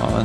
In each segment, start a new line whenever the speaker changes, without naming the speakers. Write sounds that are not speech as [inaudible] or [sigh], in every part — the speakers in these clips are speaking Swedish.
Ja,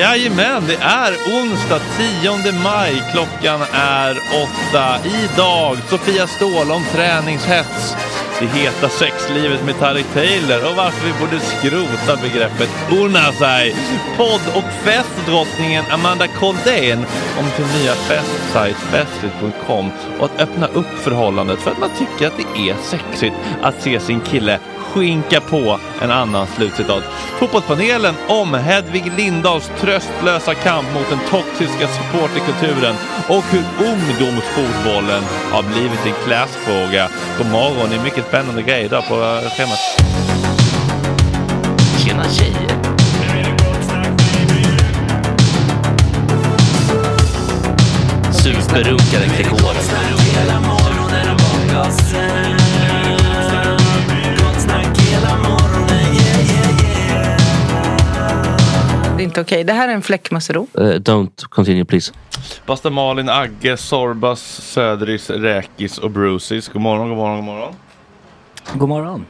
Jajamän, det är onsdag 10 maj. Klockan är åtta. Idag Sofia Ståhl om träningshets. Det heta sexlivet med Tareq Taylor och varför vi borde skrota begreppet unna sig. Podd och festdrottningen Amanda Koldén om sin nya festsajt festligt.com och att öppna upp förhållandet för att man tycker att det är sexigt att se sin kille skinka på en annan slutcitat. Fotbollspanelen om Hedvig Lindahls tröstlösa kamp mot den toxiska supporterkulturen och hur ungdomsfotbollen har blivit en klassfråga. God morgon, det är mycket spännande grejer idag på eh, schemat.
annan tjej. Superrunkaren Gregoren.
Det är inte okej. Det här är en fläckmussero.
Eh, don't continue please.
Basta Malin, Agge, Sorbas, Söderis, Räkis och Brucis. God morgon, god morgon, god morgon.
God morgon.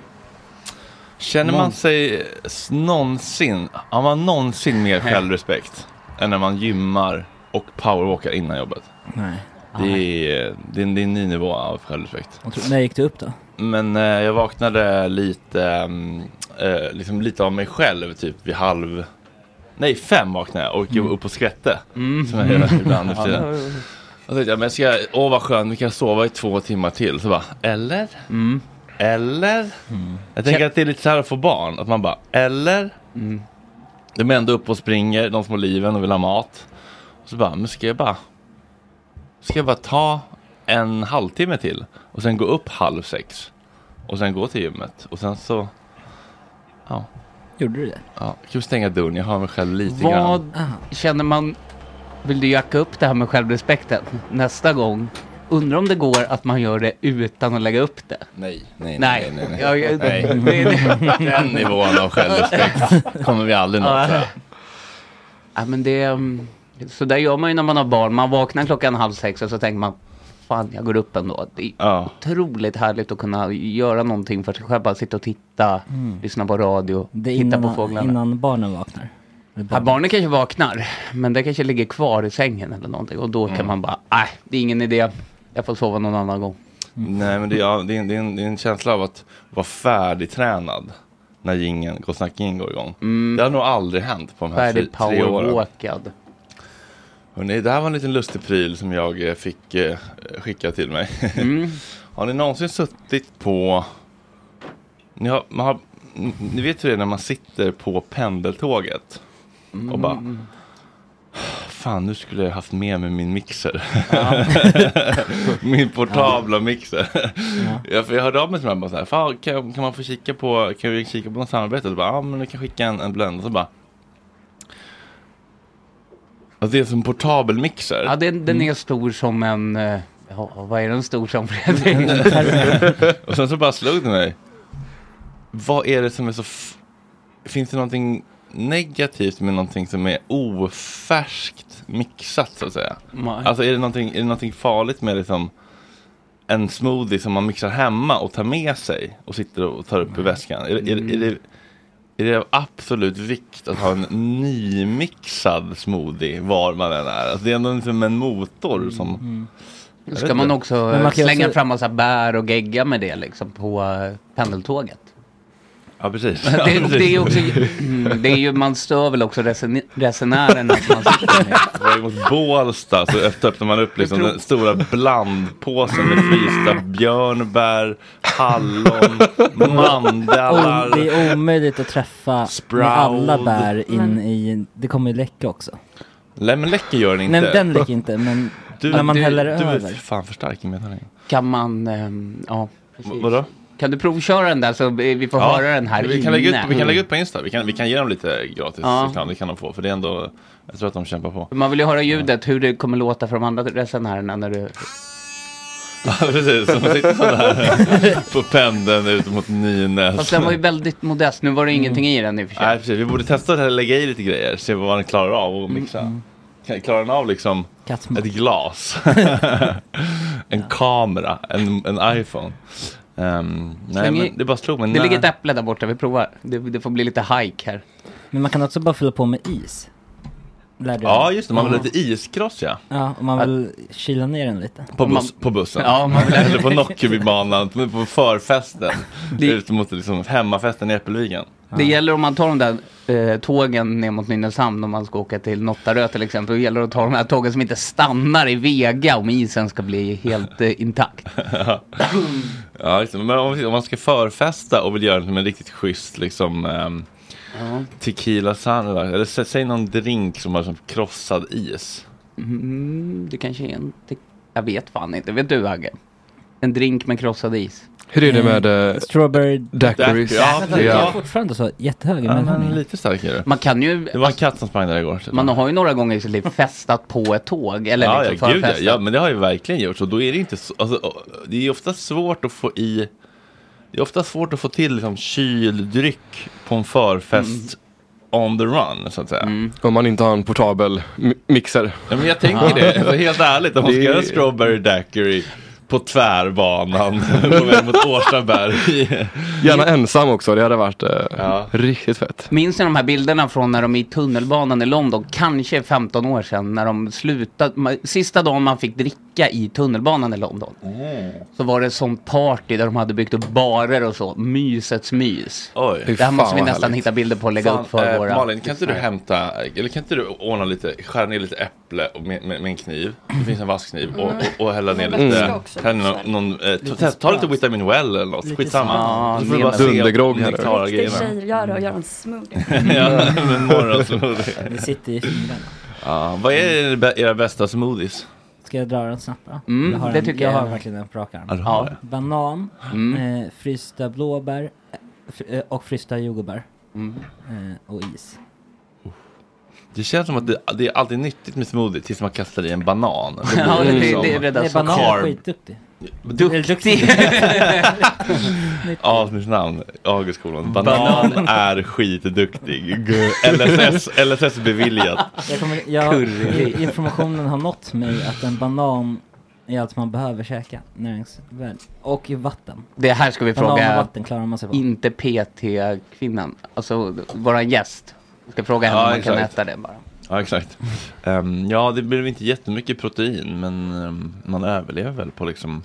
Känner man sig s- någonsin, har man någonsin mer självrespekt än när man gymmar och powerwalkar innan jobbet?
Nej.
Det är, det är, en- det är en ny nivå av självrespekt.
Jag tror- När gick du upp då?
Men eh, jag vaknade lite, mm, eh, liksom lite av mig själv typ vid halv, nej fem vaknade jag och gick upp och skvätte.
Mm.
Som jag gör ibland nu för tiden. Då tänkte jag, men ska jag, åh vad skönt, nu kan jag sova i två timmar till. Så bara, eller?
Mm.
Eller? Jag tänker att det är lite så här att få barn, att man bara, eller?
Mm.
De är ändå uppe och springer, de små liven och vill ha mat. Och så bara, men ska jag bara, ska jag bara ta en halvtimme till och sen gå upp halv sex och sen gå till gymmet och sen så,
Gjorde du det?
ja, jag kan stänga dörren, jag har mig själv lite grann.
Vad känner man, vill du jacka upp det här med självrespekten nästa gång? Undrar om det går att man gör det utan att lägga upp det?
Nej,
Nej.
nej, nej, nej, nej.
Jag- jag-
Nej.
[laughs] det- det-
Den nivån av självrespekt kommer vi aldrig nå. tror jag.
Ja, men det, mm, så där gör man ju när man har barn. Man vaknar klockan halv sex och så tänker man, fan jag går upp ändå. Det är
Ja.
otroligt härligt att kunna göra någonting för sig själv. Bara sitta och titta,
Mm.
lyssna på radio,
det är
titta
innan,
på fåglarna.
innan barnen vaknar. Eller
Ja,
barn-
barnen kanske vaknar, men det kanske ligger kvar i sängen eller någonting. Och då
Mm.
kan man bara, nej, det är ingen idé. Jag får sova någon annan gång.
Nej, men det är, ja, det, är, en- det, är en, det är en känsla av att vara färdigtränad när gingen, Gå och snacka in går igång. Det har nog aldrig hänt på de här tre,
Färdig
tre åren.
powerwalkad.
Hörrni, det här var en liten lustig pryl som jag eh, fick eh, skicka till mig. har ni någonsin suttit på... Ni, har, man har, ni vet hur det är när man sitter på pendeltåget och bara... Fan, nu skulle jag haft med mig min mixer. [laughs] min portabla mixer. ja. för jag hörde av mig till mig bara så här, Fan, kan, kan man få kika på, kan vi kika på något samarbete? Och bara, ja, men vi kan skicka en, en blend. Och så bara, "Ja, Alltså, det är som en portabel mixer.
Ja, den,
Mm.
den är stor som en... eh, Ja, vad är den stor
[laughs]
som Fredrik?
Och sen så bara slog det mig. Vad är det som är så... F- Finns det någonting negativt med någonting som är ofärskt mixat så att säga?
Nej.
Alltså är det någonting, är det någonting farligt med liksom en smoothie som man mixar hemma och tar med sig och sitter och tar upp i väskan? Är, är, är, det, är
Mm.
det av absolut vikt att ha en nymixad smoothie var man än är? Alltså, det är ändå liksom en motor som...
Mm. Ska man också
Men
eh,
man kan ju
slänga
också-
fram massa bär och gegga med det liksom på eh, pendeltåget?
[laughs] Ja, precis.
[laughs] Det, det är
[laughs]
ju också... Mm, det är ju, man stör väl också resen- resenären att man sitter
[laughs]
med.
På väg mot Bålsta så öpp- öppnar man upp liksom den stora blandpåsen med frysta björnbär, hallon,
Om-
mandlar.
det är omöjligt att träffa
Sprout.
med alla bär in i, det kommer ju läcka också.
Nej men läcker gör den inte.
Nej den läcker inte men
du,
när man
du,
häller
du är
över.
för fan för stark i min mening.
Kan man... ehm, Ja,
V-
precis.
Vadå?
Kan du provköra den där så vi vi får höra den här
vi
inne?
kan, lägga ut, vi kan lägga ut på Insta, vi kan, vi kan ge dem lite gratis
Ja.
reklam, det kan de få. För det är ändå, jag tror att de kämpar på. [laughs]
Man vill ju höra ljudet, hur det kommer låta för de andra resenärerna när du...
Ja, Precis, så de
[laughs]
sitter sådär på pendeln ut mot
Fast
Nynäs.
den var ju väldigt modest, nu var det ingenting i den i och för sig.
Nej precis, vi borde testa att lägga i lite grejer, se vad den klarar av och mixa.
Mm.
Kan- Klarar den av liksom
Kattmat.
Ett
[laughs]
glas. en kamera. En, en iPhone. Ehm, nej,
Släng i-
men det bara slog mig.
Det
när-
ligger ett äpple där borta, vi provar. Det, det får bli lite hike här.
Men man kan också bara fylla på med is. Lärde jag
Ja,
mig.
just det. Man vill ha
Mm.
lite iskross, ja.
Ja, om man vill kyla ner den lite.
På,
man-
bus, på bussen.
Ja, man vill-
Eller på Nockebybanan. På förfesten.
Det-
Ut mot liksom, hemmafesten i Äppelviken.
Det gäller om man tar de där eh, tågen ner mot Nynäshamn om man ska åka till Nottarö till exempel. Då gäller det att ta de här tågen som inte stannar i Vega om isen ska bli helt eh, intakt.
Ja, just det. men om, om man ska förfesta och vill göra det med en riktigt schysst liksom, ehm, tequila sunrise. Eller sä- säg någon drink som har som krossad is.
Mm, det kanske är en... Det, jag vet fan inte, vet du Agge? En drink med krossad is.
Hur är det
Eh,
med eh,
Strawberry
daiquiris?
fortfarande så jättehög i
äh, Ja,
min
men
hörni.
Lite starkare.
Man kan ju... Det
var en katt som sprang där igår.
Man har ju några gånger i sitt liv festat på ett tåg. Eller
ja,
liksom
ja, gud, ja,
förfestat.
ja, men det har ju verkligen gjorts. Och då är det inte så, alltså, det är ofta svårt att få i, det är ofta svårt att få till liksom, kyldryck på en förfest
Mm.
on the run, så att säga.
Om man inte har en portabel mi- mixer.
Ja, men jag tänker det, alltså, helt ärligt, om man ska
Det-
göra en strawberry daiquiri på tvärbanan [laughs] på väg mot Årstaberg.
Gärna ensam också, det hade varit eh, riktigt fett.
Minns ni de här bilderna från när de i tunnelbanan i London, kanske 15 år sedan, när de slutade, ma- sista dagen man fick dricka i tunnelbanan i London.
Mm.
Så var det som party där de hade byggt upp barer och så, mysets mys.
Oj.
Det här måste vi nästan hitta bilder på och lägga upp för
eh,
våra...
Malin, kan inte du hämta, eller kan inte du ordna lite, skära ner lite äpple och med, med, med en kniv. Det finns en vaskkniv och, och, och hälla ner
Mm.
lite,
Mm.
hälla ner någon, någon, eh, ta, ta lite vitamin well eller något,
smak.
skitsamma. Så får du
Ja,
bara se
dundergrogg här.
nektara
Riktig
grejerna.
tjej gör det och gör en
Mm.
smoothie.
[laughs] Ja, men morgonsmoothie.
Det sitter i fingrarna.
Ja, vad är be- era bästa smoothies?
Ska jag dra den snabbt då?
Mm,
jag har
det
en,
tycker
jag.
jag.
har verkligen en på rak arm.
Ja, du har det.
Banan,
Mm.
eh, frysta blåbär eh, fr- eh, och frysta jordgubbar.
Mm.
Eh, och is.
Det känns som att det, det är alltid nyttigt med smoothie tills man kastar i en banan. Då blir
Ja, det- det-
liksom
det är alltså redan
Nej,
så.
banan är
carb.
skitduktig.
Duktig.
Avsnittsnamn, Augustskolan. Banan,
Banan.
är skitduktig. G- LSS, LSS beviljat.
Jag kommer, jag,
Curry.
i- informationen har nått mig att en banan är allt man behöver käka, näringsvärde. Och i vatten.
[laughs] Det här ska vi
Banan och
fråga,
vatten klarar man sig på.
inte PT-kvinnan, alltså våran gäst. Vi ska fråga henne om man kan
exakt.
äta det bara.
Ja, exakt. Ehm, ja, det blev inte jättemycket protein, men ehm, man överlever väl på liksom,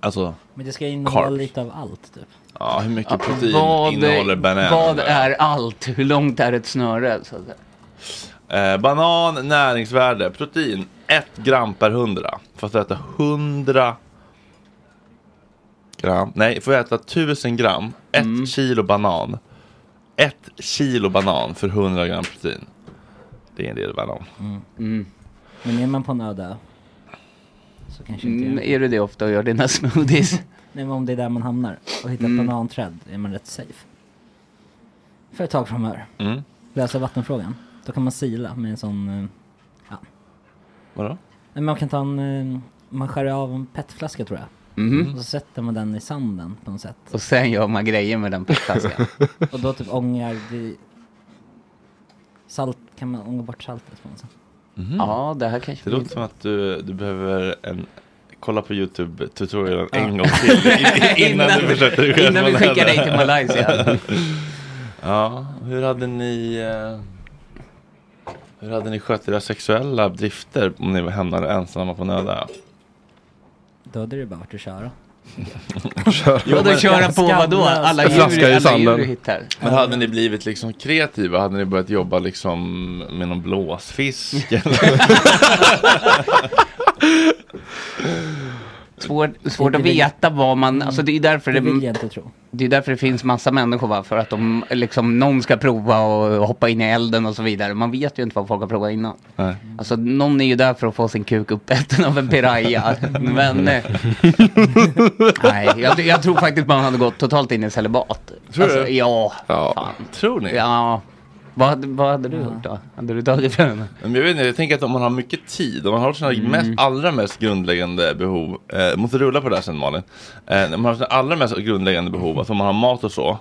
alltså,
Men det ska innehålla
carbs.
lite av allt typ.
Ja, hur mycket protein
Vad,
innehåller banan?
vad är allt? Hur långt är ett snöre? Så att säga.
Eh, banan, näringsvärde, protein 1 gram per 100. Får jag äta 100 gram? Nej, får jag äta 1000 gram? 1
Mm.
kilo banan. 1 kilo banan för 100 gram protein. Det är en del banan.
Men är man på en öde ö, så kanske inte
Mm,
jag-
är du det ofta och gör dina smoothies?
Nej men om det är där man hamnar och hittar
Mm.
ett bananträd är man rätt safe. För ett tag framöver.
Mm.
Lösa vattenfrågan. Då kan man sila med en sån... eh, Ja.
Vadå?
Nej, man kan ta en... eh, Man skär av en petflaska tror jag.
Mhm.
Och så sätter man den i sanden på något sätt.
Och sen gör man grejer med den petflaskan.
Och då typ ångar det... Salt, kan man ånga bort saltet på något sätt.
Ja, det här kanske
Det
blir-
låter som att du, du behöver en Kolla på YouTube-tutorialen en gång
[laughs]
till i- i- innan du
Innan-
försöker
innan vi skickar dig till Malaysia.
ja, hur hade ni eh, Hur hade ni skött era sexuella drifter om ni hamnade ensamma på en öde ö?
Då hade det bara varit att köra.
Jo,
Vadå
men-
köra på vadå? Alla djur, alla djur du hittar.
Men hade ni blivit liksom kreativa? Hade ni börjat jobba liksom med någon blåsfisk? [laughs]
Svår, svårt att veta vad man, alltså det är därför
Det
det,
vill jag inte tro.
det är därför det finns massa människor va, för att de, liksom någon ska prova och hoppa in i elden och så vidare. Man vet ju inte vad folk har provat innan.
Nej.
Alltså någon är ju där för att få sin kuk uppäten av en
[laughs]
piraya. Men eh, nej, jag, jag tror faktiskt man hade gått totalt in i celibat. Alltså,
Tror du?
Ja,
ja. Tror ni?
ja. Vad, hade- vad hade du gjort då? Hade du tagit den?
Men jag vet inte, jag tänker att om man har mycket tid, om man har sina
Mm.
mest, allra mest grundläggande behov, eh, måste rulla på det här sen Malin, eh, om man har sina allra mest grundläggande
Mm.
behov, alltså om man har mat och så,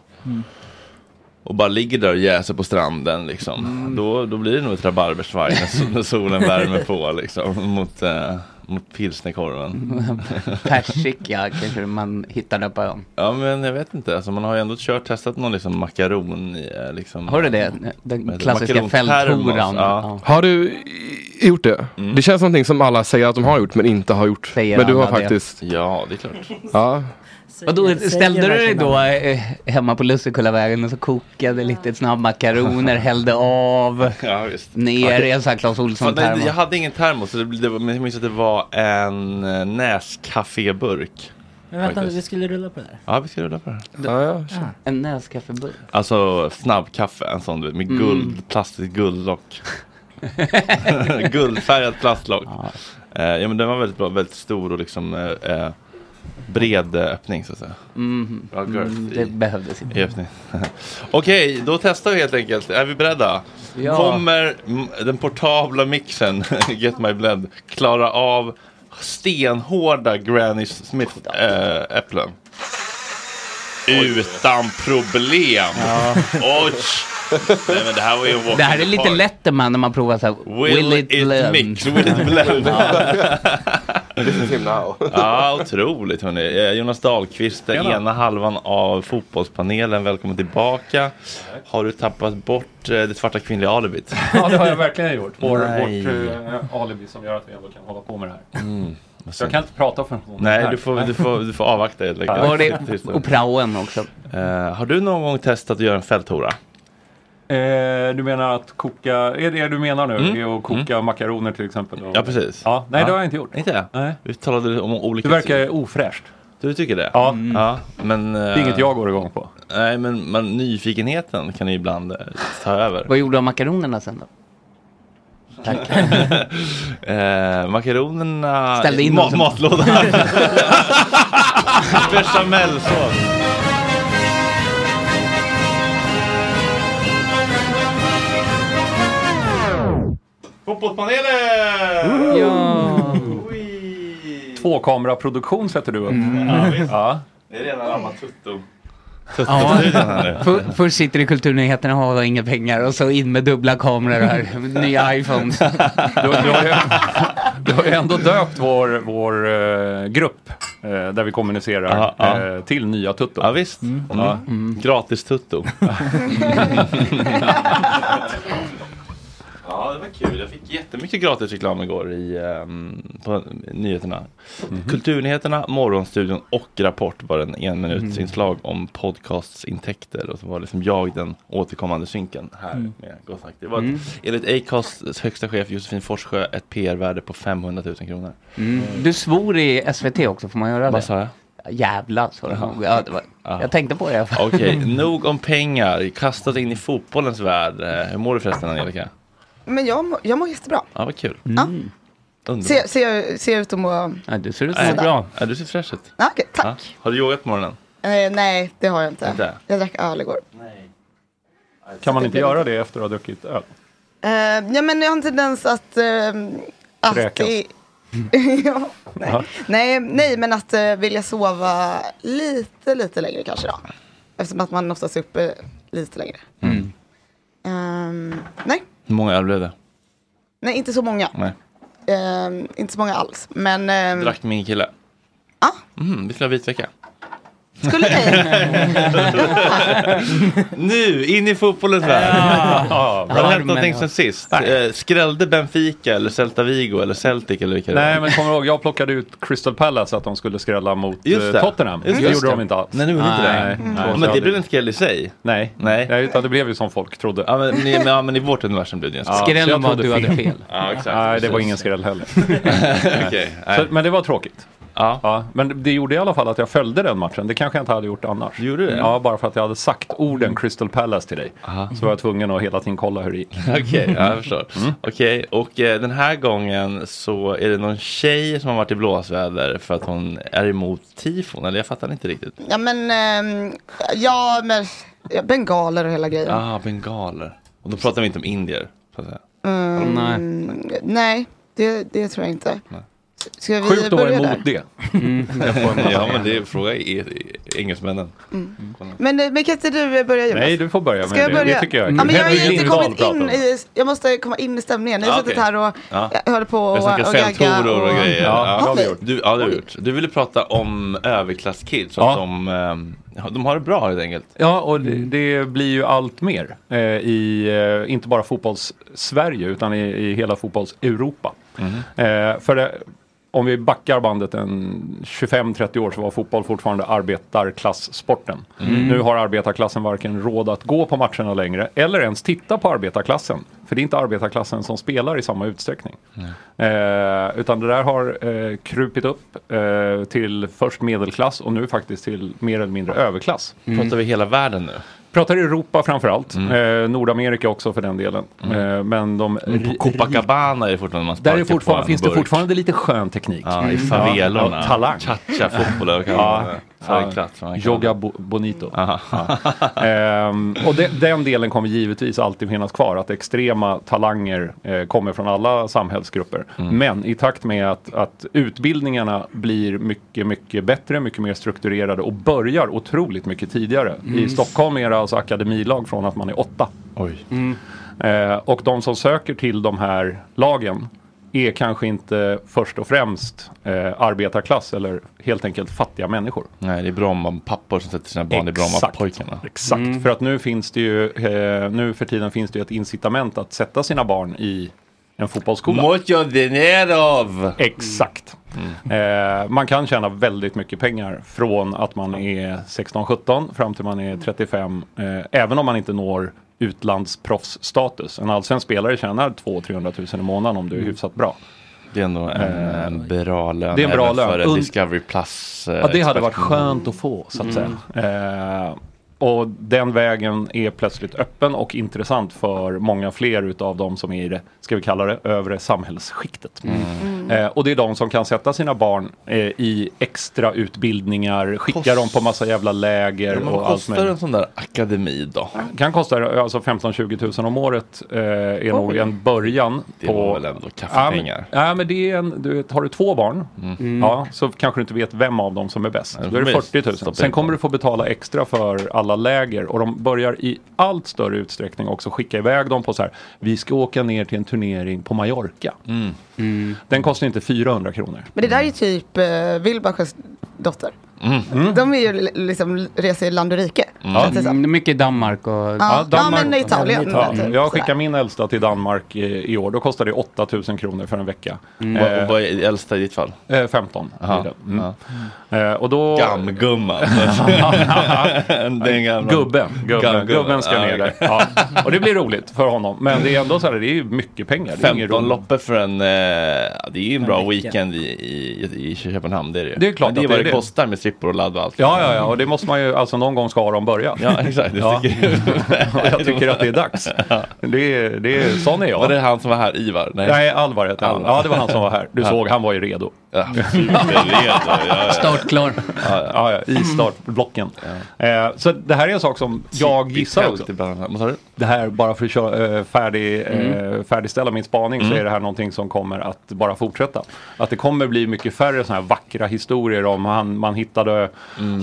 och bara ligger där och jäser på stranden liksom,
Mm.
då, då blir det nog ett rabarbersvaj när, sol- när solen värmer på liksom, mot, eh, mot
Mm.
pilsnerkorven.
Persika kanske man hittar där på ön.
Ja men jag vet inte, alltså, man har ju ändå kört, testat någon liksom makaron i, eh, liksom,
Har du det? Den klassiska
makarontermos,
fälthoran.
ja.
Har du i- gjort det? Det känns någonting som alla säger att de har gjort men inte har gjort.
Säger
men du har
alla det?
faktiskt...
Ja, det är klart.
Ja.
Vadå,
Säger- säger
ställde du dig
verkligen
då eh, hemma på Lussekullavägen och så kokade lite snabbmakaroner, hällde av,
Ja, visst.
ner i en sån här Clas
Fan, nej,
Ohlson-termos?
jag hade ingen termos, så det, blev- det, var- men jag minns att det var en eh, näskaffeburk.
Men vänta,
Faktiskt.
vi skulle rulla på det här.
Ja, vi ska rulla på det här.
Ja, ja.
En näskaffeburk?
Alltså snabbkaffe, en sån du vet, med
Mm.
guld, plastigt guldlock. [laughs] Guldfärgat plastlock. Eh, ja, men den var väldigt bra, väldigt stor och liksom eh, eh, bred eh, öppning så att säga.
Mhm.
Bra girth
Mm, det
i-
behövdes inte.
i öppning. [laughs] Okej, då testar vi helt enkelt. Är vi beredda?
Ja.
Kommer mm, den portabla mixen [laughs] Get My Blend klara av stenhårda Granny Smith-äpplen? Utan problem.
Ja.
Oj! Nej, men det här var ju en walk
Det här
in
är
the
lite
park.
Letterman när man provar så här.
Will, it,
[laughs]
mix? Will
[laughs]
it blend?
Listen now.
ja, otroligt hörni. Eh, Jonas Dahlqvist, den
Tjena.
ena halvan av fotbollspanelen. Välkommen tillbaka. Har du tappat bort eh, det svarta kvinnliga alibit?
Ja, det har jag verkligen gjort. Vår,
Nej.
vårt eh, alibi som gör att vi ändå kan hålla på med det här.
Mm, vad
Så jag kan inte prata för honom.
Nej, du får, du får, du får avvakta helt enkelt.
Var
[laughs]
det-
Tyst då.
och
praoen också.
Eh, har du någon gång testat att göra en fälthora?
Eh, du menar att koka, är det du menar nu?
Mm.
Är att koka makaroner till exempel? och-
Ja, precis.
Ja, nej, det har jag inte gjort.
Inte?
Nej.
Vi talade om olika...
Du verkar ofräscht.
Du tycker det? Ja. ja men, det
är inget jag går igång på.
Nej, men man, nyfikenheten kan ju ibland eh, ta över.
Vad gjorde du av makaronerna sen då?
eh, makaronerna...
Ställde in
Ma-
dem. [laughs]
Matlådan. Bechamelsås. Fotbollspanelen!
Ja. Tvåkameraproduktion sätter du upp.
Ja, visst.
Ja.
Det är rena rama tuttum.
Ja,
Tuttum här nu.
för, först sitter i kulturnyheterna och har inga pengar och så in med dubbla kameror här, nya
[laughs]
iPhones.
Du har ju ändå döpt vår, vår eh, grupp eh, där vi kommunicerar eh, till nya Tutto. Mm. Ja,
visst.
[laughs]
Gratis Tutto. Ja, det var kul. Jag fick jättemycket gratis reklam igår i, ehm, på nyheterna. Kulturnyheterna, Morgonstudion och Rapport var en enminutsinslag om podcastsintäkter. Och så var liksom jag den återkommande synken här
Mm.
med Gott Snack. Det var ett-
Mm.
enligt Acasts högsta chef Josefin Forssjö ett PR-värde på 500 000 kronor.
Mm. Du svor i SVT också, får man göra det?
Vad sa jag?
Jävlar sa du nog. Ja, det var...
Ja.
Jag tänkte på det. i alla fall.
Okej,
Mm.
nog om pengar. Kastat in i fotbollens värld. Eh, Hur mår du förresten Angelica?
Men jag, må- jag mår jättebra.
Ja, vad kul.
Mm.
Underbart.
Ser, ser, ser ut att må...
Ja, du ser
ut att må
Nej.
bra.
Ja, du ser fräsch ut.
Ah, okej, tack.
Ja. Har du yogat på morgonen?
Eh, nej, det har jag inte.
Inte?
Jag drack öl igår.
Kan man inte göra det efter att ha druckit öl?
Eh, ja, men jag har en tendens att... ehm, att
Kräkas.
i- [laughs] ja, nej.
Ja.
Nej, nej, men att eh, vilja sova lite, lite längre kanske då. Eftersom att man oftast är uppe lite längre.
Mm.
Ehm, nej,
Hur många öl blev det?
nej, inte så många.
Nej.
Ehm, inte så många alls. Men ehm,
Drack min kille?
Ja.
Mm, vi skulle ha vitvecka.
skulle
[laughs]
ni?
nu, in i fotbollens värld.
Ja,
[laughs] Har det
bra.
hänt någonting sen sist? Eh, Skrällde Benfica eller Celta Vigo eller Celtic eller vilka det
Nej,
var?
men kommer du ihåg, jag plockade ut Crystal Palace att de skulle skrälla mot eh,
Just det.
Tottenham.
Just
det
det.
gjorde de inte alls.
Nej, nu gjorde de inte det. Mm. Ja, men det blev en skräll i sig.
Nej.
Nej.
Nej, utan det blev ju som folk trodde.
Ja, men, ni- men- ja, men i vårt universum blev det ju en skräll.
så jag
Skrällen var
trodde
att du hade fel.
[laughs]
Ja, exakt.
Nej, det var
Precis. [laughs]
ingen skräll heller.
Okej,
Nej.
nej.
Så, men det var tråkigt.
Ja.
Men det gjorde i alla fall att jag följde den matchen. Det kanske jag inte hade gjort annars. Gjorde
det?
Ja, bara för att jag hade sagt orden Crystal Palace till dig. Så var jag tvungen att hela tiden kolla hur det gick.
[laughs] Okej, ja, jag förstår. Okej, och eh, den här gången så är det någon tjej som har varit i blåsväder för att hon är emot tifon, eller jag fattar inte riktigt.
Ja men, ehm, ja men, ja, bengaler och hela grejen.
Ah, bengaler. Och då pratar vi inte om indier. Så att säga.
Mm, Nej, det, det tror jag inte.
Nej.
Ska vi börja där?
Mm.
Mm. ja, men det är fråga i, i, engelsmännen.
Men, eh, men kan inte du eh, börja Jonas?
Nej, du får börja
Ska
med
jag
det.
börja?
Det tycker jag är
ja,
kul.
men jag har
Henrik
ju inte
Lindahl
kommit in
pratar om.
i, jag måste komma in i stämningen. Ni har
Ja,
suttit
okej.
här och
Ja.
jag höll på och,
Jag snackar
och gagga.
sventorer och, grejer.
Ja, det har vi gjort.
Du, ja, det har vi gjort. Du ville prata om överklasskids, så att de, ehm, ja, de har det bra helt enkelt.
Ja, och det, det blir ju allt mer eh, i, eh, inte bara fotbolls-Sverige, utan i, i hela fotbolls-Europa.
Mm.
Eh, för det, om vi backar bandet en 25-30 år så var fotboll fortfarande arbetarklasssporten.
Mm.
Nu har arbetarklassen varken råd att gå på matcherna längre eller ens titta på arbetarklassen. För det är inte arbetarklassen som spelar i samma utsträckning. Eh, utan det där har eh, krupit upp eh, till först medelklass och nu faktiskt till mer eller mindre överklass.
Mm. Pratar vi hela världen nu?
Pratar Europa framförallt, eh, Nordamerika också för den delen. Eh, men de...
Mm. På Copacabana är det fortfarande man
Där är
sparkar på
fortfarande,
en
finns det
burk.
fortfarande lite skön teknik. Mm.
Ja, i favelorna.
Ja, talang.
Cha-cha-fotbollar kan
ja,
man-
ja,
färgklatt, man kan-
Yoga bo- bonito. Ja. Ehm, och de, den delen kommer givetvis alltid finnas kvar, att extrema talanger eh, kommer från alla samhällsgrupper. Men i takt med att, att utbildningarna blir mycket, mycket bättre, mycket mer strukturerade och börjar otroligt mycket tidigare.
Mm.
I Stockholm är det alltså akademilag från att man är åtta.
Mm.
Eh, och de som söker till de här lagen är kanske inte först och främst eh, arbetarklass eller helt enkelt fattiga människor.
Nej, det är Bromma-pappor som sätter sina barn i Bromma-pojkarna.
Exakt, för att nu finns det ju, eh, nu för tiden finns det ju ett incitament att sätta sina barn i en fotbollsskola.
Mucho dinero!
Exakt. Eh, man kan tjäna väldigt mycket pengar från att man är 16-17 fram till man är 35. Eh, även om man inte når utlandsproffsstatus. En allsvensk spelare tjänar 200-300 000 i månaden om du är hyfsat bra.
Det är ändå en,
Eh,
en bra lön.
det är en bra
även
lön.
För en
Und-
Discovery Plus. eh,
Ja, det hade varit
expert.
skönt att få så att
Mm.
säga. Eh, och den vägen är plötsligt öppen och intressant för många fler utav de som är i det, ska vi kalla det, övre samhällsskiktet.
Mm.
Eh, och det är de som kan sätta sina barn eh, i extra utbildningar, skicka dem på massa jävla läger
Ja, men
och
vad
allt
kostar
möjligt.
en sån där akademi då?
Kan kosta alltså 15-20 tusen om året eh, är nog
Oj.
en början.
Det
på...
var väl ändå kaffepengar.
Ja, men, ja, men det är en, du vet, har du två barn
Mm.
ja, så kanske du inte vet vem av dem som är bäst.
Nej,
Då är det
men
40 000.
stoppa in
Sen kommer du få betala extra för alla läger och de börjar i allt större utsträckning också skicka iväg dem på så här. Vi ska åka ner till en turnering på Mallorca.
Mm.
Den kostar inte 400 kronor.
Men det där är ju typ eh, Wilbachers dotter.
Mm.
De är ju li- liksom reser i land och rike.
Ja.
Känns det som.
Mm, Mycket Danmark och...
Ja, ja, men Italien.
Ja,
Typ.
jag skickar min äldsta till Danmark eh, i år. Då kostar det 8000 kronor för en vecka.
Mm. Vad- vad
är äldsta i ditt fall? 15. blir
Aha,
det. Mm. Eh, och då...
[laughs] Gammgumman. Den gamla-
Gubben. Gubben.
Gammgubben.
Gubben ska
Ja,
ner där.
okej.
Ja. Och det blir roligt för honom. Men det är ändå så här, det är ju mycket pengar. Det är ingen
15
rolig-
loppor för en, eh, ja, det är ju en bra
En vecka.
weekend i, i, i Köpenhamn, det är det ju.
Det är klart
Men det är
att
vad
det är
det,
det.
kostar med strippor och ladd och allt.
Ja, ja, ja, och det måste man ju, alltså någon gång ska de börja. [laughs]
Ja, exakt. Det [laughs]
Och [laughs] jag tycker att det är dags. Det är, det är, sån är jag.
Var det han som var här, Ivar?
Nej, Alvar heter han. Ja, det var han som var här. Du såg, han var ju redo. [laughs]
Startklar.
Ja, ja,
Mm.
I startblocken. Eh, så det här är en sak som jag gissar
tält
också. Det här, bara för att köra, eh, färdig,
Mm.
eh, färdigställa min spaning så
Mm.
är det här någonting som kommer att bara fortsätta. Att det kommer bli mycket färre sådana här vackra historier om han, man hittade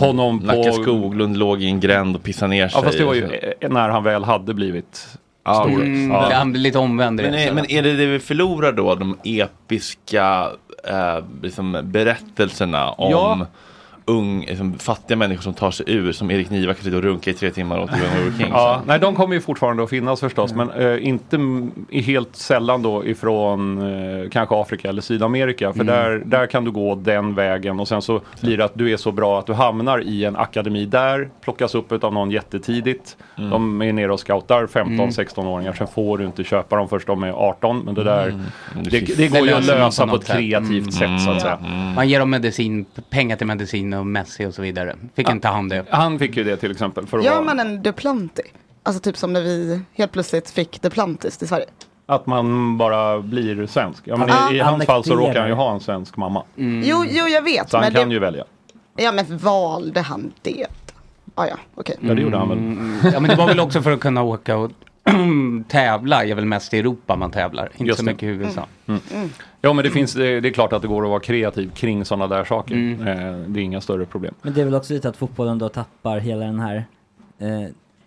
honom på...
Mm. Nacka Skoglund låg i en gränd och pissade ner sig.
Ja, fast det var ju eh, när han väl hade blivit
Ja,
stor.
mm.
Ja.
Han
blir lite omvänd
Men, är, men är det det vi förlorar då? De episka eh, liksom berättelserna om
Ja.
ung, liksom, fattiga människor som tar sig ur. Som Erik Niva kan sitta och runka i tre timmar åt Roger King.
Ja, nej, de kommer ju fortfarande att finnas förstås,
Mm.
men eh, inte m- i helt sällan då ifrån eh, kanske Afrika eller Sydamerika. För
Mm.
där, där kan du gå den vägen och sen så blir det att du är så bra att du hamnar i en akademi där, plockas upp av någon jättetidigt.
Mm.
De är nere och scoutar
Mm.
15-16-åringar, sen får du inte köpa dem först de är 18. Men det där,
Mm.
det, det går ju att lösa på ett kreativt sätt så att säga.
Man ger dem medicin, pengar till medicin och Messi och så vidare. Fick inte han det?
Han fick ju det till exempel. För
Gör man en Duplanti? Alltså typ som när vi helt plötsligt fick Duplantis till Sverige.
Att man bara blir svensk. Ja, men
Ah.
I, i hans fall så råkar han ju
Annekterar.
ha en svensk mamma.
Jo, jo, jag vet.
Så han
Mm. Men,
kan
det,
ju välja.
ja, men valde han det? Ah, ja, okej.
Mm.
Ja, det gjorde han väl.
Mm. Ja, men det var väl också för att kunna åka och [clears throat] tävla. är väl mest i Europa man tävlar, inte
Just
så
det.
mycket i USA.
Mm. Ja, men det, finns, det, det är klart att det går att vara kreativ kring sådana där saker.
Mm.
Eh, det är inga större problem.
Men det är väl också lite att fotbollen då tappar hela den här eh,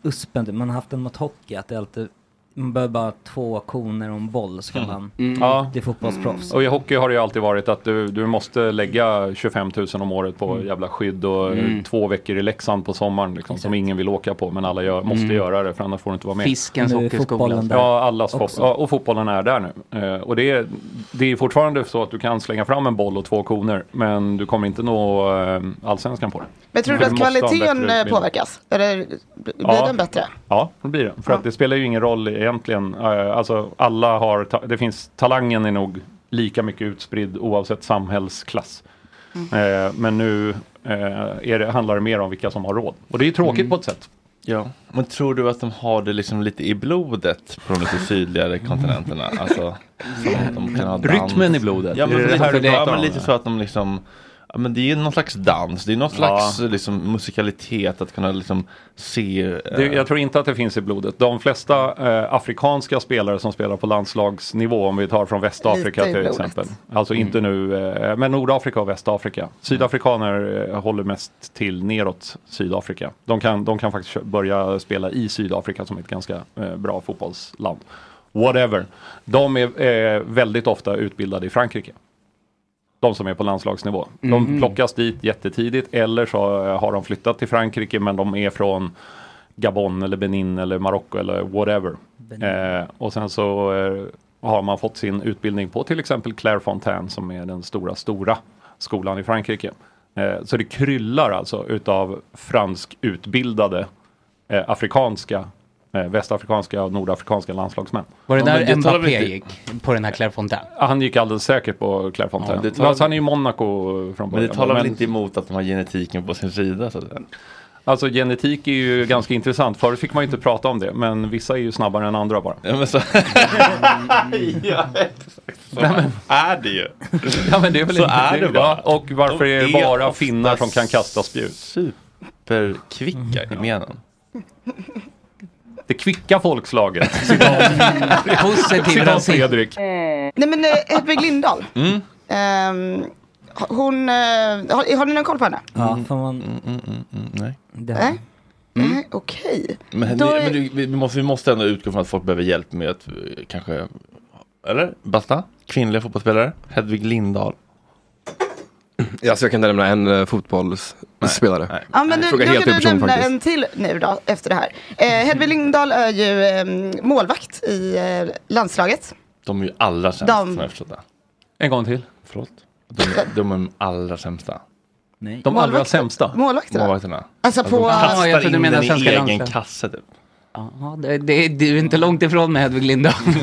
uspen. Man har haft den mot hockey, att det alltid, man behöver bara två koner och en boll så kan
Mm.
man
Ja.
bli fotbollsproffs.
Och i hockey har det ju alltid varit att du, du måste lägga 25 000 om året på
Mm.
jävla skydd och eh,
Mm.
två veckor i Leksand på sommaren liksom, som ingen vill åka på men alla gör, måste
Mm.
göra det för annars får du inte vara med.
Fiskens Nu är hockeyskola. fotbollen där
Mm. Ja, allas fot-
också.
ja, och fotbollen är där nu. Eh, och det är, det är fortfarande så att du kan slänga fram en boll och två koner men du kommer inte nå eh, allsvenskan på det.
Men tror
Mm.
För
du att
måste ha en bättre
kvaliteten eh,
utbildning.
påverkas? Eller b- blir
Ja.
den bättre?
Ja, det blir det. För att det spelar ju ingen roll egentligen. Eh, Alltså alla har, ta- det finns, talangen är nog lika mycket utspridd oavsett samhällsklass. Mm. Eh, Men nu eh, är det, handlar det mer om vilka som har råd. Och det är ju tråkigt på ett sätt.
Ja. Men tror du att de har det liksom lite i blodet på de lite sydligare kontinenterna? Alltså, som att de kan ha dans.
Rytmen i blodet.
Ja, men,
Är det det
lite,
här du
ja,
pratar
men
om?
lite så att de liksom Ja, men det är någon slags dans, det är någon slags liksom, musikalitet att kunna liksom se. eh,
Det, jag tror inte att det finns i blodet. De flesta eh, afrikanska spelare som spelar på landslagsnivå, om vi tar från Västafrika
Lite
till
i blodet.
exempel. Alltså
Mm.
inte nu, eh, men Nordafrika och Västafrika. Sydafrikaner eh, håller mest till neråt Sydafrika. De kan, de kan faktiskt kö- börja spela i Sydafrika som är ett ganska eh, bra fotbollsland. Whatever. De är eh, väldigt ofta utbildade i Frankrike. De som är på landslagsnivå.
Mhm.
De plockas dit jättetidigt eller så eh, har de flyttat till Frankrike men de är från Gabon eller Benin eller Marocko eller whatever. Eh, och sen så eh, har man fått sin utbildning på till exempel Clairefontaine som är den stora, stora skolan i Frankrike. Eh, så det kryllar alltså utav franskutbildade eh, afrikanska, eh, västafrikanska och nordafrikanska landslagsmän.
Var det
Ja, men
där
talar vi
Mbappé
inte-
gick? På den här Clairefontaine?
Ja, Han gick alldeles säkert på Clairefontaine.
Ja, det talar-
alltså, han är ju Monaco från början.
Men det talar väl inte emot att de har genetiken på sin sida? Så att säga.
Alltså genetik är ju ganska intressant. Förut fick man ju inte prata om det, men vissa är ju snabbare än andra bara.
Ja, men så... [laughs] ja, exakt. Så
Nej, men-
är det ju.
Ja, men det är väl
så
inte-
är det
ja,
bara.
och varför
De
är det bara
ofta
finnar som kan kasta spjut?
Superkvicka i menen.
Det [laughs] kvicka folkslaget.
Positiv
Citat
rasism.
Fredrik.
Nej men eh, Hedvig Lindahl.
Mm.
Ehm, hon, eh, har, har ni någon koll på henne?
Ja, får man...
nej.
Det
Nej. Nej, okej.
Men,
Då
ni,
är-
men du, vi, måste, vi måste ändå utgå från att folk behöver hjälp med att eh, kanske, eller? Basta? Kvinnliga fotbollsspelare? Hedvig Lindahl?
Alltså jag kan inte nämna en eh, fotbollsspelare.
Ja, men nu, nu
Fråga
kan
helt
du
ur person
nämna
faktiskt.
en till nu då, efter det här. Eh, Hedvig Lindahl är ju ehm, målvakt i eh, landslaget.
De är ju allra sämst
De-
som jag har förstått det.
En gång till.
Förlåt? De, är- de är de allra sämsta.
Nej.
De allra Målvakter- sämsta?
målvakterna?
Målvakterna.
Alltså på-
De
Ja,
kastar
jag trodde du
in
menade
den i
svenska
egen
landslaget.
kasse typ.
Ja, det, det, du är inte långt ifrån med Hedvig Lindahl.
[laughs]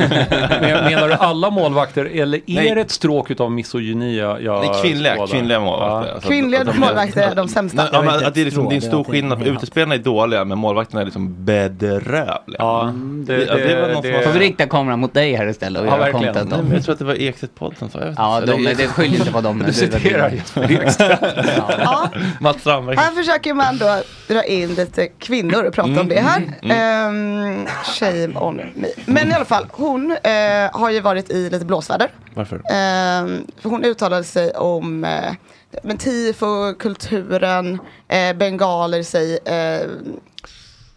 Men Menar du alla målvakter eller är
Nej.
det ett stråk utav misogyni jag jag
Nej, kvinnliga-
skådar?
kvinnliga målvakter.
Ja.
Alltså,
Kvinnliga
de-
målvakter är de sämsta.
Nej, ja, men att det, är liksom, det är en stor skillnad, för utespelarna är dåliga men målvakterna är liksom bedrövliga. Ja,
Mm,
Det, Får vi rikta kameran mot dig här istället och
Ja,
göra
verkligen.
content
Nej,
om
men jag tror att det var Ekstedt-podden som sa
Ja, de, det skyll inte på
[laughs]
dem nu.
Du
[laughs]
citerar Jesper Ekstedt. Mats Strandberg.
Här försöker man då dra in lite kvinnor och prata om det här. Ehm, shame on me. Men i alla fall, hon eh, har ju varit i lite blåsväder.
Varför?
Ehm, för hon uttalade sig om eh, men tifo, kulturen, eh, bengaler sig. Eh,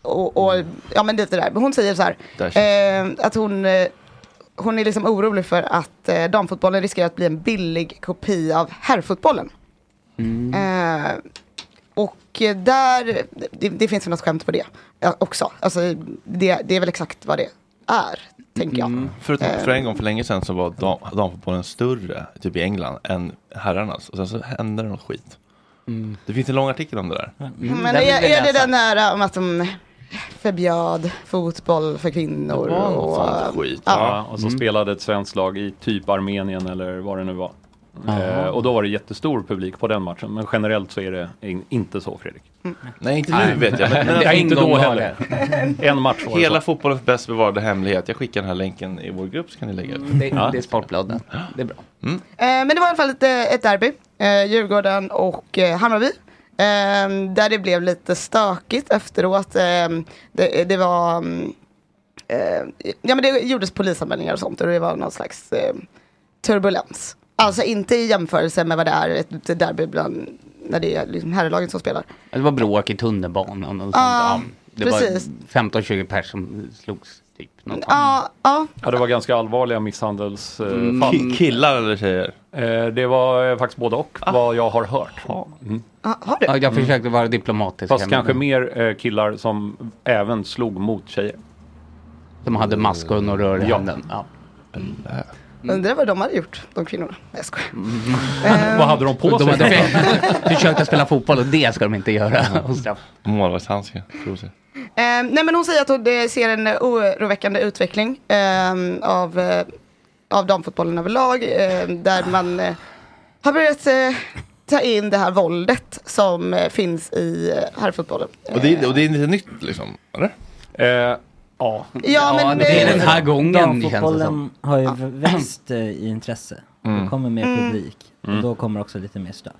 och, och, ja men lite där. Men hon säger så här.
Där
Eh, att hon, eh, hon är liksom orolig för att eh, damfotbollen riskerar att bli en billig kopia av herrfotbollen. Eh, och eh, där, det, det finns väl något skämt på det eh, också. Alltså, det, det är väl exakt vad det är, tänker jag.
Förutom
Eh,
för en gång för länge sedan så var dam- damfotbollen större, typ i England, än herrarnas. Och sen så hände det något skit.
Mm.
Det finns en lång artikel om det där.
Men är, är det den där äh, om att de förbjöd fotboll för kvinnor?
Det var något
och,
sånt
eh,
skit.
Ja.
Ja, och
Mm.
så spelade ett svenskt lag i typ Armenien eller vad det nu var.
Aha.
Eh, och då var det jättestor publik på den matchen. Men generellt så är det in, inte så Fredrik.
Nej, inte nu vet [laughs] jag. Men, alltså,
Ja, inte då heller. [laughs] en match var det
Hela
så.
fotbollens bäst bevarade hemlighet. Jag skickar den här länken i vår grupp så kan ni lägga ut.
Det- det är
Sportbladet. Det är bra. Mm.
Eh, men det var i alla fall ett, eh, ett derby. Eh, Djurgården och eh, Hammarby. Eh, där det blev lite stökigt efteråt. Eh, det, det var... mm, Eh, ja men det gjordes polisanmälningar och sånt och det var någon slags eh, turbulens. Alltså inte i jämförelse med vad det är ett ett derby bland, när det är liksom herrlagen som spelar.
Det var bråk i tunnelbanan och sånt.
Ja,
Ja, det
precis.
var 15-20 pers som slogs. Typ, något
Ja, ja.
Ja, det var ganska allvarliga misshandelsfall.
Mm. Ki- Killar eller tjejer?
det var eh, faktiskt både och,
Ah.
vad jag har hört. Mm.
Ja, jag försökte vara diplomatisk.
Fast
här, men-
kanske mer eh, killar som även slog mot tjejer.
Som hade maskor och rör i handen. Ja.
Undrar vad de hade gjort, de kvinnorna. Jag skojar.
Ehm.
Vad hade de på
de
sig?
Hade fe- [laughs] försökte spela fotboll och det ska de inte göra. Och straff.
Målvaktshandske, tror jag.
Eh, nej men hon säger att hon eh, ser en eh, oroväckande utveckling ehm, av, ehm, eh, av damfotbollen överlag. Eh, där man eh, har börjat eh, ta in det här våldet som eh, finns i eh, herrfotbollen.
Och det, och det är lite nytt liksom, eller?
ja. Ja,
men det- det är den här gången,
känns det
Damfotbollen
som.
har ju växt eh, i intresse.
Mm.
Det kommer mer
Mm.
publik.
Mm.
Och då kommer också lite mer stök.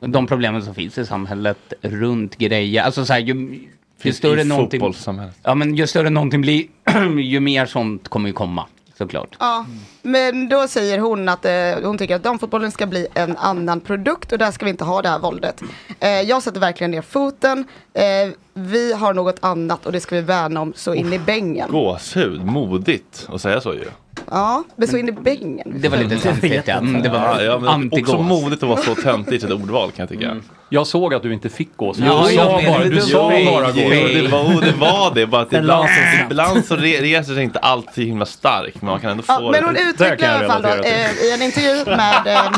De problemen som finns i samhället runt grejer. Alltså så här, ju, ju
Finns
större
i
någonting...
fotbollssamhället.
Ja, men ju större någonting blir, [clears throat] ju mer sånt kommer ju komma, såklart.
Ja, men då säger hon att eh, hon tycker att damfotbollen ska bli en annan produkt och där ska vi inte ha det här våldet. Eh, jag sätter verkligen ner foten. Eh, vi har något annat och det ska vi värna om så in i bängen.
Gåshud, modigt att säga så ju.
Ja, men så in i bängen.
Det var lite töntigt, ja. Mm, det var
ja, ja, men
antigås.
Också modigt att vara så töntig i sitt ordval kan jag tycka.
Jag såg att du inte fick gå. så
Jo,
du sa
jag
bara,
menar,
du sa
jo,
bara gå.
jo, det, var, det var det, bara att
Den
ibland,
la sig snabbt.
ibland så re, reser sig inte allt så himla starkt, men man kan ändå få
Ja,
det.
men hon utvecklar i alla fall då, eh, i en intervju med eh,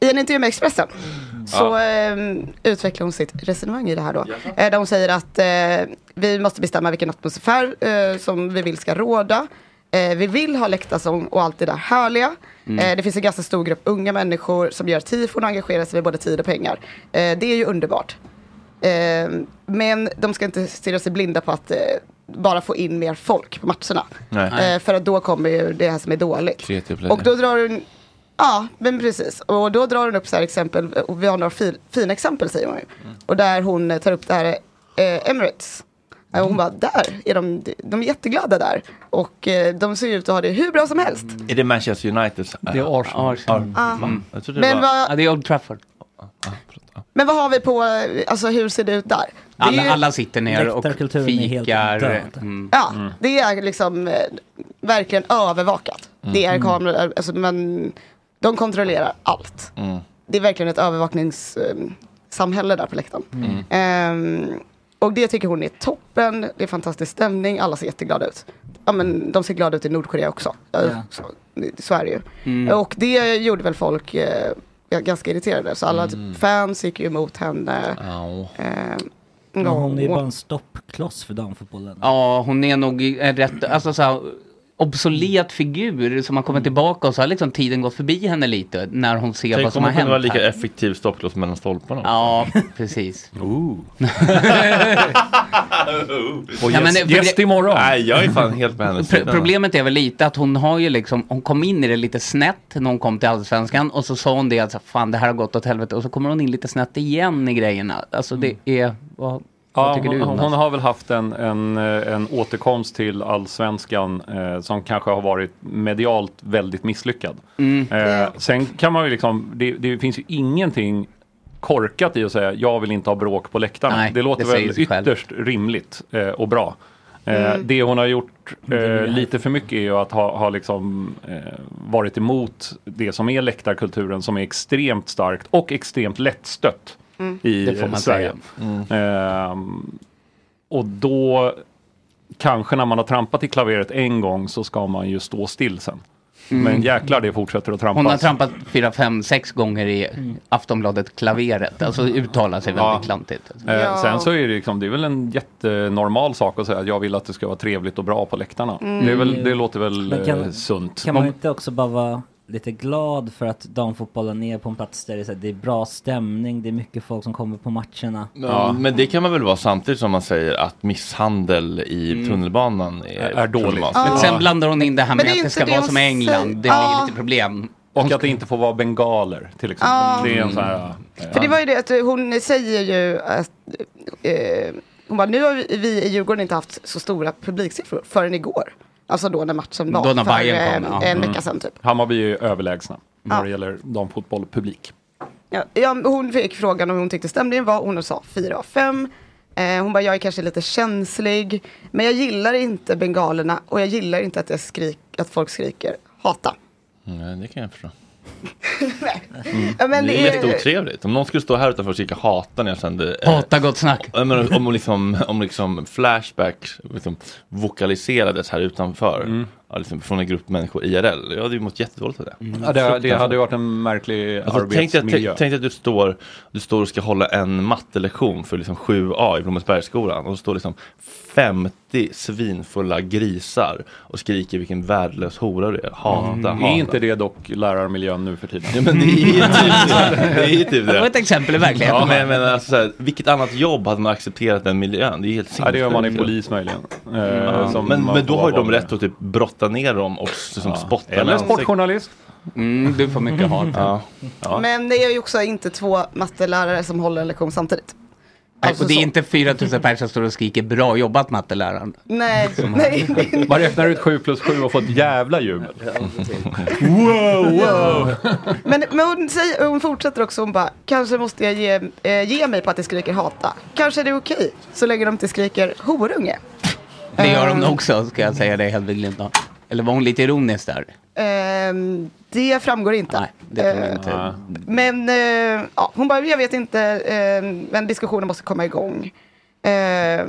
I en intervju med Expressen så
Ja.
eh, utvecklar hon sitt resonemang i det här då. Eh, där hon säger att eh, vi måste bestämma vilken atmosfär eh, som vi vill ska råda. Eh, vi vill ha läktarsång och allt det där härliga.
Mm.
Eh, det finns en ganska stor grupp unga människor som gör tifon och engagerar sig med både tid och pengar. Eh, det är ju underbart. Eh, men de ska inte stirra sig blinda på att eh, bara få in mer folk på matcherna.
Nej.
Eh, för att då kommer ju det här som är dåligt.
Kreativ pleasure.
Och då drar hon, ja men precis. Och då drar hon upp så här exempel, och vi har några fi, fina exempel säger hon ju. Och där hon eh, tar upp det här eh, Emirates. Eh, Hon bara, där är de, de är jätteglada där. Och eh, de ser ut att ha det hur bra som helst.
Är det Manchester United? Det är Arsenal.
Mm.
Jag trodde det
Men
var...
vad- Ja,
det är Old Trafford.
Men vad har vi på, eh, alltså hur ser det ut där? Det är
Alla,
ju-
alla sitter ner och
Läktarkulturen är helt
fikar.
död.
Mm.
Ja, det är liksom eh, verkligen övervakat.
Mm.
Det är
Mm.
kameror, alltså, men de kontrollerar allt. Det är verkligen ett övervakningssamhälle där på läktaren.
Mm.
Ehm, och det tycker hon är toppen, det är fantastisk stämning, alla ser jätteglada ut. Ja men de ser glada ut i Nordkorea också. Ja,
Ja.
Så, så är det ju.
Mm.
Och det gjorde väl folk eh, ganska irriterade. Så alla typ, fans gick ju emot henne. Ehm,
Men
ja.
hon är ju bara en stoppkloss för damfotbollen.
Ja, hon är nog en rätt, alltså så här, obsolet figur som har kommit tillbaka och så har liksom tiden gått förbi henne lite när hon ser vad
Tänk
som
om
har
man kunde
hänt.
vara lika
här.
effektiv stoppkloss mellan stolparna.
Ja, precis.
[laughs] Ooh.
Ja, men det- för det-
Nej, jag är fan helt med hennes
Pro- problemet är väl lite att hon har ju liksom, hon kom in i det lite snett när hon kom till Allsvenskan och så sa hon det att så här, fan det här har gått åt helvete och så kommer hon in lite snett igen i grejerna. Alltså det är, vad, vad
Mm. Ja,
tycker
hon,
du
hon
Jonas?
hon har väl haft en, en, eh, en återkomst till allsvenskan eh, som kanske har varit medialt väldigt misslyckad.
Mm.
Eh, sen kan man ju liksom, det, det finns ju ingenting korkat i att säga jag vill inte ha bråk på läktarna.
Nej,
det låter
det säger
väl
sig själv.
ytterst rimligt eh, och bra. Eh,
Mm.
Det hon har gjort
är
eh,
det.
lite för mycket är ju att ha, ha liksom, eh, varit emot det som är läktarkulturen som är extremt starkt och extremt lättstött
Mm.
i
Det får man
Sverige. Ehm, och då kanske när man har trampat i klaveret en gång så ska man ju stå still sen.
Mm.
Men jäklar det fortsätter att trampas.
Hon har trampat fyra, fem, sex gånger i
Mm.
Aftonbladet Klaveret. Alltså uttalar sig väldigt klantigt.
Eh,
Ja.
Sen så är det, liksom, det är väl en jättenormal sak att säga att jag vill att det ska vara trevligt och bra på läktarna.
Mm.
Det, är väl, det låter väl
Men kan-
eh, sunt.
Kan man
Man-
inte också bara vara lite glad för att damfotbollen är på en plats där det är, så här, det är bra stämning, det är mycket folk som kommer på matcherna.
Ja, men det kan man väl vara samtidigt som man säger att misshandel i
Mm.
tunnelbanan är,
Är dåligt.
problematiskt.
Men sen blandar hon in det här
Men
med
det är
att det
inte
ska
det
vara
hon
som i England. Det
säger.
blir
Ja.
lite problem.
Och att det inte får vara bengaler till exempel.
Ja.
Det är en sån här... eh,
För det var ju det att eh, hon säger ju att eh, hon bara, nu har vi- vi i Djurgården inte haft så stora publiksiffror förrän igår. Alltså då när matchen var
Då när
för
Bayern
eh,
kom, ja.
en
Mm.
vecka sedan typ.
Hammarby är ju överlägsna
Ja.
när det gäller damfotboll och publik.
Ja, ja, hon fick frågan om hon tyckte stämningen var, hon sa fyra av fem. Eh, hon bara, jag är kanske lite känslig, men jag gillar inte bengalerna och jag gillar inte att, jag skrik, att folk skriker hata.
Nej, det kan jag förstå.
Ja, men
det
det
är
är-
lite otrevligt. Om någon skulle stå här utanför och skrika hata när jag eh, sände...
Hata gott snack.
Men
Mm.
om, om, liksom, om liksom Flashback liksom, vokaliserades här utanför. ja, liksom från en grupp människor IRL. Jag hade ju mått jättedåligt av det.
Mm.
Ja, det, det hade
Fruktansvärt.
ju varit en märklig
Alltså, tänk, dig att,
arbetsmiljö.
tänk, tänk dig att du står, du står och ska hålla en mattelektion för liksom 7A i Blommensbergsskolan och det står liksom 50 svinfulla grisar och skriker vilken värdelös hora du är. Hata,
Mm.
hata.
Är inte
det
dock lärarmiljön nu för tiden?
Ja, men [laughs] det är ju typ
[laughs]
det. Det, är ju typ det.
Det var ett exempel i verkligheten.
Ja, men, jag menar, alltså, så här, vilket annat jobb hade man accepterat den miljön? Det är helt sinnessjukt.
Ja, det gör man i polis möjligen. Eh,
Mm.
Ja.
som
men,
man
men då
får
har ju
vara
de
med.
rätt att typ brotta ner dem och liksom, spotta
Eller sportjournalist.
Mm, du får mycket hat.
Ja. Ja.
Men det är ju också inte två mattelärare som håller en lektion samtidigt. Alltså
Nej, och det är inte 4000 personer som står och skriker bra jobbat matteläraren.
Nej, nej.
Man räknar ut 7 plus 7 och får ett jävla jubel.
Wow, wow. Men, men hon, säger, hon fortsätter också, hon bara, kanske måste jag ge, eh, ge mig på att de skriker hata. Kanske är det okej, så länge de inte skriker horunge.
Det gör de också ska jag säga dig Hedvig Lindahl. Eller var hon lite ironisk där?
Ehm, det framgår inte.
Det tror
Eh,
jag inte.
Men eh, ja, hon bara, jag vet inte, eh, men diskussionen måste komma igång. Eh,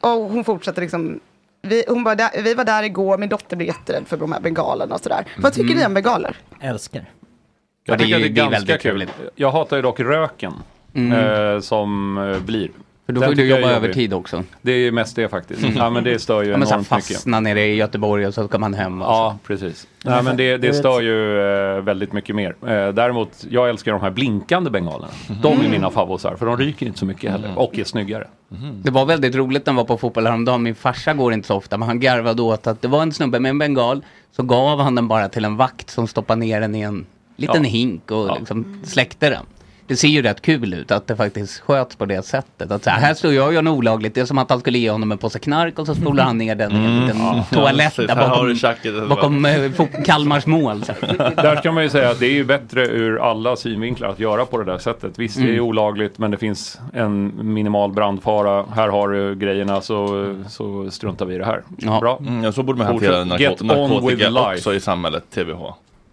och hon fortsätter liksom, vi, hon bara, "Där- vi var där igår, min dotter blev jätterädd för de här bengalerna och sådär. Vad tycker
Mhm.
ni om bengaler?
Älskar.
Jag
Ja, det
tycker
är
det
ju-
är,
det är
ganska
väldigt
kul.
trevligt.
Jag hatar ju dock röken
Mm.
eh, som eh, blir.
För då
Den
får du
tycker jag
jobba
är jobbig.
övertid också.
Det är ju mest det faktiskt. Ja men det stör ju
Ja, men så här
enormt mycket.
fastna nere i Göteborg och så ska man alltså. hem. Ja,
precis. Nej men det, det stör ju eh, väldigt mycket mer. Eh, däremot, jag älskar de här blinkande bengalerna. De är
Mm.
mina favoriter för de ryker inte så mycket heller och är snyggare.
Det var väldigt roligt när jag var på fotboll häromdagen. Min farsa går inte så ofta, men han garvade åt att det var en snubbe med en bengal. Så gav han den bara till en vakt som stoppade ner den i en liten
Ja.
hink och liksom släckte den. Det ser ju rätt kul ut att det faktiskt sköts på det sättet. Att så här, här står jag och gör något olagligt. Det är som att han skulle ge honom en påse knark och så spolar han ner den i en liten
Mm. Ja,
toalett
precis.
där
Här har
bakom,
du tjacket.
bakom eh, fot- Kalmars mål. Så.
Där ska man ju säga att det är ju bättre ur alla synvinklar att göra på det där sättet. Visst, det är
Mm.
olagligt men det finns en minimal brandfara. Här har du grejerna så, så struntar vi i det här. Bra.
Mm, ja, så borde man hantera
Fortsätt.
narkot-
Get on with
narkotika
life.
också i samhället, TBH.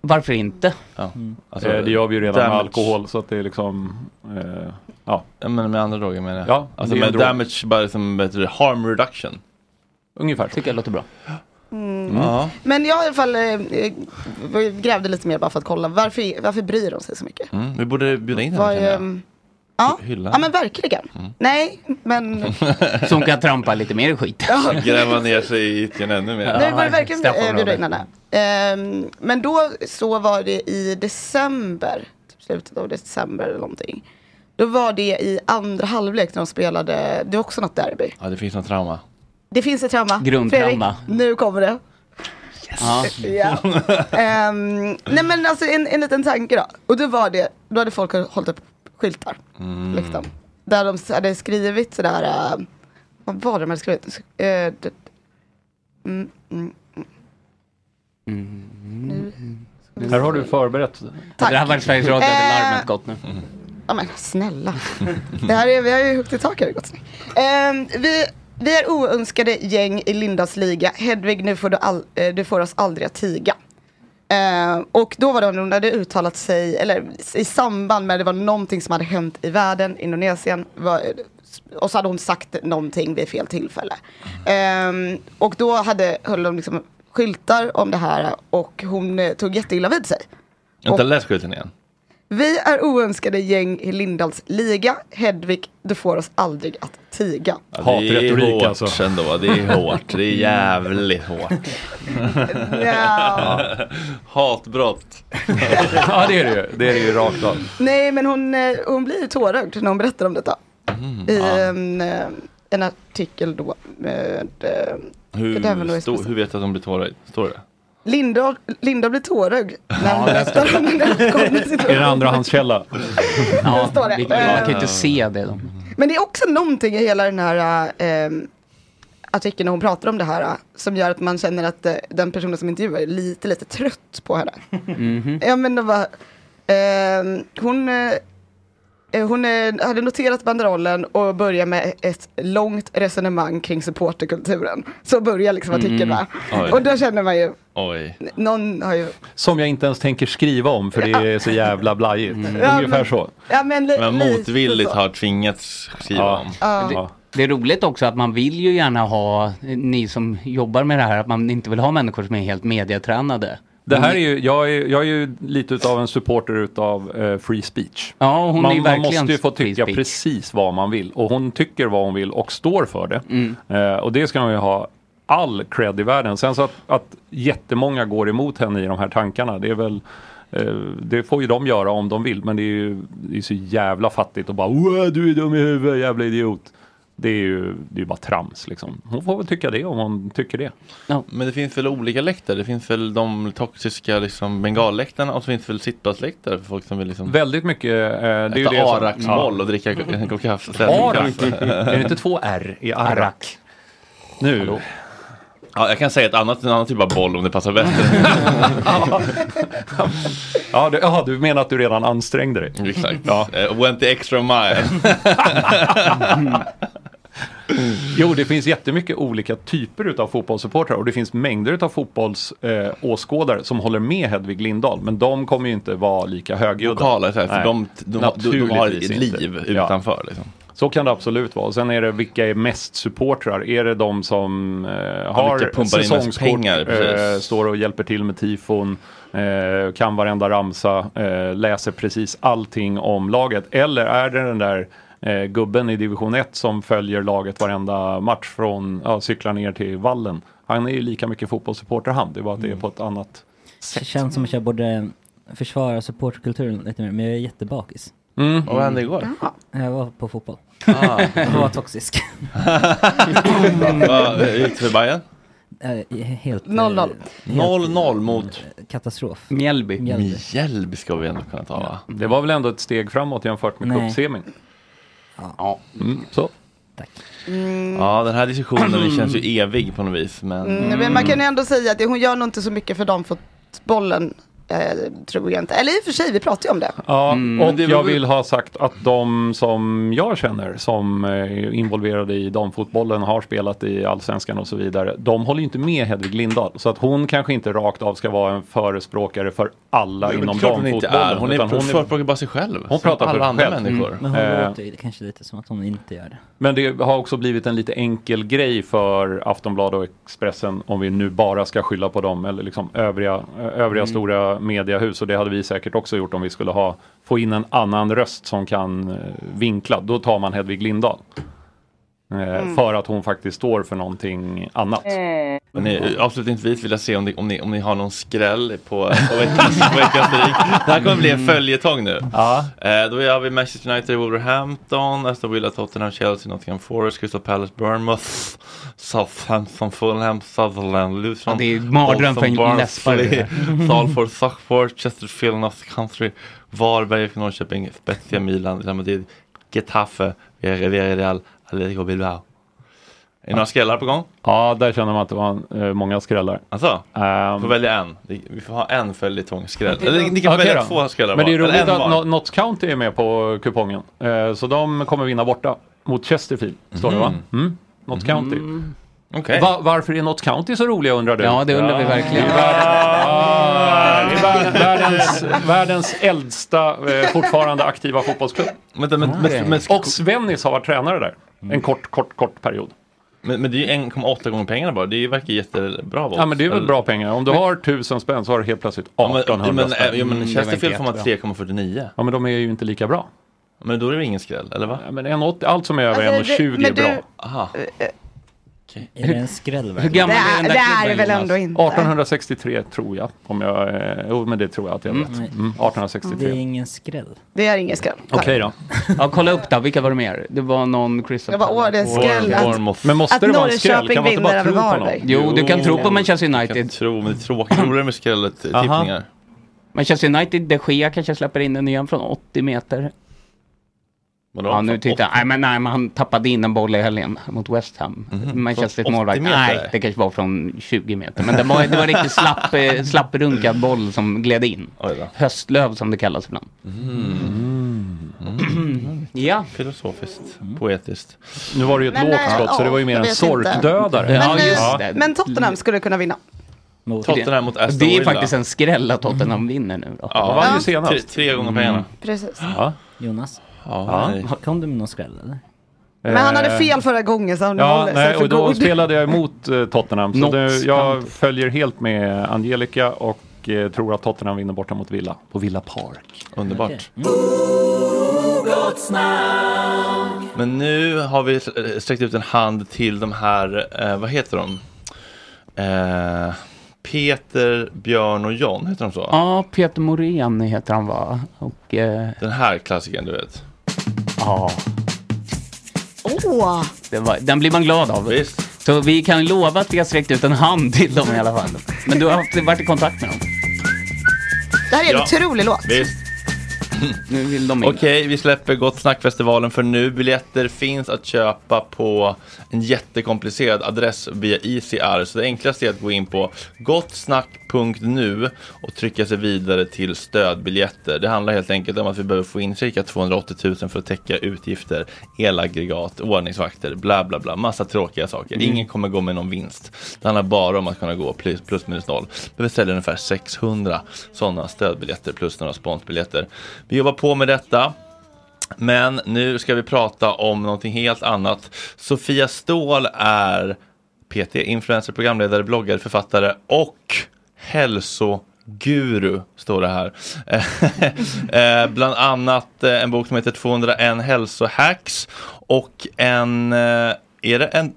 Varför inte?
Ja. alltså,
Eh, det gör vi ju redan med
damage-
alkohol så att det är liksom... Eh, ja.
men med andra droger menar jag.
Ja,
Alltså
det är
med
drog.
damage, bara som heter det, harm reduction.
Ungefär så.
Tycker jag låter bra.
Mm.
Ja.
Men jag i alla fall eh, eh, grävde lite mer bara för att kolla, varför, varför bryr de sig så mycket?
Mm. Vi borde bjuda in
Vad,
henne känner jag.
ehm, ja,
Hylla Mm.
ja, men verkligen. Nej,
[laughs]
men
Som kan trampa lite mer i skit.
Ja. [laughs]
Gräva ner sig i gyttjan ännu mer.
Nu var det verkligen eh, bjuda in henne. Ehm, men då så var det i december, typ slutet av december eller någonting. Då var det i andra halvlek när de spelade, det var också något derby.
Ja, det finns något trauma.
Det finns ett trauma.
Grundtrauma.
Fredrik, nu kommer det.
Ja.
Ja. Ehm, nej men alltså en, en liten tanke då. Och då var det, då hade folk hållit upp skyltar.
Mm.
Liksom. Där de s- hade skrivit sådär, eh, vad var det de hade skrivit? Eh, det- mm, mm,
Mm. Här har du förberett.
Tack. Det här var Sveriges Radio, hade Eh, larmet
gått nu.
Ja men snälla. Det här är, vi har ju högt i tak här gott snack. Ehm, vi, vi är oönskade gäng i Lindas liga. Hedvig, nu får du, all, eh, du får oss aldrig att tiga. Ehm, och då var det hon hade uttalat sig, eller i samband med det var någonting som hade hänt i världen, Indonesien. Var, och så hade hon sagt någonting vid fel tillfälle. Ehm, och då hade, höll de liksom skyltar om det här och hon eh, tog jätteilla vid sig.
Vänta, läs skylten igen.
Vi är oönskade gäng i Lindahls liga. Hedvig, du får oss aldrig att tiga.
Ja,
Hatretorik
hårt
alltså.
ändå,
[laughs]
det är hårt. Det är jävligt hårt.
Ja.
Hatbrott.
ja det är det ju. Det är det ju rakt av.
Nej, men hon, eh, hon blir ju tårögd när hon berättar om detta.
Mm.
I en, eh, en artikel då med eh, det där var nog
Hur, sto-
Espresso.
hur vet du att de blir tårögd? Står det?
Linda, Linda blir tårögd när hon
Ja, där står
berättar
det.
om den här uppkomna
[laughs] Är det
situationen.
Mm.
andrahandskälla?
Ja,
står det.
vilket- Man kan ju
Eh.
inte se det. Då.
Men det är också någonting i hela den här eh, artikeln när hon pratar om det här eh, som gör att man känner att eh, den personen som intervjuar är lite, lite trött på henne.
Mhm.
Ja men det var, ehm, hon, eh, eh, hon eh, hade noterat banderollen och började med ett långt resonemang kring supporterkulturen. Så börjar liksom artikeln
Mm.
med.
Oj.
Och då känner man ju,
Oj.
någon har ju,
Som jag inte ens tänker skriva om för det är så jävla blajigt.
Mm. Ja,
Ungefär
men-
så.
ja men li,
Men
lite
motvilligt
så.
har tvingats skriva om.
Ja.
Ja.
Det, Det är roligt också att man vill ju gärna ha, ni som jobbar med det här, att man inte vill ha människor som är helt mediatränade.
Det här är ju, jag är, jag är ju lite utav en supporter utav eh, free speech.
Ja, hon
man,
är ju
man
verkligen
måste ju få
free
tycka
speech.
precis vad man vill och hon tycker vad hon vill och står för det.
Mm.
Eh, och det ska hon ju ha all cred i världen. Sen så att, att jättemånga går emot henne i de här tankarna, det är väl eh, det får ju de göra om de vill, men det är ju det är så jävla fattigt och bara "Wow, du är dum i huvudet, jävla idiot. Det är ju det är ju bara trams liksom. Hon får väl tycka det om hon tycker det.
Men det finns väl olika läktare? Det finns väl de toxiska liksom, bengalläktarna och så finns det väl sittplatsläktare för folk som vill liksom
Väldigt mycket. Eh, det är ju
äta
det som-
Arax-boll
Ja.
och dricka k- en kopp kaffe.
Arak? Är det inte två R i Arak? Nu.
Ja, jag kan säga ett annat, en annan typ av boll om det passar bättre.
[laughs] ja, du, ja, du menar att du redan ansträngde dig?
Exakt. Eh, Went the extra mile.
Jo, det finns jättemycket olika typer utav fotbollssupportrar och det finns mängder utav fotbollsåskådare eh, åskådare som håller med Hedvig Lindahl, men de kommer ju inte vara lika högljudda.
Lokala, så här, för
Nej,
de- de- de- de har ett
naturligtvis inte.
liv
Ja.
utanför, liksom.
Så kan det absolut vara. Och Sen är det vilka är mest supportrar? Är det de som eh,
vilka
har
pumpar in mest
säsongskort,
pengar,
eh,
precis.
står och hjälper till med tifon, eh, kan varenda ramsa, eh, läser precis allting om laget? Eller är det den där eh, gubben i division 1 som följer laget varenda match från, ja, cyklar ner till vallen? Han är ju lika mycket fotbollssupporter han, det är bara att det är
Mm.
på ett annat
Det känns som att jag borde försvara supportkulturen lite mer, men jag är jättebakis.
Mm. Och vad hände igår?
Jag var på fotboll.
Ah.
[laughs] Jag var toxisk.
Vad, eh, gick det för Bayern?
Eh, Helt... eh,
0-0.
helt- eh,
0-0 mot?
Katastrof.
Mjällby.
Mjällby.
Mjällby ska vi ändå kunna ta va?
Det var väl ändå ett steg framåt jämfört med
Nej.
cupsemin? Ja. Mm, så.
Mm.
Ja, den här diskussionen känns ju
Mm.
evig på något vis. Men,
Mm, men man kan ju ändå säga att det, hon gör nog inte så mycket för damfotbollen, eh, tror jag inte. Eller i och för sig, vi pratade ju om det.
Ja,
Mm. Men
och
det är
jag
väl-
vill ha sagt att de som jag känner som eh, är involverade i damfotbollen, har spelat i allsvenskan och så vidare, de håller ju inte med Hedvig Lindahl. Så att hon kanske inte rakt av ska vara en förespråkare för alla
Men
inom
klart hon inte är.
damfotbollen.
Hon är
utan
förespråkar bara sig själv,
Hon
som
pratar för
alla
sig
andra
själv.
människor.
Men hon
Eh,
låter ju kanske lite som att hon inte gör det.
Men det har också blivit en lite enkel grej för Aftonbladet och Expressen om vi nu bara ska skylla på dem eller liksom övriga, ö- övriga
Mm.
stora mediehus och det hade vi säkert också gjort om vi skulle ha, få in en annan röst som kan eh, vinkla. Då tar man Hedvig Lindahl. Eh,
Mm.
För att hon faktiskt står för någonting annat.
Men ni, avslutningsvis vill jag se om ni, om ni, om ni har någon skräll på, på veckans, på veckans rubrik. Det här kommer bli
Mm.
en följetong nu.
Ja.
Eh, då gör vi Manchester United, Wolverhampton, Aston Villa, Tottenham, Chelsea, Nottingham Forest, Crystal Palace, Bournemouth, Southampton, Fulham, Sutherland, Luton.
Ja, det är mardröm för en
Bolton,
läspare.
Barnsley, Salford, Suckford, Chesterfield, North Country, Varberg, Norrköping, Spezia, Milan, Real Madrid, Getafe, Villarreal, Atletico Bilbao. Är det några skrällar på gång?
Ja, där känner man att det var eh, många skrällar.
Alltså,
Ehm,
vi får välja en. Vi vi får ha en följetongskräll. Eller ni kan
Okej
välja
då.
två skrällar
Men det är
var, eller
roligt
en
att
var.
Not- Notts County är med på kupongen. Eh, Så de kommer vinna borta mot Chesterfield, står det va?
Mhm.
Mm. Notts County.
Okej.
Va- varför är Notts County så roliga undrar du?
Ja, det undrar vi verkligen.
Det är världen- Ah, det är världen- världens, världens äldsta eh, fortfarande aktiva fotbollsklubb.
men- men-
Och Svennis har varit tränare där. En kort, kort, kort period.
Men, men det är ju 1,8 gånger pengarna bara. Det verkar jättebra. Volt.
Ja men det är väl
Eller-
bra pengar. Om du har 1000 spänn så har du helt plötsligt
Ja, men-
1800
men,
spänn. Mm,
ja, men Chesterfield får man 3,49.
Ja men de är ju inte lika bra.
Men då är det väl ingen skräll, eller va?
men 1,80, allt som är över
Alltså, det-
1,20 är
men du-
bra.
Aha.
Är det en skräll
Hur
verkligen?
gammal
Det
är den där
är- det
klubben,
är det väl
Jonas?
ändå inte.
1863 tror jag. Om jag eh, jo, men det tror jag att jag
Mm.
vet. Mm, 1863.
Det är ingen skräll.
Det är ingen skräll.
Okej då.
Ja, kolla upp då, vilka var det mer? Det var någon Crystal
Jag bara, åh, det är
Palace.
skräll att- Bournemouth.
Men måste
att
det vara en
Norrköping
skräll? Kan man inte bara
vinner
tro
över
på någon?
Varberg.
Jo, du kan tro på Manchester United. Jag
tror, men det är tråkigt. Roligare med skrälltippningar.
Manchester United, de Gea kanske släpper in den igen från 80 meter.
Vadå?
Ja, nu tittar jag. Nej, men nej, men han tappade in en boll i helgen mot West Ham.
Mhm.
Manchester
Från 80
målvakt.
meter?
Nej, det kanske var från 20 meter. Men det var, det var riktigt slapp, eh, slapprunkad boll som gled in. Höstlöv som det kallas ibland.
Mhm.
ja.
Filosofiskt, poetiskt.
Nu var Mm. det ju ett
Men,
lågt
eh,
skott så
ja,
det var ju mer
jag
en
vet
sorkdödare.
Men,
Ja,
eh,
just det.
men Tottenham skulle kunna vinna.
Tottenham mot Aston
Det är
Villa. Mhm.
faktiskt en skräll att Tottenham vinner nu. Då.
Ja,
vann ju senast. Mm.
Tre, tre gånger pengarna.
Precis.
Ja.
Jonas,
Ja,
kom du med någon skräll eller?
Men han hade
Eh,
fel förra gången så han
Ja,
håller sig
nej,
för
och då
god.
spelade jag emot eh, Tottenham. Så
Not
nu, jag följer helt med Angelica och eh, tror att Tottenham vinner borta mot Villa på Villa Park.
Underbart. Men nu har vi eh, sträckt ut en hand till de här, eh, vad heter de? Eh, Peter, Björn och John, heter de så?
Ja, Peter Morén heter han va? Och, eh,
Den här klassikern du vet.
ja,
Åh!
det var, den blir man glad av. Så vi kan lova att vi har sträckt ut en hand till dem i alla fall. Men du har haft, varit i kontakt med dem?
Det här är en
Ja.
otrolig låt.
Visst.
Nu vill de in.
Okej, vi släpper Gott Snack-festivalen för nu. Biljetter finns att köpa på en jättekomplicerad adress via ICR. Så det enklaste är att gå in på gottsnack.nu och trycka sig vidare till stödbiljetter. Det handlar helt enkelt om att vi behöver få in cirka 280 000 för att täcka utgifter, elaggregat, ordningsvakter, bla bla bla. Massa tråkiga saker.
Mm.
Ingen kommer gå med någon vinst. Det handlar bara om att kunna gå plus, plus minus noll. Vi beställer ungefär 600 sådana stödbiljetter plus några sponsbiljetter. Vi jobbar på med detta. Men nu ska vi prata om någonting helt annat. Sofia Ståhl är PT, influencer, programledare, bloggare, författare och hälsoguru, står det här. [laughs] Eh, Bland annat eh, en bok som heter 201 hälsohacks och en, eh, är det en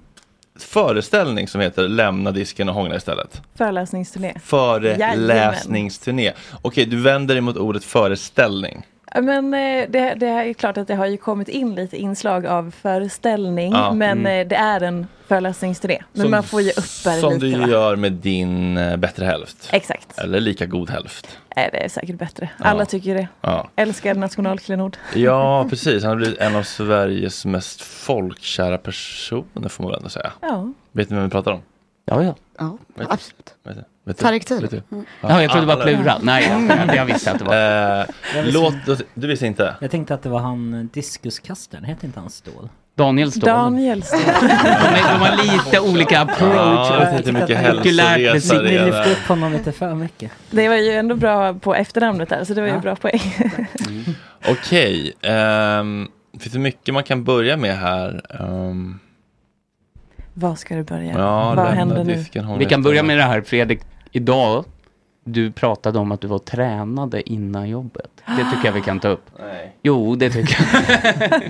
föreställning som heter Lämna disken och hångla istället?
Föreläsningsturné. Jajamän.
Föreläsningsturné. Okej, du vänder dig mot ordet föreställning.
Ja, Men eh, det, det är ju klart att det har ju kommit in lite inslag av föreställning.
Ja.
men
Mm.
eh, det är en föreläsningsturné. Men
Som-
man får ju uppa det
Som
lite.
du
va?
gör med din eh, bättre hälft.
Exakt.
Eller lika god hälft.
Nej, det är säkert bättre. Alla tycker det.
Ja.
Älskar nationalklenod. [laughs]
Ja, precis. Han har blivit en av Sveriges mest folkkära personer får man väl ändå säga.
Ja.
Vet ni vem vi pratar om?
Ja, ja.
ja
absolut. Vet du? Vet du?
Tareq Taylor.
Vet du?
Mm.
Ja, jag trodde det var
alla Mm. vet.
plural. Nej, jag- jag visste att det var.
Eh,
Jag visste
låt, oss- du visste inte?
Jag tänkte att det var han eh, diskuskastaren, hette inte han Ståhl?
Daniel Ståhl.
Daniel Ståhl.
de har lite olika approach.
Ja, jag Ah, vet inte hur mycket
Okulärt
hälsoresa
besikt-
det är där.
Typ, Upp honom lite för mycket.
Det var ju ändå bra på efternamnet där, så det var ju bra poäng.
Okej, ehm, finns det mycket man kan börja med här? Ehm,
Vad ska du börja?
Ja,
Vad
lämna
händer nu?
disken, hångla
Vi kan
istället.
börja med det här Fredrik. Idag, du pratade om att du var tränade innan jobbet. Det tycker jag vi kan ta upp.
Nej.
Jo, det tycker jag.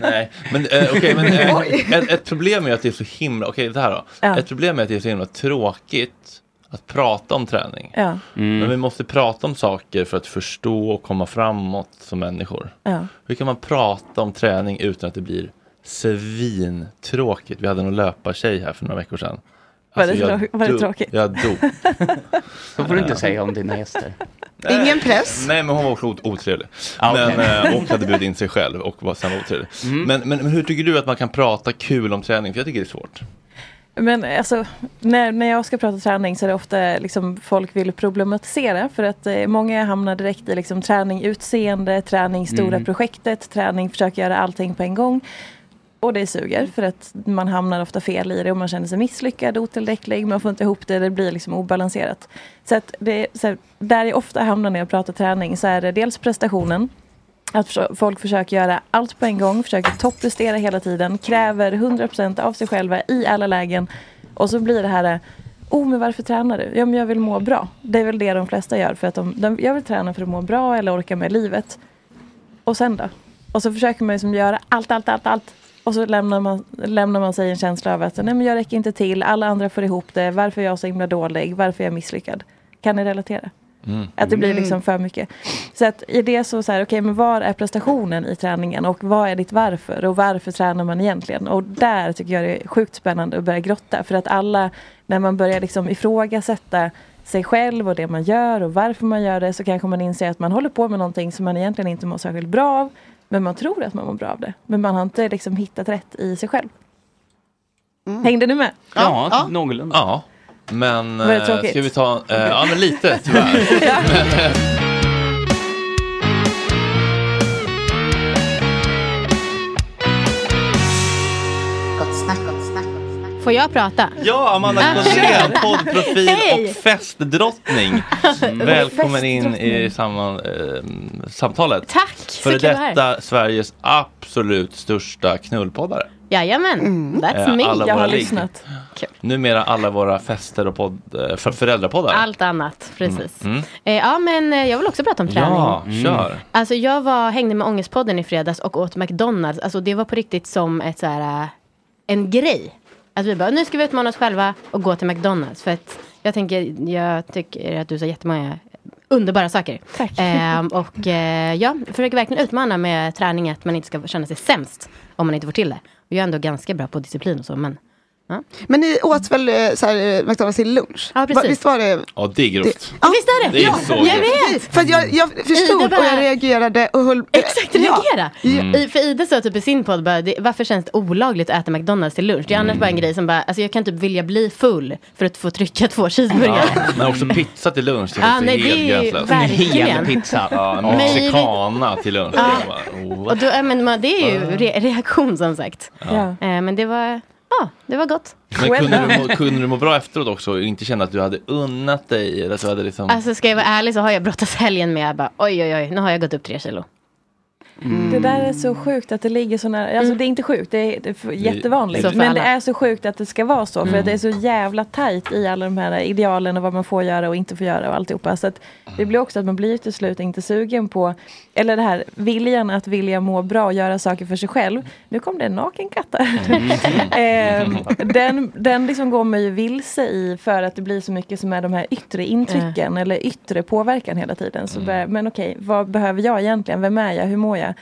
Nej, men eh, okej, men eh, ett, ett problem är att det är så himla, okej det här då.
Ja.
Ett problem är att det är så himla tråkigt att prata om träning.
Ja.
Men vi måste prata om saker för att förstå och komma framåt som människor.
Ja.
Hur kan man prata om träning utan att det blir svintråkigt? Vi hade en löpartjej här för några veckor sedan. Alltså,
Var det
jag
trå- var det
dog-
tråkigt?
Jag dog.
Så får du inte säga om dina gäster.
Ingen press.
Nej, men hon var också ot- otrevlig.
Ja, okej.
men, eh, och hade bjudit in sig själv och var sen otrevlig. Men, men, men hur tycker du att man kan prata kul om träning? För jag tycker det är svårt.
Men alltså, när, när jag ska prata träning så är det ofta liksom folk vill problematisera för att eh, många hamnar direkt i liksom träning utseende, träning stora
Mm.
projektet, träning försöka göra allting på en gång. Och det suger för att man hamnar ofta fel i det och man känner sig misslyckad, otillräcklig, man får inte ihop det, det blir liksom obalanserat. Så att det, så här, där jag ofta hamnar när jag pratar träning så är det dels prestationen, att försö- folk försöker göra allt på en gång, försöker topprestera hela tiden, kräver 100% av sig själva i alla lägen. Och så blir det här, eh, oh men varför tränar du? Ja men jag vill må bra. Det är väl det de flesta gör för att de, de jag vill träna för att må bra eller orka med livet. Och sen då? Och så försöker man liksom göra allt, allt, allt, allt. Och så lämnar man, lämnar man sig en känsla av att nej men jag räcker inte till, alla andra får ihop det, varför är jag så himla dålig, varför är jag misslyckad? Kan ni relatera? Att det blir liksom för mycket. Så att i det så, så här, okej men var är prestationen i träningen och vad är ditt varför och varför tränar man egentligen? Och där tycker jag det är sjukt spännande att börja grotta för att alla, när man börjar liksom ifrågasätta sig själv och det man gör och varför man gör det så kanske man inser att man håller på med någonting som man egentligen inte mår särskilt bra av men man tror att man mår bra av det. Men man har inte liksom hittat rätt i sig själv. Hängde ni med?
Ja, någorlunda.
Ja, men
Var det
eh,
tråkigt?
ska vi ta, eh, ja men lite tyvärr. Men, eh,
Gott snack, gott snack. Får jag prata?
[laughs] Ja, Amanda
Ah,
Colsén,
kör.
poddprofil
Hej.
och
[laughs]
festdrottning. Välkommen in i samman, eh, samtalet.
Tack,
För
så kul att vara här.
detta Sveriges absolut största knullpoddare.
Jajamän, that's
Eh,
me.
alla
Jag
våra
har
ligg.
lyssnat.
Numera alla våra fester och podd, eh, för föräldrapoddar.
Allt annat, precis.
Mm. Mm.
Eh, ja, men eh, jag vill också prata om träning.
Ja, kör.
Alltså jag var, hängde med Ångestpodden i fredags och åt McDonalds. Alltså det var på riktigt som ett så här, äh, en grej. Att vi bara, nu ska vi utmana oss själva och gå till McDonalds. För att jag tänker, jag tycker att du sa jättemånga underbara saker. Tack. och eh, ja, jag försöker verkligen utmana med träning att man inte ska känna sig sämst om man inte får till det. Och jag är ändå ganska bra på disciplin och så, men ja.
Men ni åt väl eh, så här, eh, McDonalds till lunch?
Ja, precis.
Va- Visst var det?
Ja, det är grovt.
Ja, visst är det?
Det är
Ja,
så
jag
grovt.
vet!
För att jag, jag förstod
Ida bara-
och jag reagerade och höll...
Exakt, reagera!
Mm.
I, för Ida sa typ i sin podd, bara, det, varför känns det olagligt att äta McDonalds till lunch? Det är annars bara en grej som bara, alltså jag kan typ vilja bli full för att få trycka två cheeseburgare.
Ja, men också pizza till lunch, det är
Ja,
också
nej,
helt
det är ju
gränslöst.
verkligen. Hel
pizza.
Ja, en
Men-
mexicana till lunch.
Ja.
Jag bara, oh.
Och då, ja, men, man- det är ju re, reaktion som sagt.
Ja.
Eh, men det var, ja, det var gott.
Men kunde du, må, kunde du må bra efteråt också och inte känna att du hade unnat dig? Eller att du hade liksom...
Alltså ska jag vara ärlig så har jag brottats helgen med, jag bara, oj oj oj, nu har jag gått upp tre kilo.
Det där är så sjukt att det ligger så nära. Alltså det är inte sjukt, det är, det är f- jättevanligt.
så för
men
alla.
det är så sjukt att det ska vara så. För
Mm.
att det är så jävla tajt i alla de här idealen och vad man får göra och inte får göra och alltihopa. Så att det blir också att man blir till slut inte sugen på, eller det här viljan att vilja må bra och göra saker för sig själv. Nu kom det en naken katt där. [laughs] Ehm, den den liksom går man ju vilse i för att det blir så mycket som är de här yttre intrycken eller yttre påverkan hela tiden. Så börjar- men okej, vad behöver jag egentligen? Vem är jag? Hur mår jag?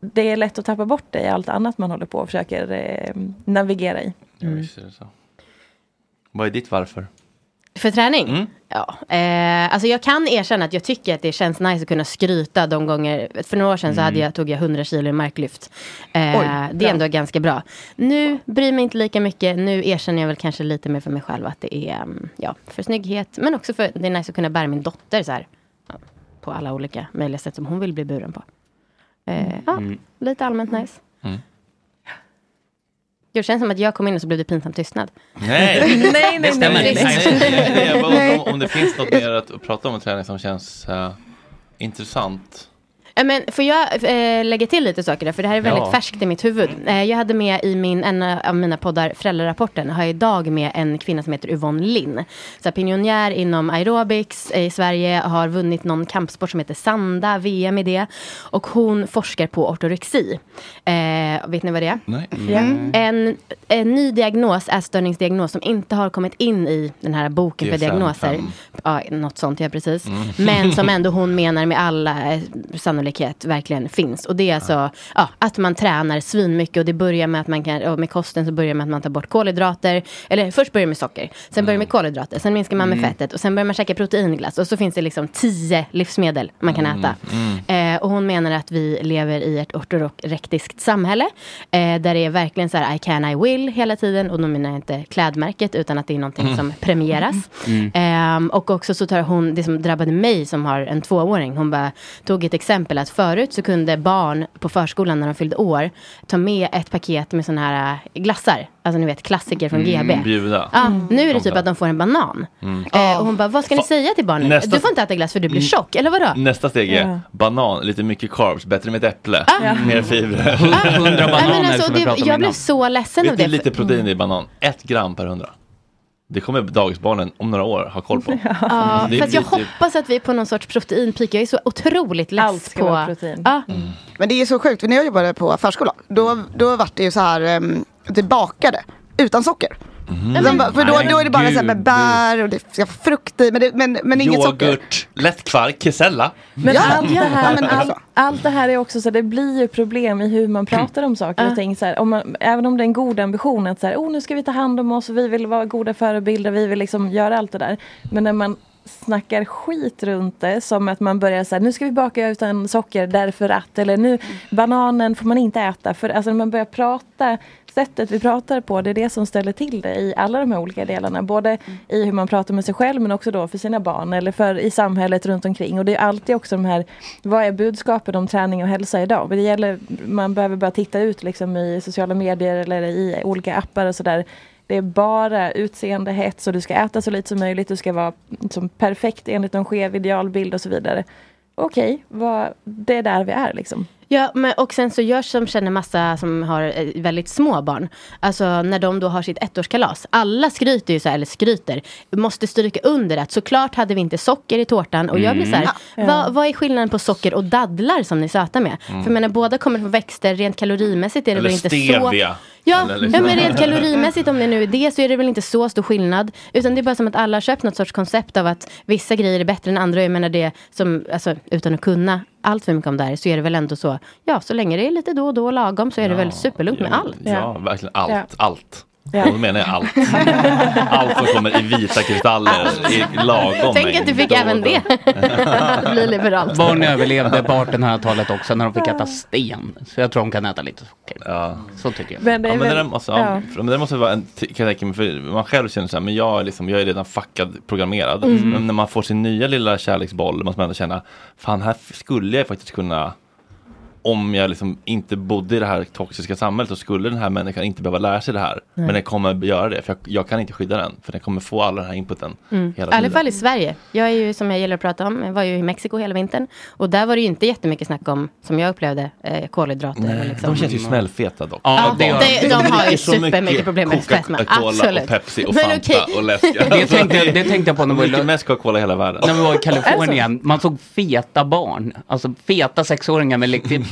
Det är lätt att tappa bort det i allt annat man håller på och försöker eh, navigera i.
Ja, visst är det så. Vad är ditt varför?
För träning?
Mm.
Ja. Eh, alltså jag kan erkänna att jag tycker att det känns nice att kunna skryta de gånger. För några år sedan så hade jag, tog jag 100 kilo i marklyft. Eh,
Mm. Oj,
det
bra.
är ändå ganska bra. Nu bryr mig inte lika mycket. Nu erkänner jag väl kanske lite mer för mig själv att det är mm, ja, för snygghet. Men också för det är nice att kunna bära min dotter så här. ja, På alla olika möjliga sätt som hon vill bli buren på. Eh, ja,
Mm.
lite allmänt nice.
Mm.
Det känns som att jag kom in och så blev det pinsamt tystnad.
Nej,
nej, nej,
det stämmer.
nej.
nej, nej. Jag bara
liksom- Nej.
undrar om, om det finns något mer att prata om i träning som känns eh, intressant.
Ja, Men får jag eh, lägga till lite saker där, för det här är väldigt
Ja.
färskt i mitt huvud. Eh, jag hade med i min, en av mina poddar, Föräldrarapporten, har jag idag med en kvinna som heter Yvonne Linn. Så här, pionjär inom aerobics eh, i Sverige, har vunnit någon kampsport som heter Sanda, VM i det. Och hon forskar på ortorexi. Eh, vet ni vad det är?
Nej.
Mm.
En, en ny diagnos, ätstörningsdiagnos, som inte har kommit in i den här boken för
DSM-5.
diagnoser. Ja, något sånt, ja precis.
Mm.
[laughs]
[laughs]
Men som ändå hon menar med alla eh, sannolikhet verkligen finns. Och det är alltså ja, att man tränar svinmycket och det börjar med att man kan, och med kosten så börjar med att man tar bort kolhydrater. Eller först börjar med socker, sen börjar med kolhydrater, sen minskar man med
Mm.
fettet och sen börjar man käka proteinglass. Och så finns det liksom tio livsmedel man
Mm.
kan äta. Eh, och hon menar att vi lever i ett ortorektiskt samhälle. Eh, där det är verkligen så här I can, I will hela tiden. Och då menar jag inte klädmärket utan att det är någonting
Mm.
som premieras.
Mm.
Ehm, och också så tar hon, det som drabbade mig som har en tvååring, hon bara tog ett exempel att förut så kunde barn på förskolan när de fyllde år ta med ett paket med sådana här äh, glassar. Alltså ni vet klassiker från GB.
Bjuda.
Ja, nu är det typ att de får en banan.
Mm.
Eh, och hon bara, vad ska ni säga till barnen?
Nästa- Mm.
Du får inte äta glass för du blir tjock, eller vadå?
Nästa steg är
Ja. Ah.
banan, lite mycket carbs, bättre med ett äpple, mer fibrer.
Ja,
Hundra
men alltså, det, jag blev så ledsen av
Vet
det. Mm.
ni lite protein i banan? Ett gram per hundra. Det kommer dagisbarnen om några år ha koll på.
Ja,
Det
för att jag
blir typ-
hoppas att vi är på någon sorts proteinpeak. Jag är så otroligt less Allt
ska
på...
vara
protein.
Mm.
Ja,
Men det är så sjukt, för när jag jobbade på förskola, då, då var det ju så här, um, det bakade utan socker.
Mhm.
Mm.
Sen bara- För då, då är det bara så här med
Gud.
bär och det ska vara frukt i, men, det, men, men inget socker.
Yoghurt, lätt kvark, kesella.
Men, allt, det här,
Ja, men alltså.
all, allt det här är också så det blir ju problem i hur man pratar om saker och ting. Så här, om man, även om det är en god ambition att så här, oh, nu ska vi ta hand om oss och vi vill vara goda förebilder, vi vill liksom göra allt det där. Men när man snackar skit runt det som att man börjar så här, nu ska vi baka utan socker därför att, eller nu bananen får man inte äta. För alltså när man börjar prata, sättet vi pratar på, det är det som ställer till det i alla de här olika delarna. Både i hur man pratar med sig själv men också då för sina barn eller för i samhället runt omkring. Och det är alltid också de här, vad är budskapen om träning och hälsa idag? Men Det gäller, man behöver bara titta ut liksom i sociala medier eller i olika appar och sådär. Det är bara utseendehets och du ska äta så lite som möjligt, du ska vara liksom perfekt enligt någon skev idealbild och så vidare. Okej, vad- det är där vi är liksom.
Ja, men, och sen så jag som känner massa som har eh, väldigt små barn. Alltså när de då har sitt ettårskalas. Alla skryter ju så här, eller skryter, måste stryka under att såklart hade vi inte socker i tårtan. Och jag blir så här,
Mm. Ja.
vad, vad är skillnaden på socker och dadlar som ni sötar med?
Mm.
För jag menar, båda kommer från växter, rent kalorimässigt är det
Eller
väl inte
stevia.
så... Ja,
Eller liksom-
ja, men rent kalorimässigt om det nu är det så är det väl inte så stor skillnad. Utan det är bara som att alla har köpt något sorts koncept av att vissa grejer är bättre än andra. Jag menar det som, alltså utan att kunna allt för mycket om det här så är det väl ändå så. Ja, så länge det är lite då och då lagom så är det väl superlugnt med allt.
Ja, verkligen allt.
Ja.
Allt.
Ja.
Och då menar jag
[laughs]
allt. Allt som kommer i vita kristaller i lagom
Tänk att du fick även det. [laughs]
[laughs]
Bli liberalt.
Barn överlevde på 1800-talet också när de fick äta sten. Så jag tror de kan äta lite socker. Så tycker jag.
ja, men det, där måste, ja. men det där måste vara en, ty- kan jag tänka mig, för man själv känner så här, men jag är, liksom, jag är redan fuckad programmerad.
Mm.
Men när man får sin nya lilla kärleksboll måste man ändå känna, fan här skulle jag faktiskt kunna, om jag liksom inte bodde i det här toxiska samhället så skulle den här människan inte behöva lära sig det här.
Nej.
Men den kommer göra det, för jag, jag kan inte skydda den, för den kommer få all den här inputen.
Mm. I
hela
alla
tiden.
fall i Sverige. Jag är ju, som jag gillar att prata om, jag var ju i Mexiko hela vintern. Och där var det ju inte jättemycket snack om, som jag upplevde, eh, kolhydrater. och
Nej,
liksom.
De känns ju smällfeta dock.
Ja, det gör de. De har ju
Så mycket
supermycket problem med fetma.
Coca-Cola
Absolut.
och Pepsi och
Men
Fanta
okej.
och läsk.
Det tänkte jag- det tänkte jag på när vi-
Mycket mest Coca-Cola i hela världen.
När vi var i
Alltså-
Kalifornien, man såg feta barn. Alltså feta sexåringar med liksom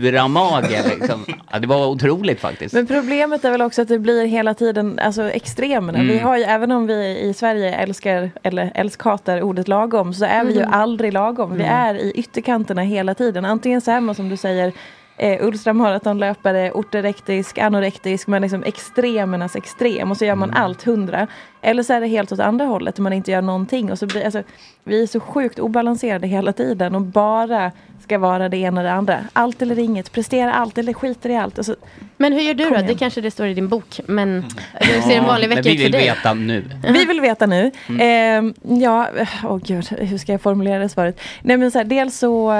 pluramage. Liksom. Ja, det var otroligt faktiskt.
Men problemet är väl också att det blir hela tiden alltså, extremerna.
Mm.
Vi har ju, även om vi i Sverige älskar, eller älskatar ordet lagom, så är vi ju
Mm.
aldrig lagom. Vi
Mm.
är i ytterkanterna hela tiden. Antingen så är man som du säger, eh, ultramaratonlöpare, ortorektisk, anorektisk, man är liksom extremernas extrem och så gör man allt, hundra. Eller så är det helt åt andra hållet, man inte gör någonting. Och så blir, alltså, vi är så sjukt obalanserade hela tiden och bara ska vara det ena och det andra. Allt eller inget, prestera allt eller skiter i allt. Alltså,
Men hur gör du då?
igen.
Det kanske det står i din bok. Men hur ser en vanlig
Mm. Men
vecka
vi
ut
vill
för dig?
veta nu.
Vi vill veta nu.
Mm.
Eh, ja, åh gud, hur ska jag formulera det svaret? Nej men så här, dels så,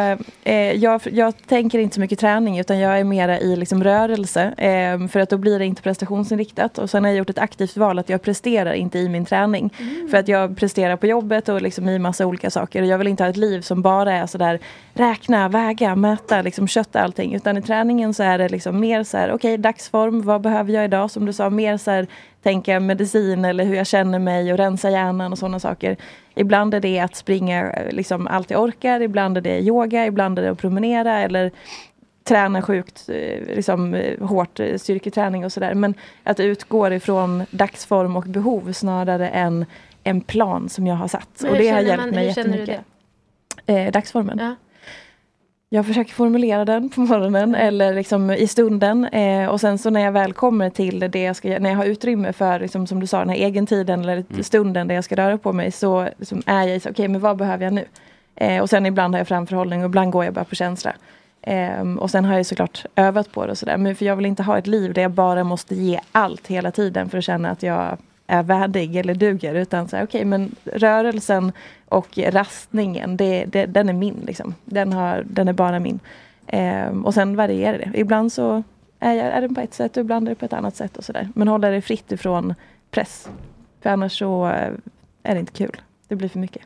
eh, jag, jag tänker inte så mycket träning utan jag är mera i liksom rörelse. Eh, för att då blir det inte prestationsinriktat. Och sen har jag gjort ett aktivt val att jag presterar inte i min träning.
Mm.
För att jag presterar på jobbet och liksom i massa olika saker. Och jag vill inte ha ett liv som bara är sådär räkna, väga, mäta, liksom kötta allting. Utan i träningen så är det liksom mer så här, okej dagsform, vad behöver jag idag? Som du sa, mer så här tänka medicin eller hur jag känner mig och rensa hjärnan och sådana saker. Ibland är det att springa eh, liksom allt jag orkar, ibland är det yoga, ibland är det att promenera eller träna sjukt eh, liksom, eh, hårt, eh, styrketräning och sådär. Men att det utgår ifrån dagsform och behov snarare än en plan som jag har satt.
Men
och
hur
det har
känner
hjälpt
man-
mig
hur känner du
jättemycket. Eh, dagsformen. Jag försöker formulera den på morgonen eller liksom i stunden. Eh, och sen så när jag väl kommer till det jag ska göra, när jag har utrymme för, liksom, som du sa, den här egentiden eller
Mm.
stunden där jag ska röra på mig, så liksom, är jag i, så, okej men vad behöver jag nu? Eh, och sen ibland har jag framförhållning och ibland går jag bara på känsla. Ehm, och sen har jag ju såklart övat på det och sådär. Men för jag vill inte ha ett liv där jag bara måste ge allt hela tiden för att känna att jag är värdig eller duger. Utan så här, okej men rörelsen och rastningen, det, det, den är min liksom. Den, har, den är bara min. Ehm, och sen varierar det. Ibland så är, jag, är den på ett sätt och ibland är det på ett annat sätt och sådär. Men hålla det fritt ifrån press. För annars så eh, är det inte kul. Det blir för mycket.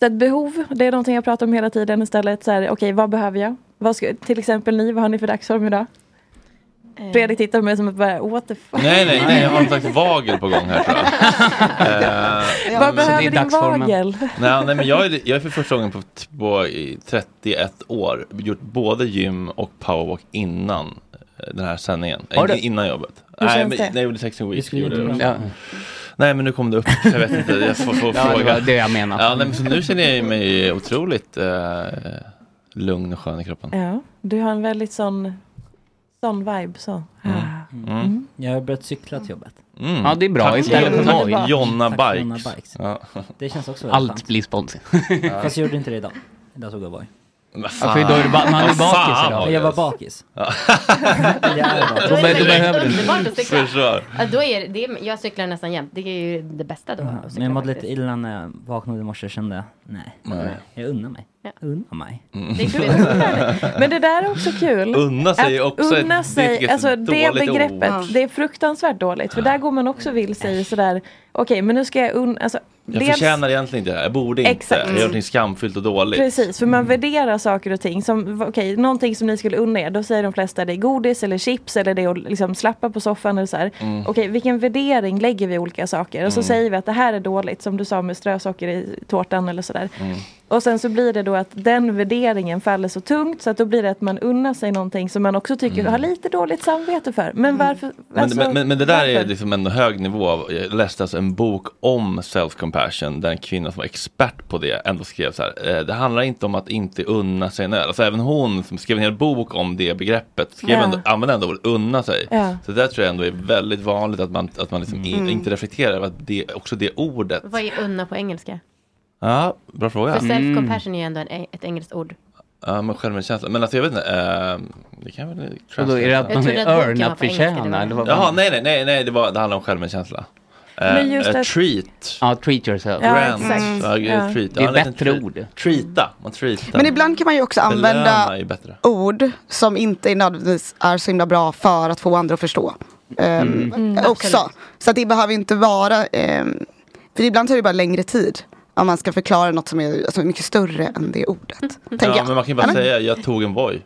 Så att behov, det är någonting jag pratar om hela tiden istället. Så här, Okej, vad behöver jag? Vad ska, till exempel ni, vad har ni för dagsform idag?
Eh.
Fredrik tittar på mig som att bara, what the fuck?
Nej, nej,
[laughs]
nej, jag har någon slags vagel på gång här tror jag. Eh,
Vad
men-
behöver din vagel?
Nej, nej, men jag är, jag är för första gången på, på i 31 år gjort både gym och powerwalk innan eh, den här sändningen.
Har
Eh,
du?
Innan jobbet.
Hur
nej,
känns
men,
det?
nej, jag gjorde 16 weeks.
skulle
Gjorde
inte
jag också.
glömma.
Nej, men nu kom det upp. så Jag vet inte, jag får,
[laughs]
får
Ja, det
fråga.
var det jag menade.
Ja, nej, men så nu känner jag mig otroligt eh, lugn och skön i kroppen.
Ja, du har en väldigt sån, sån vibe så. Ah.
Mm.
Jag har börjat cykla till jobbet.
Mm.
Ja, det är bra.
Tack,
Istället för
Jonna.
noj.
Tack,
Jonna
Jonna
Bikes.
Ja.
Ja.
Det känns också väldigt
Allt
skönt.
blir sponsring.
Fast jag gjorde inte det idag. Idag tog jag Voi.
Men
Ja, [laughs] för idag är du ba- man är bakis idag.
Men Jag var bakis.
Ja.
[laughs] jag
[laughs]
är bakis.
Då är det underbart att cykla.
Förstår.
Ja, då är det, det är, jag cyklar nästan jämt. Det är ju det bästa då. att
Men jag
cykla
mådde
faktiskt.
lite illa när jag vaknade i morse och kände, nej,
Nej.
nej. jag unnar mig. Unna mig.
Det
[laughs]
går ut. Men det där är också kul.
Unna sig är
Mm. Att
också ett-
unna
det
sig,
tycker jag är
alltså
ett
det
dåligt
begreppet,
ord.
det är fruktansvärt dåligt. För där går man också vilse i sådär, okej men nu ska jag unna, alltså,
Jag
dels-
förtjänar egentligen inte det här. Jag borde inte.
Exakt. Mm.
Jag gör någonting skamfyllt och dåligt.
Precis, för man värderar saker och ting. Som, okej, någonting som ni skulle unna er, då säger de flesta det är godis eller chips eller det är att liksom slappa på soffan. Eller så här.
Mm.
Okej, vilken värdering lägger vi i olika saker? Och så
Mm.
säger vi att det här är dåligt, som du sa med strösocker i tårtan eller sådär.
Mm.
Och sen så blir det då att den värderingen faller så tungt så att då blir det att man unnar sig någonting som man också tycker har lite dåligt samvete för. Men varför?
Men,
alltså,
men, men, men det där är
varför?
liksom en hög nivå. Av, jag läste alltså en bok om self-compassion där en kvinna som var expert på det ändå skrev så här. eh, Det handlar inte om att inte unna sig en öl. Alltså även hon som skrev en hel bok om det begreppet skrev
Ja.
ändå, använde ändå ordet unna sig.
Ja.
Så det där tror jag ändå är väldigt vanligt att man, att man liksom i-
Mm.
inte reflekterar över att det, också det ordet.
Vad är unna på engelska?
Ja, Mm. bra fråga.
För self-compassion är ju ändå en, ett engelskt ord.
Ja, men självmedkänsla. Men alltså jag vet inte. eh, det kan väl...
Och då är det att
Jag
man
trodde
att
är
boken var
örnat
på engelska, det var
förtjänar?
det.
eller vad
Jaha,
fan?
nej, nej, nej, nej det, var, det handlar om självmedkänsla. Eh,
Men just
eh,
att-
treat.
Ja, treat yourself.
Ja,
Grant.
exakt.
Ja,
Ja.
treat. Ja,
Det är
en liten
bättre
treat.
ord.
Treata, man treatar.
Men ibland kan man ju också
Belöna
använda
är ju bättre.
ord som inte är nödvändigtvis är så himla bra för att få andra att förstå. Ehm,
Mm.
Mm,
också. Så att det behöver ju inte vara, ehm, för ibland tar det bara längre tid. Om man ska förklara något som är alltså, mycket större än det ordet. tänker
Ja,
jag.
men man kan ju bara
Eller?
säga, jag tog en Voi.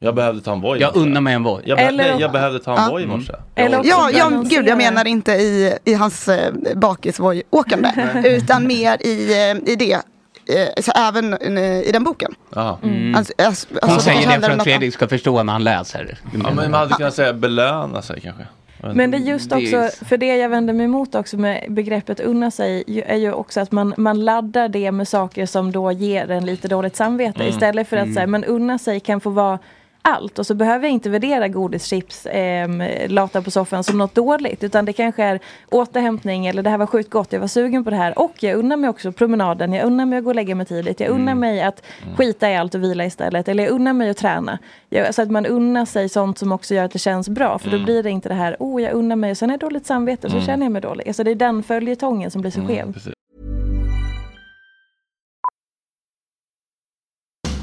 Jag behövde ta en Voi. i
Jag
morse.
unnar mig en Voi.
Jag, be-
Eller-
nej, jag behövde ta en
Ja.
Voi i morse.
Eller
Jag-
ja, ja gud jag menar inte i, i hans eh, bakisvoj-åkande. utan mer i, eh, i det. Eh, så även eh, i den boken.
Mm.
Alltså, alltså,
Hon
alltså,
säger det
handlar
för
om
att
något
Fredrik ska förstå när han läser.
Ja, men man hade kunnat säga belöna sig kanske. Jag vet
Men det
inte.
är just också, för det jag vänder mig emot också med begreppet unna sig ju- är ju också att man, man laddar det med saker som då ger en lite dåligt samvete
Mm.
istället för att
Mm.
säga men unna sig kan få vara allt och så behöver jag inte värdera godis, chips, ehm, lata på soffan som något dåligt utan det kanske är återhämtning eller det här var sjukt gott, jag var sugen på det här och jag unnar mig också promenaden, jag unnar mig att gå och lägga mig tidigt, jag unnar mig att skita i allt och vila istället eller jag unnar mig att träna. Jag, så att man unnar sig sånt som också gör att det känns bra för då
Mm.
blir det inte det här, oh jag unnar mig och sen är jag dåligt samvete och så
Mm.
känner jag mig dålig. Alltså det är den följetongen som blir så
Mm,
skev.
precis.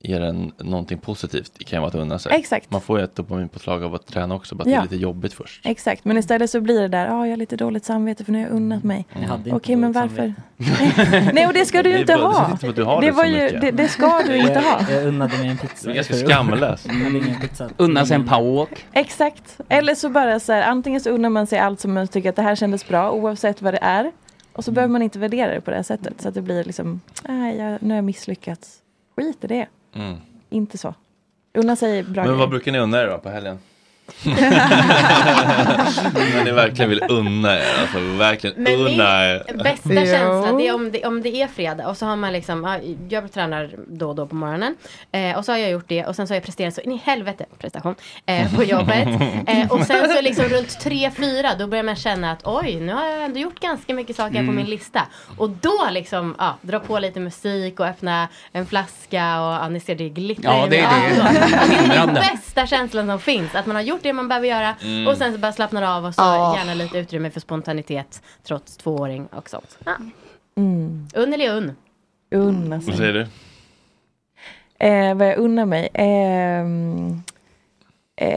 ger en någonting positivt kan ju vara att unna sig.
Exakt.
Man får ju ett dopaminpåslag av att träna också, bara att
Ja.
det är lite jobbigt först.
Exakt, men istället så blir det där, ja jag har lite dåligt samvete för nu har jag
[laughs]
unnat mig.
Jag hade
Okej
inte
men
dåligt
varför? Nej och det ska du ju
Det är
inte
bra, det känns
ha.
inte som att du har det
var
så
ju,
mycket.
det, det ska du inte
[laughs]
ha. [laughs]
Jag unnade mig en pizza.
Du är ganska
förut.
skamlös.
Jag hade ingen pizza.
Unna sig en powerwalk.
Exakt, eller så bara så här, antingen så unnar man sig allt som man tycker att det här kändes bra oavsett vad det är. Och så behöver man inte värdera det på det här sättet så att det blir liksom, nej jag, nu har jag misslyckats. Skit i det,
Mm.
inte så. Unna sig [laughs] bra
Men vad
grejer.
brukar ni unna er då på
[laughs]
helgen? När ni verkligen vill unna er, alltså verkligen
Men min
unna er.
bästa känsla det är om det, om det är fredag och så har man liksom, ja, jag tränar då och då på morgonen eh, och så har jag gjort det och sen så har jag presterat så in i helvete prestation eh, på jobbet eh, och sen så liksom runt tre fyra då börjar man känna att oj nu har jag ändå gjort ganska mycket saker här på
Mm.
min lista och då liksom ja, dra på lite musik och öppna en flaska och ja, ni ser det glittrar
Ja,
i
det är
mina
det.
ögon. det är alltså den
Hindrande.
bästa känslan som finns att man har gjort gjort det man behöver göra
Mm.
och sen så bara slappnar av och så
Ja.
gärna lite utrymme för spontanitet trots tvååring och sånt. Ja.
Mm.
Un eller unn?
Unna
Vad
sig.
säger du?
Eh, vad jag unnar mig? Ehm, eh,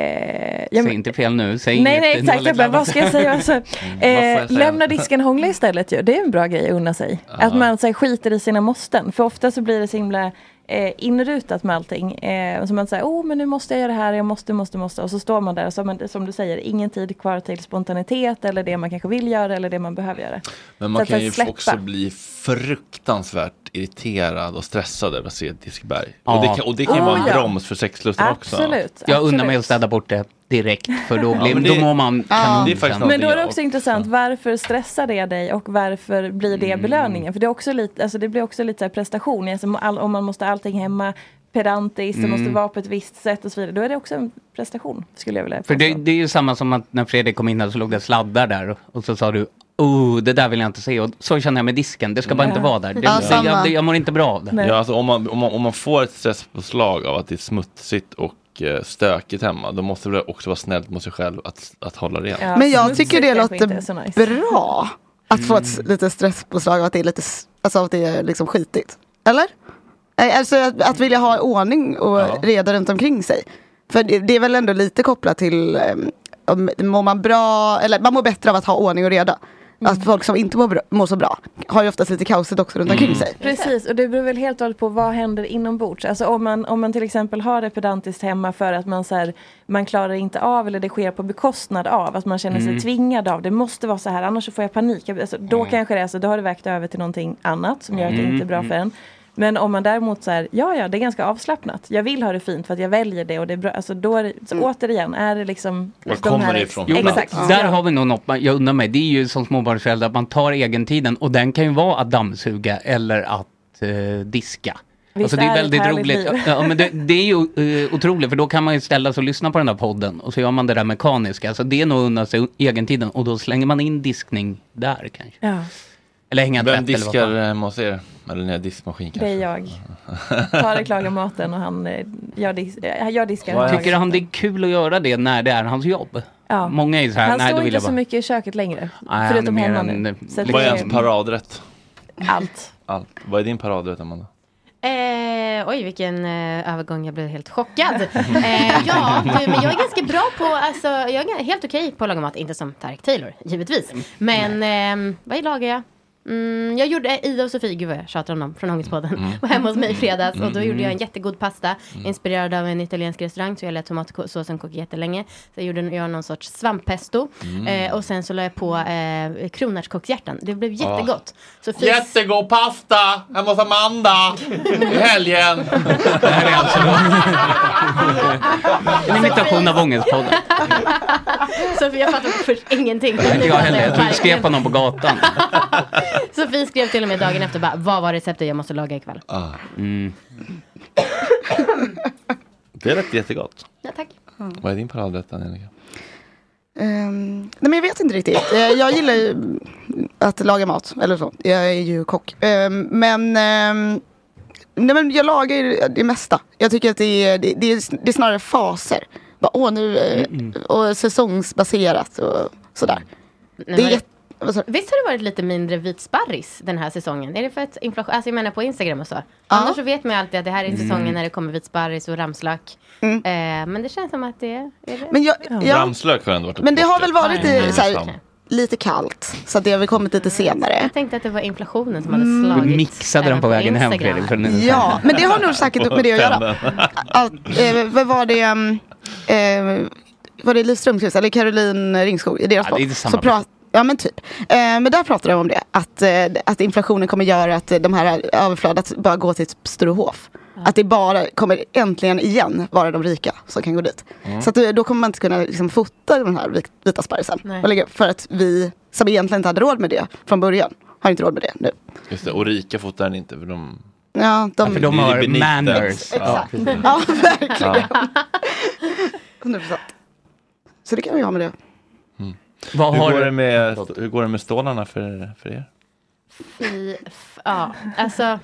ja,
Säg
men-
inte fel nu, säg
nej,
inget.
nej,
Det är
exakt.
dåligt
Jag bara, vad ska jag säga? Alltså,
Mm, vad får jag
eh,
säga?
lämna disken hångla istället ju. Det är en bra grej att unna sig. Att man så här, skiter i sina måsten. För ofta så blir det så himla eh, inrutat med allting. Eh, så man säger, oh men nu måste jag göra det här, jag måste, måste, måste. Och så står man där och så har man, som du säger, ingen tid kvar till spontanitet eller det man kanske vill göra eller det man behöver göra.
Men
Så
man
att
kan
så
ju
släppa.
också bli fruktansvärt irriterad och stressad över att se ett diskberg.
Ja.
Och, det kan, och det kan ju
Oh,
vara en
ja.
broms för sexlusten också.
Jag undrar mig att städa bort det direkt för då,
Ja,
blir,
men det-
då mår man Mm.
Ja.
kanon.
Det är faktiskt
sen.
Men då är det också intressant, varför stressar det dig och varför blir
Mm.
det belöningen? För det, är också lite, alltså det blir också lite så här prestation, alltså om all, om man måste ha allting hemma, pedantiskt, det
Mm.
måste vara på ett visst sätt och så vidare. Då är det också en prestation, skulle jag vilja
För det, det är ju samma som att när Fredrik kom in här så låg det sladdar där och, och så sa du Oh, det där vill jag inte se. Och så känner jag med disken. Det ska bara
Mm.
inte vara där. Det,
Ja,
det,
samma.
jag, det, jag mår inte bra av det.
Ja, alltså om, man, om, man, om man får ett stresspåslag av att det är smutsigt och eh, stökigt hemma, då måste det också vara snällt mot sig själv att, att hålla rent.
Men jag tycker det
kanske inte är
låter
så
bra. Att få ett s- lite stresspåslag av att det är lite, s- alltså av att det är liksom skitigt. Eller? Eh, Alltså att, att vilja ha ordning och reda runt omkring sig. För det, det är väl ändå lite kopplat till ehm, om, mår man bra, eller man mår bättre av att ha ordning och reda.
Mm.
Att folk som inte mår, bra, mår så bra har ju oftast lite kaosigt också runt omkring sig.
Precis, och det beror väl helt och hållet på vad händer inombords. Alltså om man, om man till exempel har det pedantiskt hemma för att man, så här, man klarar inte av eller det sker på bekostnad av, att man känner sig
Mm.
tvingad av, det måste vara så här annars så får jag panik. Jag- Alltså, då
Mm.
kanske det är så, då har det vägt över till någonting annat som gör att det
Mm.
inte är bra för en. Men om man däremot så här, ja ja det är ganska avslappnat, jag vill ha det fint för att jag väljer det och det är bra, alltså då är det, så återigen, är det liksom...
Var
de här-
Jo, men
Exakt.
Där har vi nog något man- jag undrar mig. Det är ju som småbarnsförälder att man tar egentiden och den kan ju vara att dammsuga eller att eh, diska.
Visst
alltså det
är
är
det
väldigt
ett härligt
roligt.
liv?
Ja, men det, det är ju eh, otroligt för då kan man ju ställa sig och lyssna på den där podden och så gör man det där mekaniska. Alltså det är nog att unna sig egentiden och då slänger man in diskning där kanske.
Ja.
Eller hänga tvätt
Vem
eller vad
diskar
fan.
hemma hos er? Eller när diskmaskin
Det
kanske?
är jag. Tar och klagar maten och han, eh, jag, dis- eh, jag diskar. och lagar
Tycker han det är kul att göra det när det är hans jobb?
Ja.
Många är ju så här,
han
nej
står
då
inte
vill jag
så
bara...
mycket i köket längre.
han är
förutom
mer
hemma
än-
nu. Så att
Vad är
det-
ens paradrätt?
Allt.
Allt. Vad är din paradrätt, Amanda?
Eh, oj, vilken eh, övergång. Jag blev helt chockad. Eh, ja, du, men jag är ganska bra på, alltså, jag är ga- helt okej på att laga mat. Inte som Tareq Taylor, givetvis.
Mm.
Men ehm, vad lagar jag? Mm, jag gjorde Ida och Sofie, gud vad jag tjatar om dem, från Ångestpodden,
Mm.
var hemma hos mig i fredags och då gjorde jag en jättegod pasta inspirerad av en italiensk restaurang så jag lät tomatsåsen koka jättelänge. Så gjorde jag någon sorts svamppesto
Mm.
eh, och sen så la jag på eh, kronärtskockshjärtan. Det blev
Ah.
jättegott. Sofie
Jättegod pasta hemma hos Amanda i helgen.
En imitation av Ångestpodden.
Sofie, jag fattade först ingenting.
Inte jag heller. Jag tror du skrev på någon på gatan.
[laughs] Sofie skrev till och med dagen efter bara, vad var receptet jag måste laga ikväll?
Mm.
Det lät jättegott.
Ja, tack.
Vad är din paradrätt, Angelica?
Ehm, nej men jag vet inte riktigt. Eh, jag gillar ju att laga mat. Eller så. Jag är ju kock. Ehm, men, ehm, nej men jag lagar ju det mesta. Jag tycker att det är, det, det är, det är snarare faser. Bara, åh, nu, eh,
Mm,
och säsongsbaserat och sådär.
Nej,
det är
men-
jätte...
Visst har det varit lite mindre vitsparris den här säsongen? Är det för att inflation, alltså jag menar på Instagram och så. Annars så vet man ju alltid att det här är säsongen
Mm.
när det kommer vitsparris och ramslök.
Mm.
Eh, men det känns som att det är det.
Men jag, jag,
Ramslök har ändå varit Mm.
men det har väl varit
Nej,
i,
nej.
såhär, lite kallt. Så att det har väl kommit lite senare.
Jag tänkte att det var inflationen som hade
Mm. Du
slagit.
mixade den på vägen hem Fredrik. För nu. [laughs]
Ja, men det har nog säkert med det att göra. Allt, eh, vad var det? ehm, Eh, var det Liv Strömquist eller Caroline Ringskog i deras
Ja, det är
podd?
samma
Så pra- Ja men typ. Eh, men där pratade de om det. Att, eh, att inflationen kommer göra att eh, de här överflödet bara går till typ Sturehof. Att det bara kommer äntligen igen vara de rika som kan gå dit.
Mm.
Så att, eh, då kommer man inte kunna liksom, fota den här vit- vita sparrisen.
Nej.
Och lägga upp, För att vi som egentligen inte hade råd med det från början har inte råd med det nu.
Just det, och rika fotar den inte för de...
Ja, de...
för de
Det är
har
beneath
manners.
us. Ja,
Exakt.
precis.
Ja, verkligen.
Ja.
100%. Så det kan vi ha med det.
Vad
hur,
har
går
du-
det med, hur går det med stålarna för, för er?
Fy f- ja, alltså.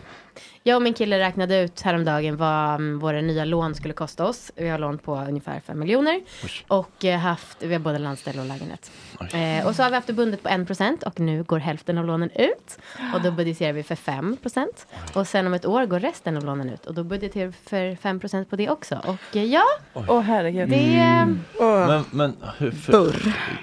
Jag och min kille räknade ut häromdagen vad mm, våra nya lån skulle kosta oss. Vi har lån på ungefär 5 miljoner. Och eh, haft, vi har både landställe och lägenhet. Eh, och så har vi haft det bundet på 1% och nu går hälften av lånen ut. Och då budgeterar vi för 5%. Och sen om ett år går resten av lånen ut. Och då budgeterar vi för 5% på det också. Och eh, ja,
Åh herregud.
det...
Men, men hur för,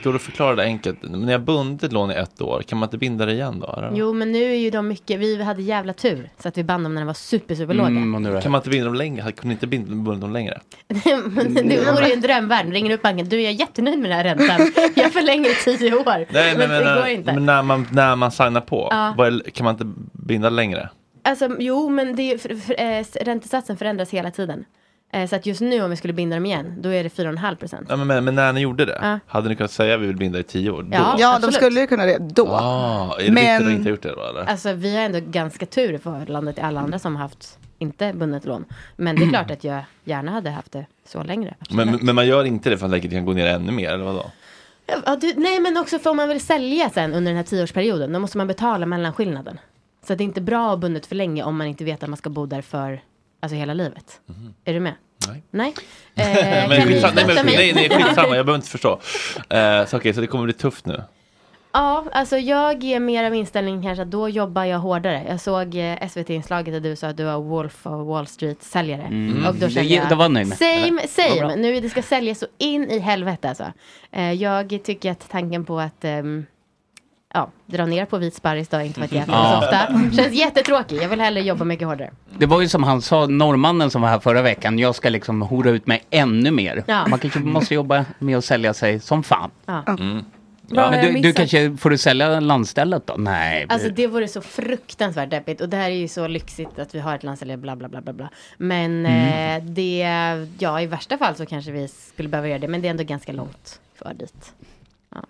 går det att förklara det enkelt? Men När jag bundit lån i ett år, kan man inte binda det igen då? eller?
Jo, men nu är ju de mycket, vi hade jävla tur så att vi band dem när de var super, super låga.
Mm.
Mm.
kan man inte binda dem längre? Kunde inte binda binda dem längre?
[laughs] Men
Mm.
det vore ju en drömvärld. Ringer upp banken, du jag är jättenöjd med den här räntan. [laughs] Jag förlänger i tio år.
Nej, men, men,
det går
när-
inte.
men när, man, när man signar på,
Ja.
vad är- kan man inte binda längre?
Alltså, jo, men det är, ju- för, för, eh, s- räntesatsen förändras hela tiden. Eh, så att just nu om vi skulle binda dem igen, då är det 4,5 procent.
Ja, men, men, men när ni gjorde det,
Ja.
hade ni kunnat säga att vi vill binda i tio år? Då?
Ja,
Ja,
absolut.
de skulle ju kunna det då.
Ah, är det
Men-
viktigt att inte ha gjort det då? Eller?
Alltså, vi har ändå ganska tur i förhållande till alla andra som har haft inte bundet lån. Men det är klart att jag gärna hade haft det så längre.
Mm. men, men man gör inte det för att läget kan gå ner ännu mer, eller vadå?
Ja, du, nej, men också för om man vill sälja sen under den här tioårsperioden, då måste man betala mellanskillnaden. Så att det är inte bra att ha bundet för länge om man inte vet att man ska bo där för alltså, hela livet. Är du med?
Mhm. Nej. [laughs]
Nej. Eh,
men,
kan ni
skitsamma, nej, men,
stötta mig?
nej, nej, skitsamma, jag behöver inte förstå. Eh, så, okej, så det kommer bli tufft nu.
Ja, alltså jag är mer av inställningen kanske att då jobbar jag hårdare. Jag såg eh, SVT-inslaget där du sa att du var Wolf of Wall Street-säljare.
Mm.
Och då
Det
kände
ge-
jag,
det var jag nöjd med.
same,
Eller? Vad
same.
bra.
Nu det ska säljas så in i helvete alltså. Eh, jag tycker att tanken på att ehm, ja, dra ner på vit sparris då, inte för
[laughs]
att jag äter
Ja.
det så ofta, känns jättetråkigt. Jag vill hellre jobba mycket hårdare.
Det var ju som han sa, norrmannen som var här förra veckan, jag ska liksom hora ut mig ännu mer.
Ja.
Man kanske måste jobba med att sälja sig som fan.
Ja.
Mm.
Vad har
Men
jag
du, du
missat?
kanske, får du sälja landstället då? Nej.
Eh.
Alltså det vore så fruktansvärt deppigt och det här är ju så lyxigt att vi har ett landställe bla bla bla bla bla. Men
Mm.
eh, det, ja i värsta fall så kanske vi skulle behöva göra det men det är ändå ganska långt för dit.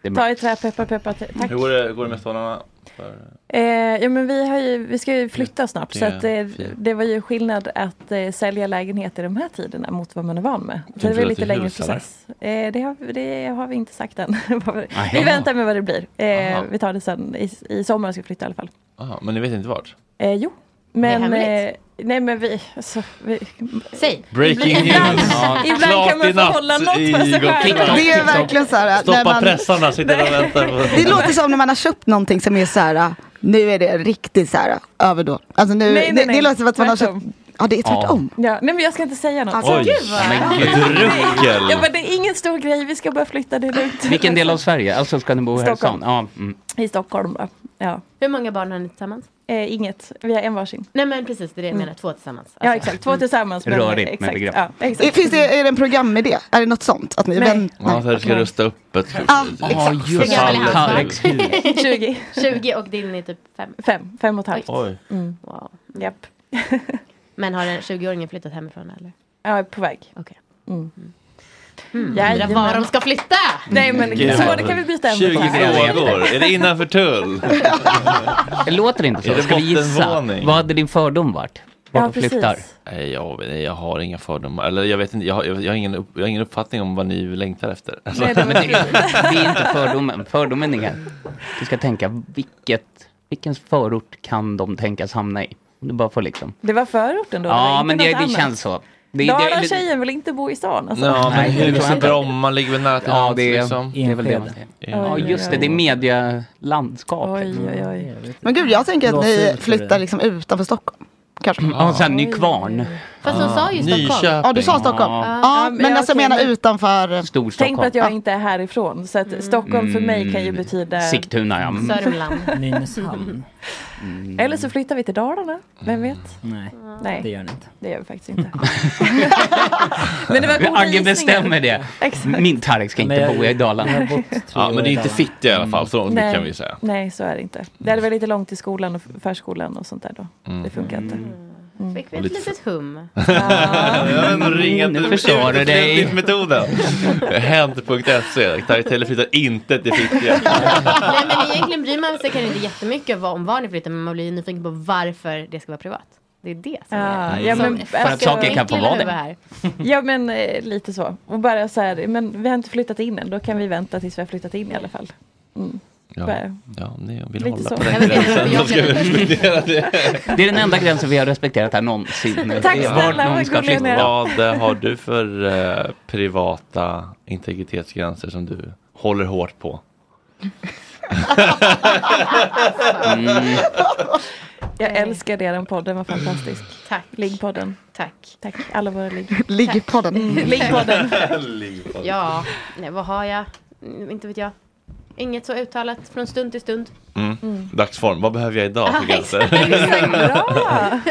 Det är
Ta i trä, peppar, peppar, t- tack.
Hur går det, går det med stålarna? För...
Eh, ja, men vi, har ju, vi ska ju flytta snart så
tre,
att, eh,
fyra.
det var ju skillnad att eh, sälja lägenhet i de här tiderna mot vad man är van med. Så
Tänkte
det var
du
ju
att
lite
det är
längre
hus, eller?
process. Eh, det, har, det har vi inte sagt än. [laughs] vi
Aha.
väntar med vad det blir. Eh,
Aha.
vi tar det sen. I, I sommar ska vi flytta i alla fall.
Aha, men ni vet inte vart?
Eh, jo, men...
hemligt.
Eh, nej men vi... Alltså, vi
Säg!
Breaking
ibland,
news. Ja,
ibland
klart
kan man
i
få
natt
hålla något
i
för sig
Gotland.
själv.
Det är verkligen så här.
Stoppa
när man-
pressarna, sitter och väntar. På...
Det låter som när man har köpt någonting som är så här. Nu är det riktigt så här överdåd. Alltså nu,
Nej, nej,
det,
nej.
det låter som att man har köpt.
Tvärtom.
Ja det är tvärtom.
Ja, nej men jag ska inte säga något.
Alltså, Oj, gud, vad-
men gud.
Ja, men det är ingen stor grej, vi ska bara flytta det är lugnt.
Vilken del av Sverige? Alltså ska ni bo här i stan?
Stockholm.
Ja. Mm.
I Stockholm då. Ja.
Hur många barn har ni tillsammans?
Eh, inget, vi har en varsin.
Nej men precis det är det jag menar, två tillsammans.
Mm.
Alltså, [laughs]
Ja exakt, två tillsammans. men-
Rörigt med
exakt,
begrepp.
Ja,
Är-
exakt.
Finns det, är det en programidé? Är det något sånt? Att ni
Nej.
vänt-
Ja, så här ska rusta upp ett
Ja,
exakt.
Hur gammal är han?
förfallet hus.
20.
20 och din är typ 5?
Fem, fem och ett halvt.
Oj.
Mm.
Wow.
Japp.
[laughs] Men har den 20-åringen flyttat hemifrån eller?
Ja, på väg.
Okej.
Mm.
Mm.
Jajamän.
undrar Var de ska flytta!
Nej men
Gud.
så det kan vi byta ämne.
20 frågor, är det innanför tull?
Det låter inte så.
Är det
Ska vi gissa?
bottenvåning?
Vad hade din fördom varit? Vart
Ja,
du flyttar?
precis.
Nej, jag, nej, jag har inga fördomar. Eller jag, vet inte, jag, har- jag, jag, har ingen, upp, jag har ingen uppfattning om vad ni längtar efter. Alltså.
Nej, det, men det, det är inte fördomen. Fördomen är Du ska tänka vilket, vilken förort kan de tänkas hamna i? Om Du bara får liksom.
Det var förorten då?
Ja,
var
men
inte
det,
något
det
annat.
känns så. Det,
Dalatjejen vill inte bo i stan alltså.
Ja, men
Nej, det tror jag
huset
inte.
Bromma ligger väl nära till
Ja,
hands,
det är,
liksom.
det är väl det man
Enskede.
Ja, just det. Det är medialandskap.
Oj, oj, oj.
Men gud jag tänker att
Låter
ni
ut för
flyttar
det. Mm.
liksom utanför Stockholm. Kanske.
Ja, sen Nykvarn.
Fast
Ah,
hon sa ju Stockholm.
Nyköping.
Ja du sa Stockholm.
Ja.
Ja,
Ja,
men
men
alltså jag
okej,
menar
men-
utanför.
Storstockholm. Mm.
Tänk på att jag inte är härifrån så att Stockholm för mig kan ju betyda
Sigtuna, ja. Mm.
Sörmland.
[laughs]
Nynäshamn.
Eller så flyttar vi till Dalarna, vem
Mm.
vet?
Nej,
Nej,
det gör ni inte.
det gör vi
[laughs]
faktiskt inte. men det var goda
Agge
gissningar.
bestämmer det.
Exakt.
Min Tarek ska
Men
inte
jag-
bo i Dalarna.
[laughs]
Ja, men det är inte fitt i alla fall, så det
Nej.
kan vi säga.
Nej, så är det inte. Det hade varit lite långt till skolan och förskolan och sånt där då. Det funkar inte. Mm.
Fick vi ett litet
[laughs]
hum.
Jag har ringat
Nu förstår du dig.
metoden. Hent.se. Tarjei flyttar inte till Fittja.
Nej men egentligen bryr man sig kanske inte jättemycket om vad- om var ni flyttar men man blir ju nyfiken på varför det ska vara privat. Det är det som
Ja,
är...
Ah, ja, men, alltså,
som-
För att saker
kan få
Min kille
vara det.
var Här.
Ja men eh, lite så. Och bara så här, men vi har inte flyttat in än, då kan vi vänta tills vi har flyttat in i alla fall. Mm. Tyvärr.
Ja, om ni vill
Lite
hålla
så.
på
Ja,
den
men det är
gränsen, då
jobbigt.
ska vi respektera det.
Det är den enda gränsen vi har respekterat här
[laughs]
någonsin.
Tack
Det är vart
snälla,
någon
vad
ska flytta.
Vad eh, har du för eh, privata integritetsgränser som du håller hårt på?
Mm. Jag älskar det, den podden var fantastisk.
Tack.
Liggpodden.
Tack.
Tack, alla våra ligg.
Liggpodden.
Mm.
[laughs]
Liggpodden.
Ja, nej, vad har jag? Mm, Inte vet jag. Inget så uttalat från stund till stund.
Mm. Dagsform, vad behöver jag idag för
Ah, [laughs]
gränser?
exakt.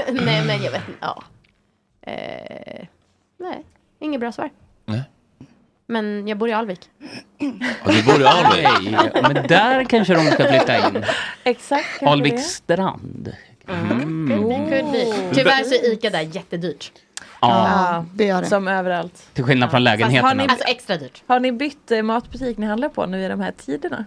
[laughs] nej, men jag vet inte. Ja. Eh, nej, inget bra svar.
Nej.
Men jag bor i Alvik.
Ja, du bor i Alvik.
Nej, men där kanske de ska flytta in.
Exakt. kanske
Alvik
det.
strand.
Could be, could be. Tyvärr så är ICA där jättedyrt.
Ja.
det är det.
Som överallt.
Till skillnad från lägenheterna.
Alltså extra dyrt.
Har ni bytt eh, matbutik ni handlar på nu i de här tiderna?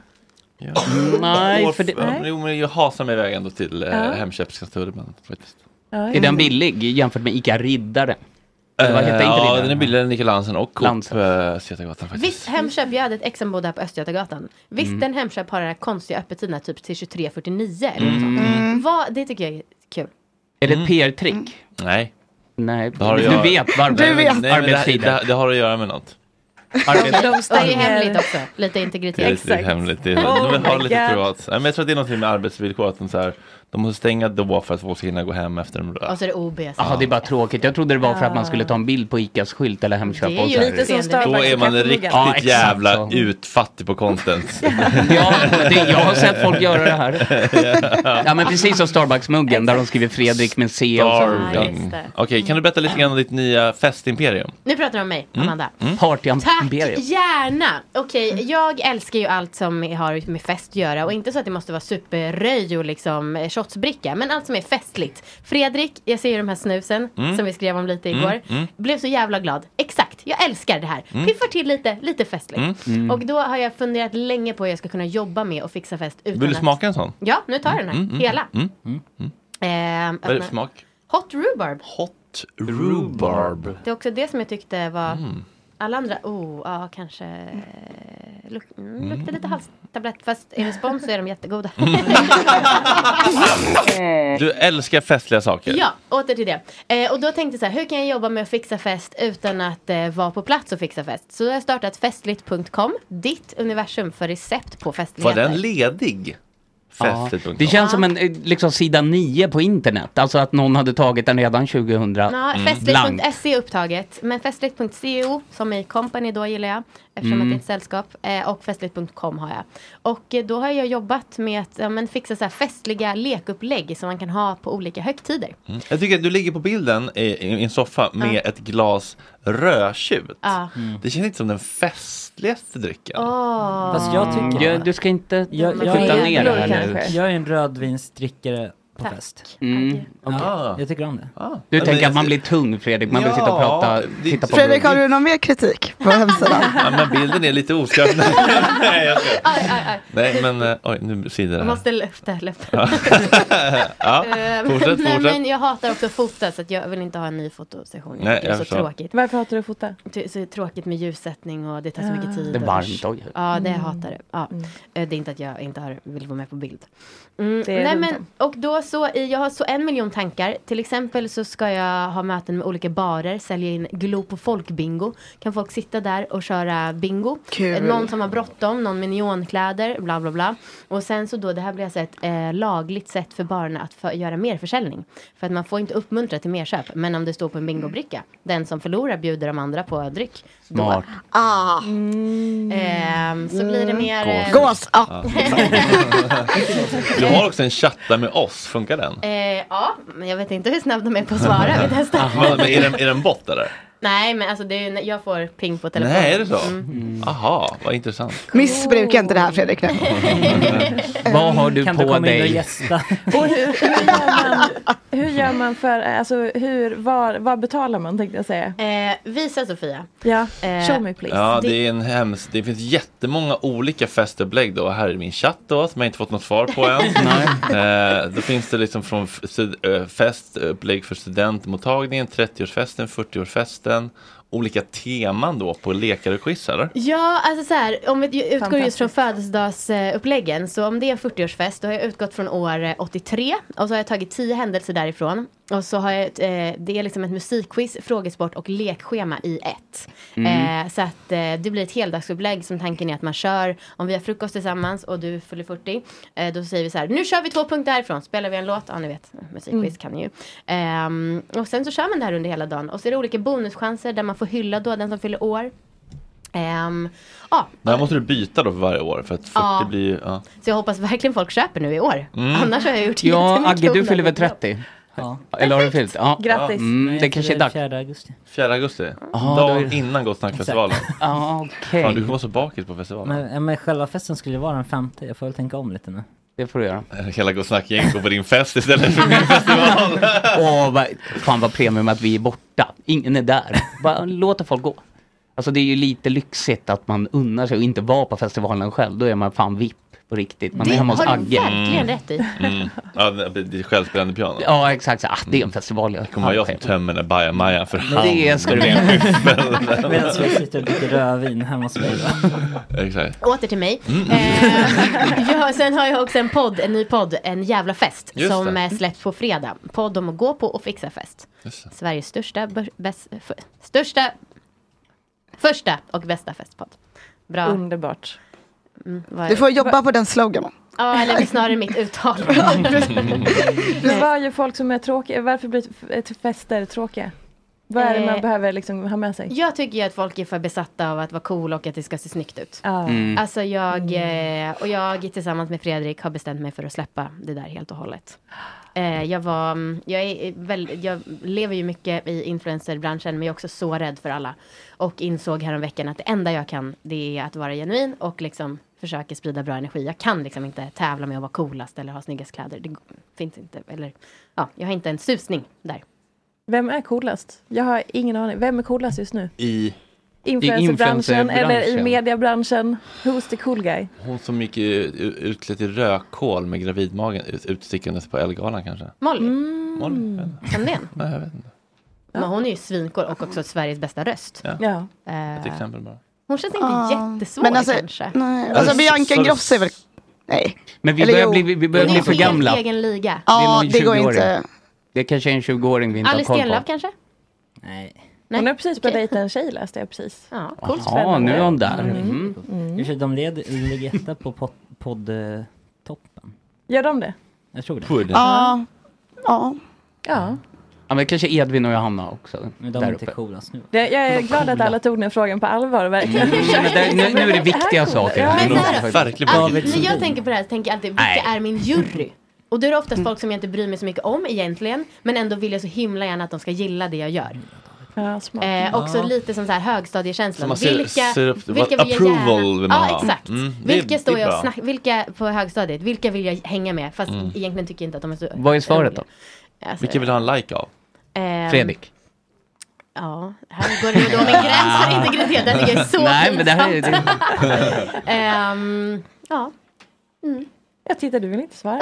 Nej, för det-
Ja, Jo, men jag hasar mig iväg ändå till eh,
Ja.
Hemköpskontoret. faktiskt.
Ja,
Är den billig jämfört med ICA Riddare? Eller vad
Eh,
heter inte
ja,
Riddare?
den är billigare än Ica Lansen och Coop eh, Götagatan faktiskt.
Visst Hemköp, jag hade ett ex som bodde här på Östgötagatan. Visst
Mm.
den Hemköp har den här konstiga öppettiderna typ till 23.49 eller något
Mm.
sånt.
Mm.
Vad, Det tycker jag är kul.
Är det ett PR-trick?
Nej.
Nej,
Det Mm. har att
du
göra-
vet varför.
Nej, men det, här-
Arbetstider.
det, här- det har att göra med något.
Och det är hemligt också. Lite
Det är
integritet.
lite hemligt. Det är,
Oh
de vill ha lite privat. Nej, men jag tror att det är någonting med arbetsvillkor. Att de, så här, de måste stänga då för att folk ska hinna gå hem efter de
Och så är det OB.
Jaha, det är bara tråkigt. Jag trodde det var för att man skulle ta en bild på ICAs skylt eller Hemköp.
Det är
och
ju
så här.
lite som Starbucks
Då är man riktigt
Ja, exakt
jävla
så.
utfattig på konsten.
[laughs] Ja, det, jag har sett folk göra det här. Ja, men precis som Starbucks-muggen där de skriver Fredrik med C och så.
Ja, just det.
Okej, kan du berätta lite grann om ditt nya festimperium?
Nu pratar du om mig,
Mm.
Amanda. Tack
Partyimperium.
gärna! Okej, jag älskar ju allt som har med fest att göra och inte så att det måste vara superröj och liksom eh, shotsbricka men allt som är festligt. Fredrik, jag ser ju de här snusen
Mm.
som vi skrev om lite
Mm,
igår.
mm.
Blev så jävla glad. Exakt, jag älskar det här.
Mm.
Piffar till lite, lite festligt.
Mm. Mm.
Och då har jag funderat länge på hur jag ska kunna jobba med och fixa fest utan
Vill du
att-
smaka en sån?
Ja, nu tar jag den här.
Mm, mm,
Hela.
Mm. Mm. Mm.
Ehm,
Vad är det
öppna.
för smak?
Hot rhubarb.
Hot Rhubarb.
Det är också det som jag tyckte var
Mm.
alla andra, oh, ja kanske eh, luk mm, luktar lite halstablett fast i respons så är de jättegoda.
Mm, Du älskar festliga saker.
[laughs] ja, åter till det. Eh, och då tänkte jag så här, hur kan jag jobba med att fixa fest utan att eh, vara på plats och fixa fest? Så jag har startat festligt.com, ditt universum för recept på
Var
festligheter.
den ledig?
Ja,
Festligt.
det känns som en eh, liksom, sida 9 på internet. Alltså att någon hade tagit den redan 2000.
Ja,
Mm. Blank.
festligt.se är E upptaget, men festligt.co E som i company då gillar jag, eftersom
Mm.
att det är ett sällskap, eh, och festligt.com har jag. Och eh, då har jag jobbat med att ja, men fixa så här festliga lekupplägg som man kan ha på olika högtider.
Mm. Jag tycker att du ligger på bilden i, i en soffa med
Ja.
ett glas rödtjut. Mm.
Ja.
Det känns inte som den festligaste drycken.
Åh.
Fast jag tycker...
Ja, du ska inte
jag, jag,
skjuta
är-
ner det här nu.
Jag är en rödvinsdrickare på fest.
Mm.
Och
Ah.
Jag tycker om det.
Du
Ja,
tänker
men-
att man blir tung Fredrik, man vill
Ja,
sitta och prata,
det-
titta på
Fredrik, har
Fredrik,
du någon mer kritik på hemsidan?
[laughs]
Ja, men bilden är
[laughs]
lite oskarp. Nej, jag skojar.
Aj, aj, aj.
Nej, men eh, oj, nu sidar det
Jag
här.
måste lufta, lufta.
Ja, ja.
Eh,
fortsätt,
Nej, men
fortsätt.
jag hatar också att fota så att jag vill inte ha en ny fotosession.
Nej,
Nej, det är
jag
så
förstår.
tråkigt.
Varför hatar du att fota?
Det är så tråkigt med ljussättning och det tar så mycket
Ah.
tid.
Det är
och-
varmt, oj.
Ja, det
Mm.
hatar jag. Ja. Eh, Det är inte att jag inte har, vill vara med på bild. Mm,
Det är
nej,
dumt
men, och då så, i- jag har så en miljon tankar. Till exempel så ska jag ha möten med olika barer, sälja in Glo på folkbingo. Kan folk sitta där och köra bingo?
Kul.
Eh, Någon som har bråttom, någon med neonkläder, bla bla bla. Och sen så då, det här blir alltså ett eh, lagligt sätt för barerna att för, göra merförsäljning. För att man får inte uppmuntra till merköp. Men om det står på en bingobricka, den som förlorar bjuder de andra på dryck. Då.
Smart.
Ah.
Mm.
Ehm, så blir det mer... eh,
Gås.
Ja. Du har också en chatta med oss, funkar den?
Eh, ja, men jag vet inte hur snabb de är på att svara. Vi
[laughs]
testar.
Men, men är den, är den bot eller?
Nej, men alltså det är, ju- jag får ping på telefonen.
Nej, är det så?
Mm.
Aha, vad intressant.
Missbruka inte det här Fredrik nu.
vad har du
Kan du
på
komma in och
dig? [laughs]
gästa?
Och hur, hur, gör man, hur gör man för, alltså hur, var, vad betalar man tänkte jag säga?
Eh, visa Sofia.
Ja,
Eh,
show me please.
Ja, det, är en hems... det finns jättemånga olika festupplägg då. Här är min chatt då, som jag inte fått något svar på [laughs] än. Nej. Eh, då finns det liksom från f- stud- eh, festupplägg för studentmottagningen, 30-årsfesten, 40-årsfesten olika teman då på lekar och quiz eller?
Ja, alltså så här, om vi utgår just
Fantastiskt.
från födelsedagsuppläggen. Så om det är en 40-årsfest, då har jag utgått från år eh, 83. Och så har jag tagit 10 händelser därifrån. Och så har jag, ett, eh, det är liksom ett musikquiz, frågesport och lekschema i ett.
Mm.
Eh, så att eh, det blir ett heldagsupplägg som tanken är att man kör, om vi har frukost tillsammans och du fyller 40, eh, då säger vi så här, nu kör vi två punkter härifrån, spelar vi en låt, ja ni vet, musikquiz
Mm.
kan ni ju. Ehm, och sen så kör man det här under hela dagen. Och så är det olika bonuschanser där man får hylla då den som fyller år. Ehm, ja,
Där måste du byta då för varje år för att 40
Ja.
blir ju... Ja.
så jag hoppas verkligen folk köper nu i år.
Mm.
Annars har jag gjort
Ja,
jättemycket
Agge, du fyller väl
onödigt jobb.
30? Eller har du fyllt? Ja.
Grattis.
Mm, det kanske är dags.
4 augusti.
4 augusti?
Ja,
Dagen
då är-
innan Gott Snack-festivalen?
Ja, okej.
Fan, du kommer vara så bakis på festivalen.
Men, ja, men själva festen skulle ju vara den femte, jag får väl tänka om lite nu.
Det får du göra.
Hela Gott Snack-gänget går på din fest
[laughs]
istället för min festival.
Åh, vad, fan vad premium att vi är borta. Ingen är där. Bara låter folk gå. Alltså det är ju lite lyxigt att man unnar sig och inte vara på festivalen själv. Då är man fan VIP på riktigt. Man
Det
är hemma hos
har du
Agge.
verkligen rätt i.
Mm. Ja, det det är självspelande piano.
Ja, exakt. Så, ah, det är en festival. Jag
Det kommer vara jag som tömmer den där bajamajan för hand.
Det ska du
Det är
[laughs]
en skyffel.
Medan vi sitter och dricker rödvin hemma hos mig.
Exakt.
Åter till mig.
Mm.
Eh, [laughs] ja, sen har jag också en podd, en ny podd, En jävla fest,
Just
som
det.
eh, släpps på fredag. Podd om att gå på och fixa fest.
Just det.
Sveriges största, bör- bäst, f- största, första och bästa festpodd. Bra.
Underbart.
Mm, vad-
Du får jobba på den sloganen.
Ja, eller snarare mitt uttal.
Det var ju folk som är tråkiga. Varför blir f- fester tråkiga? Vad är det man
Eh,
behöver liksom ha med sig?
Jag tycker ju att folk är för besatta av att vara cool och att det ska se snyggt ut.
Mm.
Alltså jag, eh, och jag tillsammans med Fredrik har bestämt mig för att släppa det där helt och hållet. Eh, Jag, var, mm, jag, är väl, jag lever ju mycket i influencerbranschen men jag är också så rädd för alla. Och insåg häromveckan att det enda jag kan det är att vara genuin och liksom försöka sprida bra energi. Jag kan liksom inte tävla med att vara coolast eller ha snyggast kläder. Det g- finns inte. Eller, ja, jag har inte en susning där.
Vem är coolast? Jag har ingen aning. Vem är coolast just nu?
I
Influencerbranschen eller i
influencerbranschen.
mediebranschen? Who's the cool guy?
Hon som gick i- u- utklädd till rödkål med gravidmagen ut- utstickandes på Ellegalan kanske?
Molly.
Mm.
Molly?
Kamdén.
Nej, jag vet inte.
Men hon är ju svincool och också Sveriges bästa röst. Eh,
Ja.
Ja.
Ett exempel bara.
Hon känns inte
Ja.
jättesvår
Men alltså-
kanske.
Nej. Alltså Bianca Ingrosso är väl... Nej.
Men vi
Eller
börjar
jo.
bli, vi börjar
Hon
bli
är
för
helt
gamla.
egen liga.
Det är någon 20-åring.
inte.
Det kanske är en 20-åring vi inte
Alice
har koll
Stenlöf
på.
kanske?
Hon har precis börjat dejta en tjej läste jag precis.
Ja,
coolt. Jaha, nu är hon där. Mm.
I och för sig, De led- ligger etta på pod- poddtoppen.
Gör de det?
Jag tror det.
Podden.
Ja. Ja.
Ja.
Ja, men kanske Edvin och Johanna också.
Men
där
de är inte
uppe.
coolast nu.
Det, jag är glad att alla tog den frågan på allvar och verkligen [laughs]
Mm, men där- nu- nu är det viktiga saker.
Ja,
Nu är det
men-
faktiskt- Verkligen.
Alltså,
David
när jag
Sundin.
tänker på det här så tänker jag alltid, vilka
Nej. Mm.
är min jury? Och då är det oftast folk som jag inte bryr mig så mycket om egentligen. Men ändå vill jag så himla gärna att de ska gilla det jag gör.
Ja,
Mm.
Eh, också
Ja.
lite som så här högstadiekänsla.
Så man ser- ser upp- vad approval vill man
Ja,
ha.
exakt.
Mm, det är-
vilka står
det är
jag och
bra.
snack, vilka på högstadiet, vilka vill jag hänga med? Fast egentligen tycker jag inte att de är så
Mm. Vad är svaret då?
Alltså,
Vilken vill du ha en like av?
ehm,
Fredrik.
Ja, här går det ju då min gräns för integritet. Det tycker jag är så
Ah. Nej, men det här är-
pinsamt. Ehm, ja.
Jag tittar, du vill inte svara.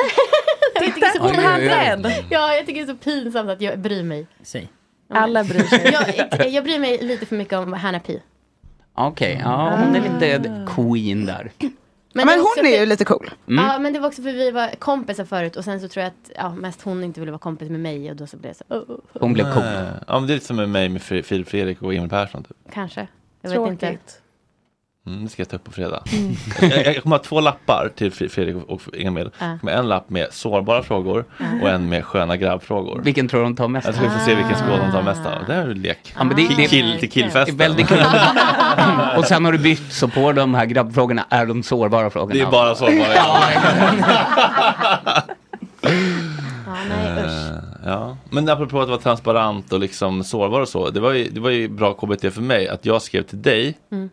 Jag tycker det är så
Hon
pinsamt.
hann rädd.
Ja, jag tycker det är så pinsamt att jag bryr mig.
Säg.
Alla bryr sig.
Jag, jag bryr mig lite för mycket om Hanna Pi.
Okej, ja, hon är lite queen där.
Men,
det
hon
också
är
för-
ju Mm. lite cool.
Ja, men det var också för vi var kompisar förut och sen så tror jag att ja, mest hon inte ville vara kompis med mig och då så blev det så, oh, oh, oh.
Hon blev cool.
Eh, Ja, men det är lite som med mig med Fre- Filip Fredrik och Emil Persson. Typ.
kanske. Jag
Tråkigt.
vet inte.
Mm, det ska jag ta upp på fredag.
Mm.
jag, jag kommer ha två lappar till Fre- Fredrik och- och Emil.
Ja.
Jag kommer ha en lapp med sårbara frågor och en med sköna grabbfrågor.
Vilken tror de tar mest?
Jag tror vi får se vilken skål de tar mest av. Det här är en lek.
Ja, men det- det-
kill till killfesten.
Det är väldigt kul. Och sen har du bytt så på de här grabbfrågorna är de sårbara frågorna.
[laughs] Det är bara sårbara.
Ja,
Ja, nej, usch.
Eh, Ja. Men apropå att vara transparent och liksom sårbar och så. Det var ju, det var ju bra KBT för mig att jag skrev till dig.
Mm.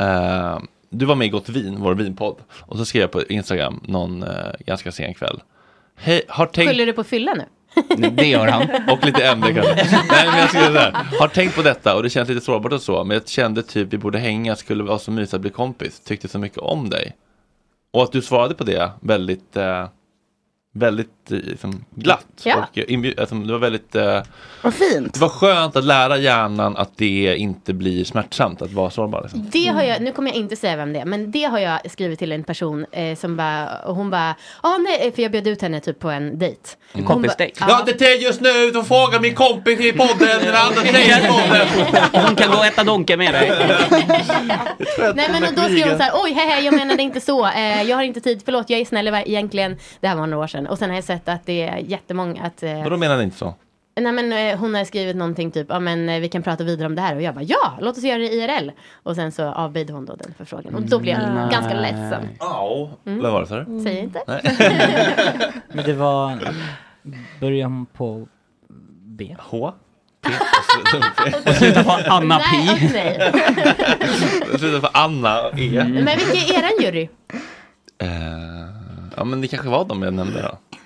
eh, du var med i Gott Vin, vår vinpodd. Och så skrev jag på Instagram någon eh, ganska sen kväll. Hej, har tänkt...
Skyller du på fylla nu?
Det gör han. Och lite MD kanske. Nej, men jag skulle säga så här. Har tänkt på detta och det känns lite sårbart och så. Men jag kände typ vi borde hänga, skulle vara så mysigt att bli kompis. Tyckte så mycket om dig. Och att du svarade på det väldigt, eh, väldigt eh, liksom, glatt.
Ja.
Och, eh, inbju- alltså, det var väldigt eh,
Vad fint.
Det var skönt att lära hjärnan att det inte blir smärtsamt att vara sårbar. Liksom.
Det har
Mm.
jag, nu kommer jag inte säga vem det är, men det har jag skrivit till en person eh, som bara, och hon bara, ja nej, för jag bjöd ut henne typ på en dejt.
Mm.
Hon bara,
Jag har inte tid just nu, du frågar min kompis i podden, den andra tjejen
[laughs]
i podden.
Hon kan gå och äta donka med dig.
Nej men och då skrev hon så här, oj hej hej jag menade inte så, eh, jag har inte tid, förlåt jag är snäll ver- egentligen. Det här var några år sedan och sen har jag sett att det är jättemånga att eh,
Vadå menar ni inte så?
Nej men eh, hon har skrivit någonting typ, ja men eh, vi kan prata vidare om det här och jag bara ja, låt oss göra det IRL. Och sen så avböjde hon då den förfrågan och då blev jag
Nej.
ganska ledsen.
Ja,
Mm.
vad var det sa du?
Säg inte.
Nej.
Men det var början på B.
H?
Och sluta på
Anna P. Nej, och nej.
Sluta för Anna och E.
Men vilken är eran jury?
Eh, ja men det kanske var de jag nämnde då.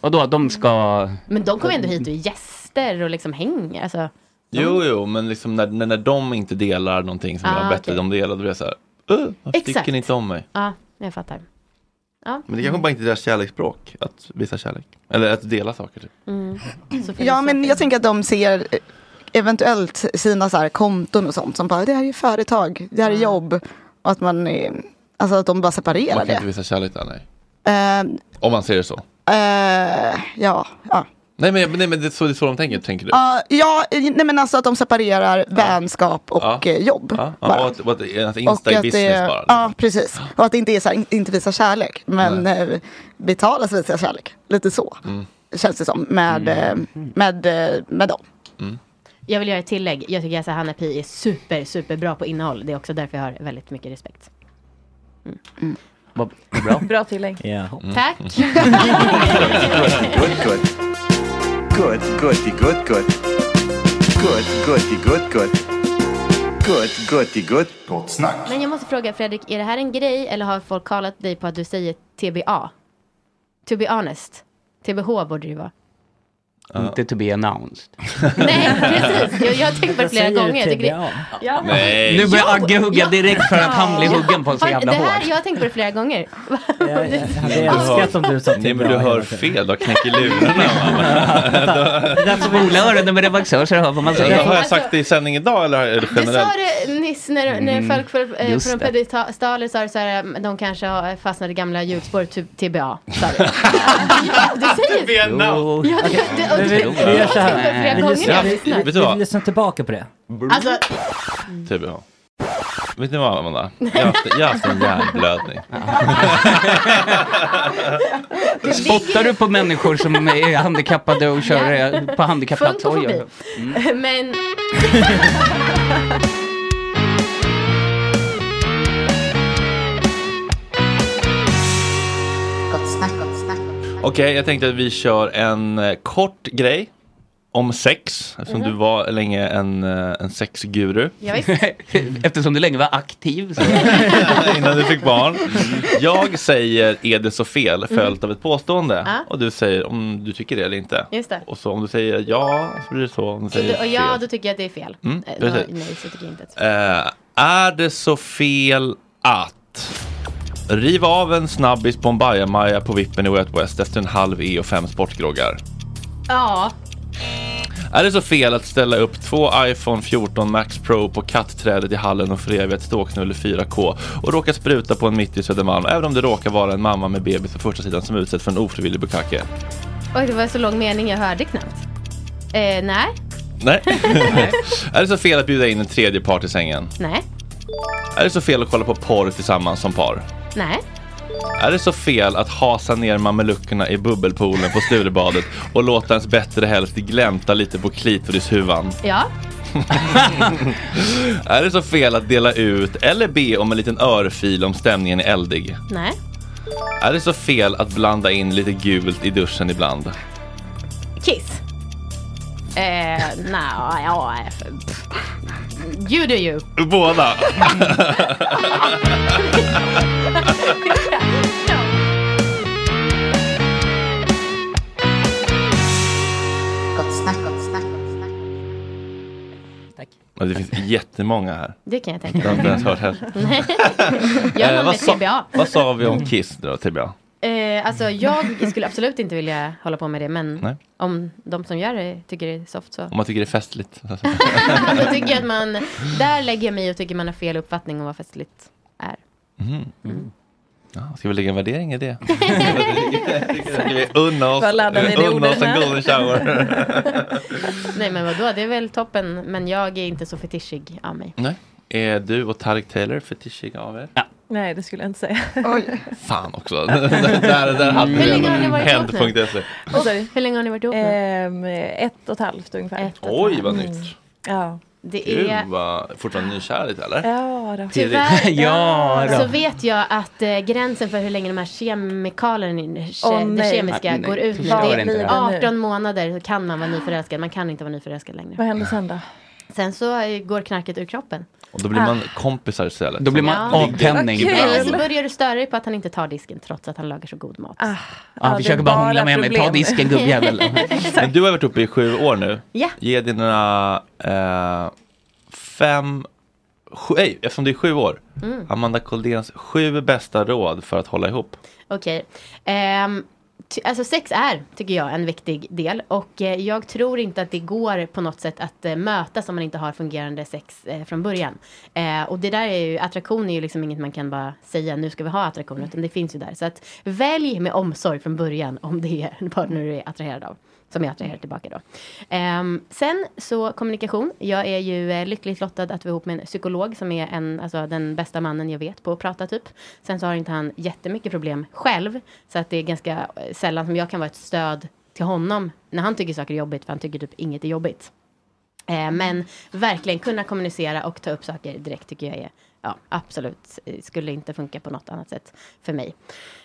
Vadå, de ska...
Men de kommer ändå hit och är gäster och liksom hänger. Alltså,
Jo, jo, men liksom när, när, när de inte delar någonting som
Ah,
jag har bett
okej.
dem dela, då blir jag så här, uh, varför
Exakt.
tycker ni inte om mig?
ja, jag fattar. Ja.
Men det kanske bara inte är deras kärleksspråk, att visa kärlek. Eller att dela saker typ.
Mm.
Så får
Ja
vi
men jag tänker att de ser eh, eventuellt sina så här konton och sånt som bara det här är företag, det här är jobb. Och att man eh, alltså att de bara separerar
Man kan
det.
inte visa kärlek där, nej.
Eh,
Om man ser det så.
eh, ja, ja.
Nej, men, nej, men det, är så, det är så de tänker, tänker du?
Ja, ja, eh, nej men alltså att de separerar vänskap och
Ja.
eh, jobb.
Ja, ah,
bara. eh,
och att, och att, alltså, Insta är business
det,
bara. liksom.
Ja, precis. Och att det inte är så här, in- inte visa kärlek, men eh, betalas visa kärlek. Lite så,
Mm.
känns det som, med, eh, med, eh, med dem.
Jag vill göra ett tillägg. Jag tycker att Hanna Pi är super, super bra på innehåll. Det är också därför jag har väldigt mycket respekt.
Vad vad bra.
Bra tillägg.
Ja.
[laughs]
Tack!
good, Mm. good. Good, goody, good, good. Good, goody, good, good. Good, goody, good. Gott snack.
Men jag måste fråga Fredrik, är det här en grej eller har folk kallat dig på att du säger TBA? To be honest. TBH borde det ju vara.
Inte to be announced.
Nej, precis. Jag, jag har tänkt på det
Vad
flera
säger du,
gånger. Jag tycker
TBA?
det... Ja.
Nej. Nu börjar Agge hugga direkt för att han blir huggen på så
Har-
jävla
det här,
hårt.
Jag har tänkt på det flera gånger.
[laughs]
hade älskat om du sa
Nej, men du hör fel, du knäcker lurarna.
Spola öronen med revaxör så du hör vad man
Alltså,
säger.
har jag sagt det i sändning idag eller är det
Du sa
generellt?
det nyss när, när
Mm,
folk för, eh,
just
från
det.
pedestaler sa det så här, eh, de kanske har fastnat i gamla hjulspår, typ TBA. Sa du. ja, du säger
det.
Ja, det,
Men
det, det,
vi, vi gör så
Jag har
här.
tänkt
Vi
på
lyssnar, vi,
det flera gånger.
Vet du vad?
vi lyssnar tillbaka på det.
Alltså,
TBH. Typ, Vet ni vad Amanda? Jag har haft- jag har haft en hjärnblödning.
Spottar du på människor som är handikappade och kör eh, på handikappplats? Oj, oj,
Funkofobi.
oj.
[laughs] Men...
Gott snack, gott snack.
Okej, jag tänkte att vi kör en eh, kort grej om sex. Eftersom
Mhm.
du var länge en, eh, en sexguru. [laughs]
Ja,
[laughs] Eftersom du länge var aktiv. Så.
Innan du fick barn. Jag säger är det så fel följt av ett påstående.
Mm. Ja.
Och du säger om du tycker det eller inte.
Just det.
Och så om du säger ja så blir det så. Om du
Så
säger
du- och ja,
fel.
då tycker jag att det är fel.
Mm,
Eh, då,
precis.
nej, så tycker jag inte. att-
Eh, är det så fel att riva av en snabbis på en bajamaja på vippen i Way Out West efter en halv E och fem sportgroggar?
Ja,
Är det så fel att ställa upp två iPhone 14 Max Pro på kattträdet i hallen och föreviga ett ståknull i 4K och råka spruta på en mitt i Södermalm även om det råkar vara en mamma med bebis på första sidan som utsätts för en ofrivillig bukake?
oj det var så lång mening jag hörde knappt. Eh, nej,
Nej. är det så fel att bjuda in en tredje part i sängen?
nej,
Är det så fel att kolla på porr tillsammans som par?
nej.
Är det så fel att hasa ner mameluckerna i bubbelpoolen på Sturebadet och låta ens bättre hälft glänta lite på klitorishuvan?
Ja,
Är det så fel att dela ut eller be om en liten örfil om stämningen är eldig?
nej,
Är det så fel att blanda in lite gult i duschen ibland?
kiss. Eh, nej, ja. eh, pff. You do you.
[laughs]
Båda!
Gott snack, gott snack.
Men Det finns jättemånga här.
Det kan jag tänka
Jag har inte ens
mig.
hört här.
Nej. Jag har någon
Eh, vad,
med
sa,
TBA.
vad sa vi om Kiss då, TBA?
Eh, alltså jag skulle absolut inte vilja hålla på med det, men
Nej. Mm.
om de som gör det tycker det är soft så.
Om man tycker det är festligt.
[laughs] Då tycker jag att man, där lägger jag mig och tycker man har fel uppfattning om vad festligt är.
Mm. Ja, ska vi lägga en värdering i
[laughs]
det? Jag tycker att vi Unna oss,
Vad laddar vi det
unna oss en
ordet med?
golden shower.
Nej men vadå, det är väl toppen, men jag är inte så fetischig av mig.
Nej. Är du och Tarik Taylor fetischiga av er? Ja.
Nej, det skulle jag inte säga.
Oj.
Fan också. [laughs] där, där, där hade
Hur länge har ni
vi
varit ihop nu?
Händ.se.
Vad sa du?
Hur länge har ni varit ihop
Ehm, ett och ett halvt ungefär.
Oj, vad
Mm.
nytt.
Ja.
Det
Gud
är
vad fortfarande nykär lite eller?
Ja, då.
[laughs]
[laughs]
Tyvärr
Ja, då.
så vet jag att eh, gränsen för hur länge de här kemikalierna, ke,
Åh,
det
nej.
kemiska,
Nej, nej.
går ut.
Förstår
Det
inte det
är
här.
18 månader så kan man vara nyförälskad. Man kan inte vara nyförälskad längre.
Vad händer sen då?
Sen så eh, går knarket ur kroppen.
Och då blir man
Ah.
kompisar istället. Då
blir man Ja. avtändning. Vad kul.
Eller så börjar du störa dig på att han inte tar disken trots att han lagar så god
Ah.
mat.
Han försöker bara hångla med mig. Ta disken gubbjävel.
Men du har varit uppe i sju år nu.
Ja.
Ge dina eh, fem, sju, nej, eftersom det är sju år.
Mm.
Amanda Koldéns sju bästa råd för att hålla ihop. [laughs]
Okej. Ehm, ty- alltså sex är, tycker jag, en viktig del. Och eh, jag tror inte att det går på något sätt att eh, mötas om man inte har fungerande sex eh, från början. Eh, och det där är ju, attraktion är ju liksom inget man kan bara säga nu ska vi ha attraktion, utan det finns ju där. Så att välj med omsorg från början om det är en partner du är attraherad av. Som jag attraherar tillbaka då. Ehm, sen så kommunikation. Jag är ju eh, lyckligt lottad att vara ihop med en psykolog som är en, alltså, den bästa mannen jag vet på att prata typ. Sen så har inte han jättemycket problem själv. Så att det är ganska eh, sällan som jag kan vara ett stöd till honom när han tycker saker är jobbigt. För han tycker typ inget är jobbigt. Eh,
Mm.
men verkligen kunna kommunicera och ta upp saker direkt tycker jag är ja, absolut, eh, skulle inte funka på något annat sätt för mig.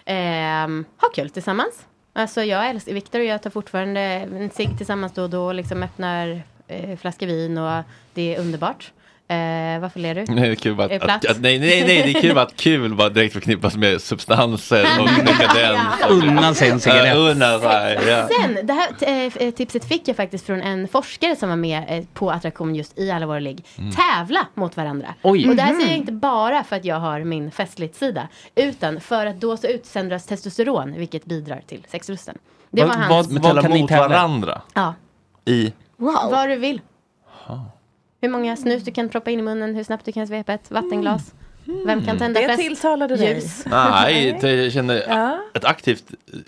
Ehm, ha kul tillsammans. Alltså jag älskar Viktor och jag tar fortfarande en cigg tillsammans då och då, liksom öppnar eh, flaska vin och det är underbart. Eh, varför ler du?
Nej, det är kul bara
Är det
att,
plats?
att, att, nej, nej, nej, det är kul bara att kul bara direkt förknippas med substanser
[laughs]
och dekadens.
Unna sig en cigarett.
Ja, Unna sig, Äh, ja.
Sen, det här t- eh, tipset fick jag faktiskt från en forskare som var med eh, på attraktion just i alla våra ligg.
Mm.
Tävla mot varandra.
Oj.
Och det här säger jag
Mhm.
inte bara för att jag har min festligt sida. Utan för att då så utsöndras testosteron, vilket bidrar till sexlusten. Det var
Vad-
hans...
vad- Men tävla mot varandra
Ja.
i
Vad du vill. Hur många snus du kan proppa in i munnen, hur snabbt du kan svepa ett vattenglas.
Mm.
Vem kan tända
Mm. Det
flest
tilltalade dig.
ljus?
Nej, det- jag känner
Ja.
ett aktivt eh,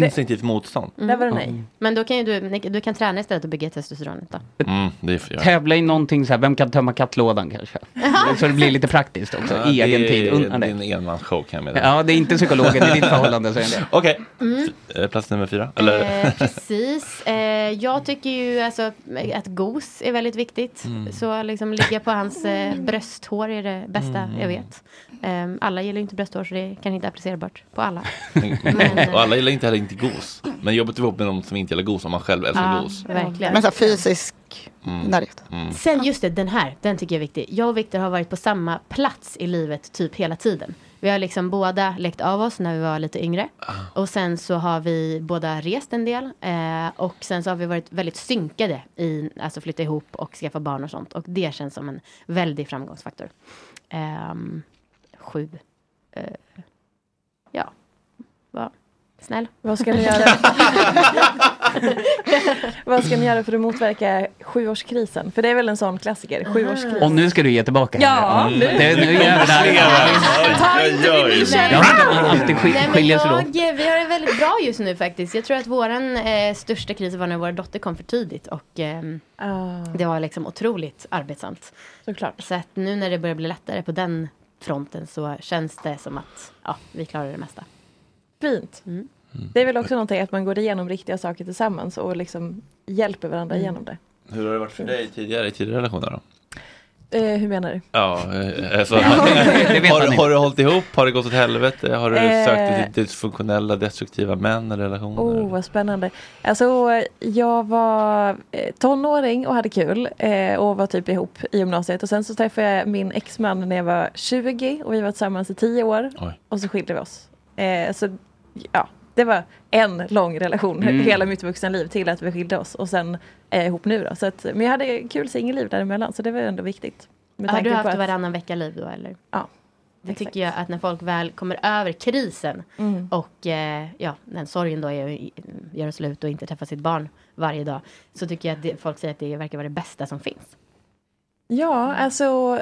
instinktivt motstånd.
Mm. Men då kan ju du, du kan träna istället och bygga testosteronet då.
Mm, det får jag.
Tävla i någonting så här, vem kan tömma kattlådan kanske? Så det blir lite praktiskt också,
Ja,
egen
det
tid.
är
Unna dig.
Din enmansshow kan jag meddela.
Ja, det är inte psykologen, det är ditt förhållande. Så är det.
Okej,
Mm.
eh, plats nummer fyra. Eller?
Eh, precis. Eh, jag tycker ju alltså, att gos är väldigt viktigt.
Mm.
Så liksom ligga på hans eh,
Mm.
brösthår är det bästa
Mm.
jag vet. Eh, alla gillar ju inte brösthår så det är kanske inte applicerbart på alla. Men-
Och alla gillar inte heller inte gos. Men jobbigt att vara ihop med de som inte gillar gos om man själv älskar
Ja,
gos.
verkligen.
Men så här, fysisk närhet.
Mm.
Sen just det, den här, den tycker jag är viktig. Jag och Viktor har varit på samma plats i livet typ hela tiden. Vi har liksom båda läckt av oss när vi var lite yngre. Och sen så har vi båda rest en del. Eh, och sen så har vi varit väldigt synkade i, alltså flytta ihop och skaffa barn och sånt. Och det känns som en väldig framgångsfaktor. Ehm, sju. Eh, ja. Va? Snäll.
Vad ska ni göra? [laughs] Vad ska ni göra för att motverka sjuårskrisen? För det är väl en sån klassiker, sjuårskrisen.
Och nu ska du ge tillbaka.
Ja,
Mm.
nu.
det, nu är det där.
Ta inte min
Nej.
Ja, men Alltid
Nej,
skil-
men
skiljer sig
jag,
då.
vi har det väldigt bra just nu faktiskt. Jag tror att våran eh, största kris var när vår dotter kom för tidigt och ehm, det var liksom otroligt arbetsamt.
Ah. Såklart.
Så att nu när det börjar bli lättare på den fronten så känns det som att ja, vi klarar det mesta.
Fint. Det är väl också någonting att man går igenom riktiga saker tillsammans och liksom hjälper varandra
Mm.
igenom det.
Hur har det varit för dig tidigare i tidigare relationer då?
Eh, hur menar du?
Ja, eh, alltså, [laughs]
Det vet
har,
han
du-
inte.
har du hållit ihop? Har det gått åt helvete? Har du
Eh.
sökt dig till dysfunktionella, destruktiva män i relationer?
Oh, vad spännande. Alltså, jag var eh, tonåring och hade kul eh, och var typ ihop i gymnasiet. Och sen så träffade jag min exman när jag var 20 och vi var tillsammans i 10 år. Och så skilde vi oss. Eh, så ja, det var en lång relation
Mm.
hela mitt vuxna liv till att vi skilde oss. Och sen är jag ihop nu då. Så att, men jag hade kul singelliv däremellan så det var ändå viktigt. Med
Har
tanke
du
på
haft
att-
varannan vecka-liv då eller?
Ja.
Det tycker jag att när folk väl kommer över krisen
Mm.
och eh, ja, den sorgen då är, gör slut och inte träffar sitt barn varje dag. Så tycker jag att det, folk säger att det verkar vara det bästa som finns.
Ja, alltså...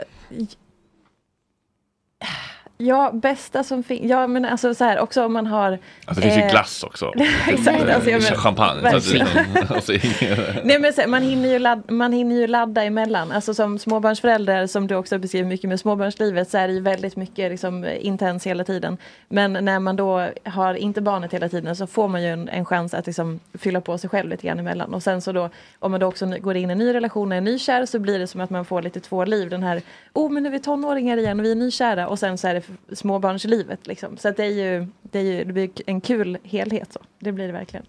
Ja, bästa som finns. Ja, men alltså så här också om man har...
Alltså, det finns ju
eh,
glass
[laughs]
också.
Exakt. Alltså, jag
Eh,
menar-
Champagne. Så att det-
Verkligen.
[laughs] alltså, ingen-
Nej men så, här, man, hinner ju ladda, man hinner ju ladda emellan. Alltså som småbarnsförälder, som du också beskriver mycket med småbarnslivet, så är det ju väldigt mycket liksom, intens hela tiden. Men när man då har inte barnet hela tiden så får man ju en, en chans att liksom, fylla på sig själv lite grann emellan. Och sen så då, om man då också nu- går in i en ny relation, är nykär, så blir det som att man får lite två liv. Den här, oh men nu är vi tonåringar igen och vi är nykära. Och sen så är det f- småbarnslivet liksom. Så att det är ju, det är ju, det blir en kul helhet så. Det blir det verkligen.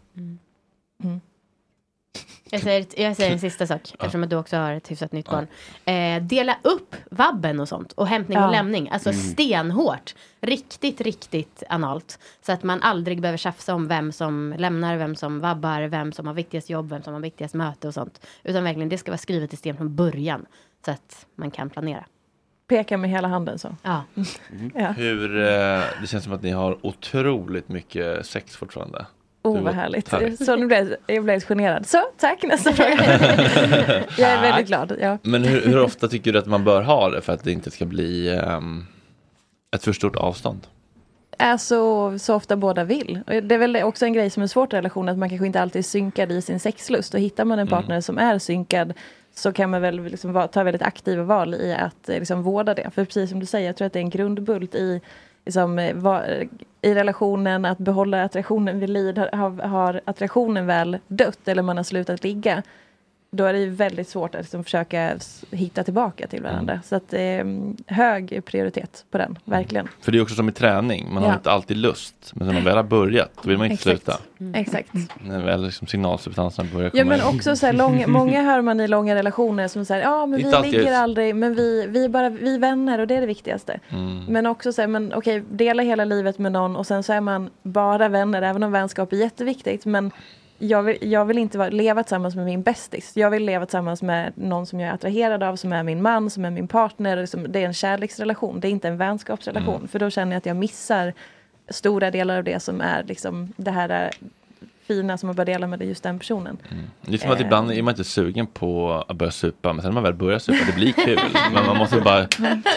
Jag säger, jag säger en sista sak, eftersom att du också har ett hyfsat nytt barn. Eh, dela upp vabben och sånt, och hämtning
Ja.
och lämning. Alltså
Mm.
stenhårt. Riktigt, riktigt analt. Så att man aldrig behöver tjafsa om vem som lämnar, vem som vabbar, vem som har viktigast jobb, vem som har viktigast möte och sånt. Utan verkligen, det ska vara skrivet i sten från början. Så att man kan planera.
Peka med hela handen så.
Ja.
Ja.
Hur, eh, det känns som att ni har otroligt mycket sex fortfarande.
Oh,
Du-
vad härligt.
Tack.
Så nu blev jag, jag blev helt generad. Så,
[laughs]
tack, nästa fråga. jag är väldigt glad. Ja.
Men hur, hur ofta tycker du att man bör ha det för att det inte ska bli ehm, ett för stort avstånd?
Är så, så ofta båda vill. Och Det är väl också en grej som är svårt i relation, att man kanske inte alltid är synkad i sin sexlust. Och hittar man en partner som är synkad så kan man väl liksom va- ta väldigt aktiva val i att eh, liksom vårda det. För precis som du säger, jag tror att det är en grundbult i, liksom, eh, va, i relationen, att behålla attraktionen vid liv. Har, har, har attraktionen väl dött eller man har slutat ligga, då är det ju väldigt svårt att liksom försöka s- hitta tillbaka till varandra. Så att, eh, hög prioritet på den, verkligen.
För det är också som i träning, man har
Ja.
inte alltid lust. Men när man väl har börjat, då vill man inte
Exakt.
sluta.
Exakt.
När väl liksom signalsubstanserna börjar komma
Ja men
in.
också så här, lång, många hör man i långa relationer som säger ja men
Inte
vi
alltid.
ligger aldrig, men vi, vi, är bara, vi är vänner och det är det viktigaste.
Mm.
Men också så här, men okej, dela hela livet med någon och sen så är man bara vänner, även om vänskap är jätteviktigt. Men jag vill, jag vill inte vara, leva tillsammans med min bästis. Jag vill leva tillsammans med någon som jag är attraherad av, som är min man, som är min partner. Liksom, det är en kärleksrelation, det är inte en vänskapsrelation. För då känner jag att jag missar stora delar av det som är liksom, det här är fina som man bör dela med just den personen.
Det är som att
Eh.
ibland är man inte sugen på att börja supa, men sen när man väl börjar supa, det blir kul. men man måste bara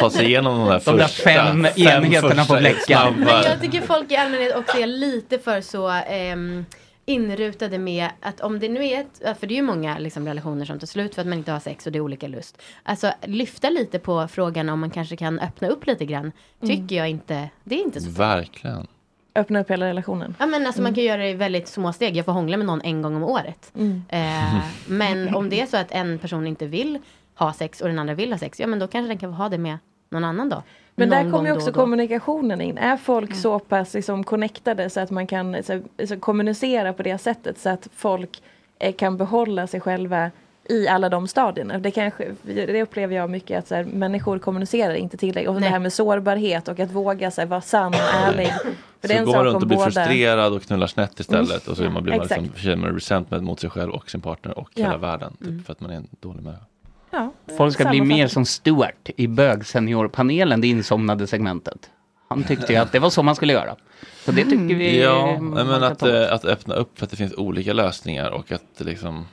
ta sig igenom de där
De där
första
fem enheterna på
första
bläckan.
snabba-
Men jag tycker folk i allmänhet också är lite för så ehm, inrutade med att om det nu är ett, ja, för det är ju många liksom, relationer som tar slut för att man inte har sex och det är olika lust. Alltså lyfta lite på frågan om man kanske kan öppna upp lite grann.
Mm.
Tycker jag inte, det är inte så
Verkligen.
Öppna upp hela relationen.
Ja men alltså man
Mm.
kan göra det i väldigt små steg. Jag får hångla med någon en gång om året.
[laughs]
Eh, men om det är så att en person inte vill ha sex och den andra vill ha sex. Ja men då kanske den kan få ha det med någon annan då.
Men
någon
där kommer ju
gång då
också
och då.
kommunikationen in. Är folk så pass liksom connectade så att man kan så, så, kommunicera på det sättet så att folk eh, kan behålla sig själva i alla de stadierna. Det, kanske, det upplever jag mycket att så här, människor kommunicerar inte tillräckligt. Och det här med sårbarhet och att våga så här, vara sann och ärlig. För det
Så
är en
går man
sak
runt
om
och blir
båda-
frustrerad och knullar snett istället.
Mm.
Och så är man blir man
Exakt.
liksom, känner man resentment mot sig själv och sin partner och
Ja.
hela världen. Typ,
Mm.
För att man är en dålig människa.
Ja,
Folk ska bli
sammanfattat.
mer som Stuart i bögseniorpanelen, det insomnade segmentet. Han tyckte ju att det var så man skulle göra. Så det tycker vi...
Ja,
man
nej, men
kan
att,
ta
eh, att öppna upp för att det finns olika lösningar och att det liksom,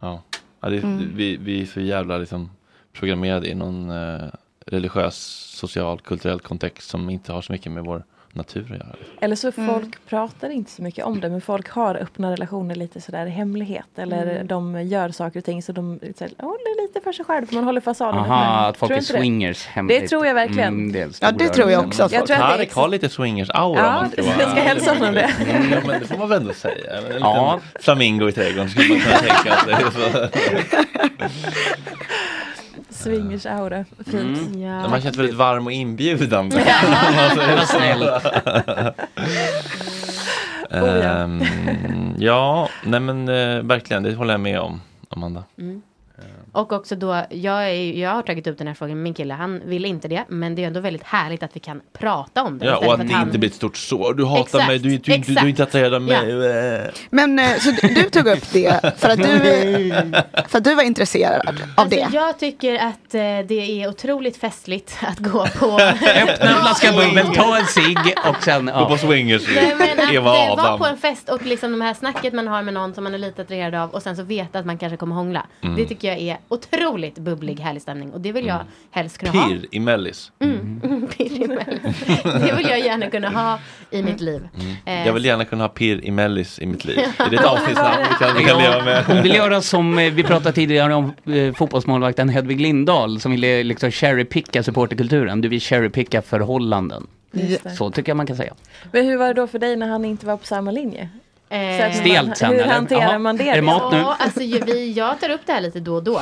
ja. ja det,
Mm.
vi, vi är så jävla liksom programmerade i någon eh, religiös, social, kulturell kontext som inte har så mycket med vår natur att göra.
Eller så folk pratar inte så mycket om det men folk har öppna relationer lite sådär i hemlighet. Eller
Mm.
de gör saker och ting så de så här, håller lite för sig själv. Man håller fasaden
Aha,
öppen.
att folk
Tror
är
inte det?
swingers
hemligt. Det tror jag verkligen.
Mm, det är en
Ja,
stor
det tror jag
överraskning.
också att Jag folk- tror att det är-
Tarek har lite swingers-aura.
Ja,
om man tror.
precis. Jag ska hälsa honom det.
Mm, ja, men det får man väl ändå säga. En liten
Ja.
flamingo i trädgården skulle man kunna tänka sig. Så.
Swingers aura.
Mm.
[laughs] Fint.
Ja. Man känns väldigt varm och inbjudande.
[laughs]
Alltså,
Det var snällt.
Oh, ja.
Ehm, ja, nej men eh, verkligen, det håller jag med om, Amanda.
Mm. Och också då, jag, är, jag har tagit upp den här frågan med min kille, han vill inte det, men det är ändå väldigt härligt att vi kan prata om det.
Ja,
istället
och
för
att det
han-
inte blir ett stort sår. Du hatar
Exakt,
mig, du, är inte- du, du, du är
exakt.
inte attraherad av mig.
Men eh, så du du tog upp det för att du,
[laughs]
för att du var intresserad av det.
Alltså, jag tycker att eh, det är otroligt festligt [laughs] att gå
[laughs]
på
Öppna en flaska bubbel, ta en cigg och sen... Gå
på swingers.
Nej, men att
Eva
eh, vara
Adam.
på en fest och liksom de här snacket man har med någon som man är lite attraherad av och sen så veta att man kanske kommer hångla.
Mm.
Det tycker jag är otroligt bubblig, härlig stämning och det vill jag helst kunna ha.
Pirr i mellis.
Mm, [laughs] pirr i mellis. det vill jag gärna kunna ha i mitt liv. Eh,
Jag vill gärna kunna ha pirr i mellis i
[laughs]
mitt liv. Är det ett avsnittsnamn vi kan, vi kan
Ja,
leva med?
Hon vill göra som eh, vi pratade tidigare om eh, fotbollsmålvakten Hedvig Lindahl som ville liksom cherrypicka supporterkulturen. Du vill cherrypicka förhållanden.
Just det.
Så tycker jag man kan säga.
Men hur var det då för dig när han inte var på samma linje?
Eh,
Så att
Stelt sen,
hur
eller?
hanterar
Jaha.
man det?
Är det mat nu?
Ja, alltså, ju- vi, jag tar upp det här lite då och
[laughs]
då.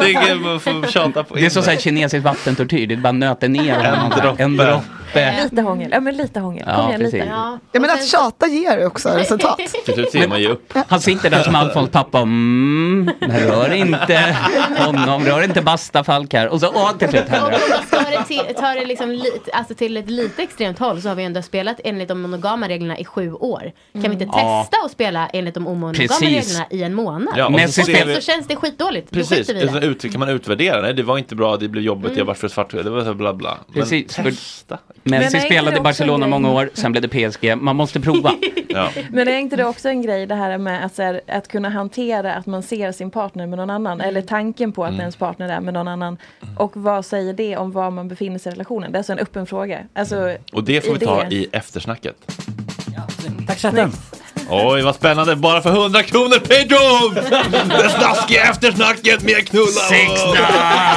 Det är, tjata på
det är som så här kinesiskt vattentortyr, det bara nöter ner
En
honom.
droppe.
En droppe.
Lite hångel, ja men lite hångel.
Ja,
Kom igen lite.
precis.
Ja,
men att tjata ger ju också resultat.
Till slut ser man ju upp.
Han sitter där som Alfons pappa. Mm, rör inte honom, rör inte Basta Falk här. Och så åh, till slut händer det.
Tar det, till, tar det liksom lite, alltså till ett lite extremt håll så har vi ändå spelat enligt de monogama reglerna i sju år. Kan vi inte
Mm. Ja.
testa att spela enligt de omonogama
Precis.
reglerna i en månad?
Ja, och så
och
ser
sen
vi-
så känns det skitdåligt. Då
Precis,
skiter vi i
och så [laughs]
det. [laughs]
ut, kan man utvärdera? Nej, det var inte bra, det blev jobbigt,
Mm.
jag var för svart, det var så bla bla. Men
Precis, för-
testa.
Men är
Messi
inte
spelade
det
i Barcelona
också en
många
grej?
år, sen blev det PSG. Man måste prova.
Men är inte det också en grej det här med att, så här, att kunna hantera att man ser sin partner med någon annan eller tanken på att
Mm.
ens partner är med någon annan
Mm.
och vad säger det om var man befinner sig i relationen? Det är alltså en öppen fråga. Alltså,
Mm. Och det
[laughs]
får vi ta
det.
i eftersnacket.
Tack chatten.
Oj, vad spännande! Bara för 100 kronor Patreon! Det snaskiga eftersnacket med knullar!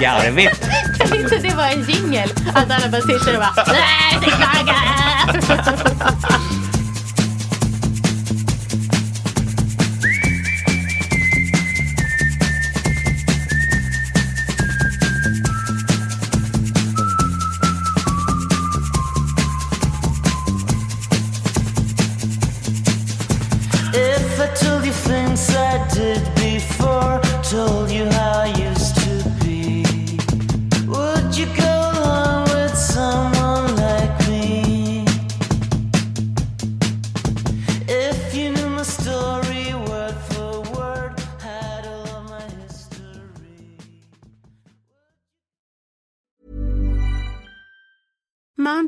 Garvigt!
Kan inte det vara en jingel? Att alla bara sitter och bara Nej, det klagar!
If I told you things I did before, told you how I used to be, would you go along with someone like me? If you knew my story word for word, had all of my history.
Mom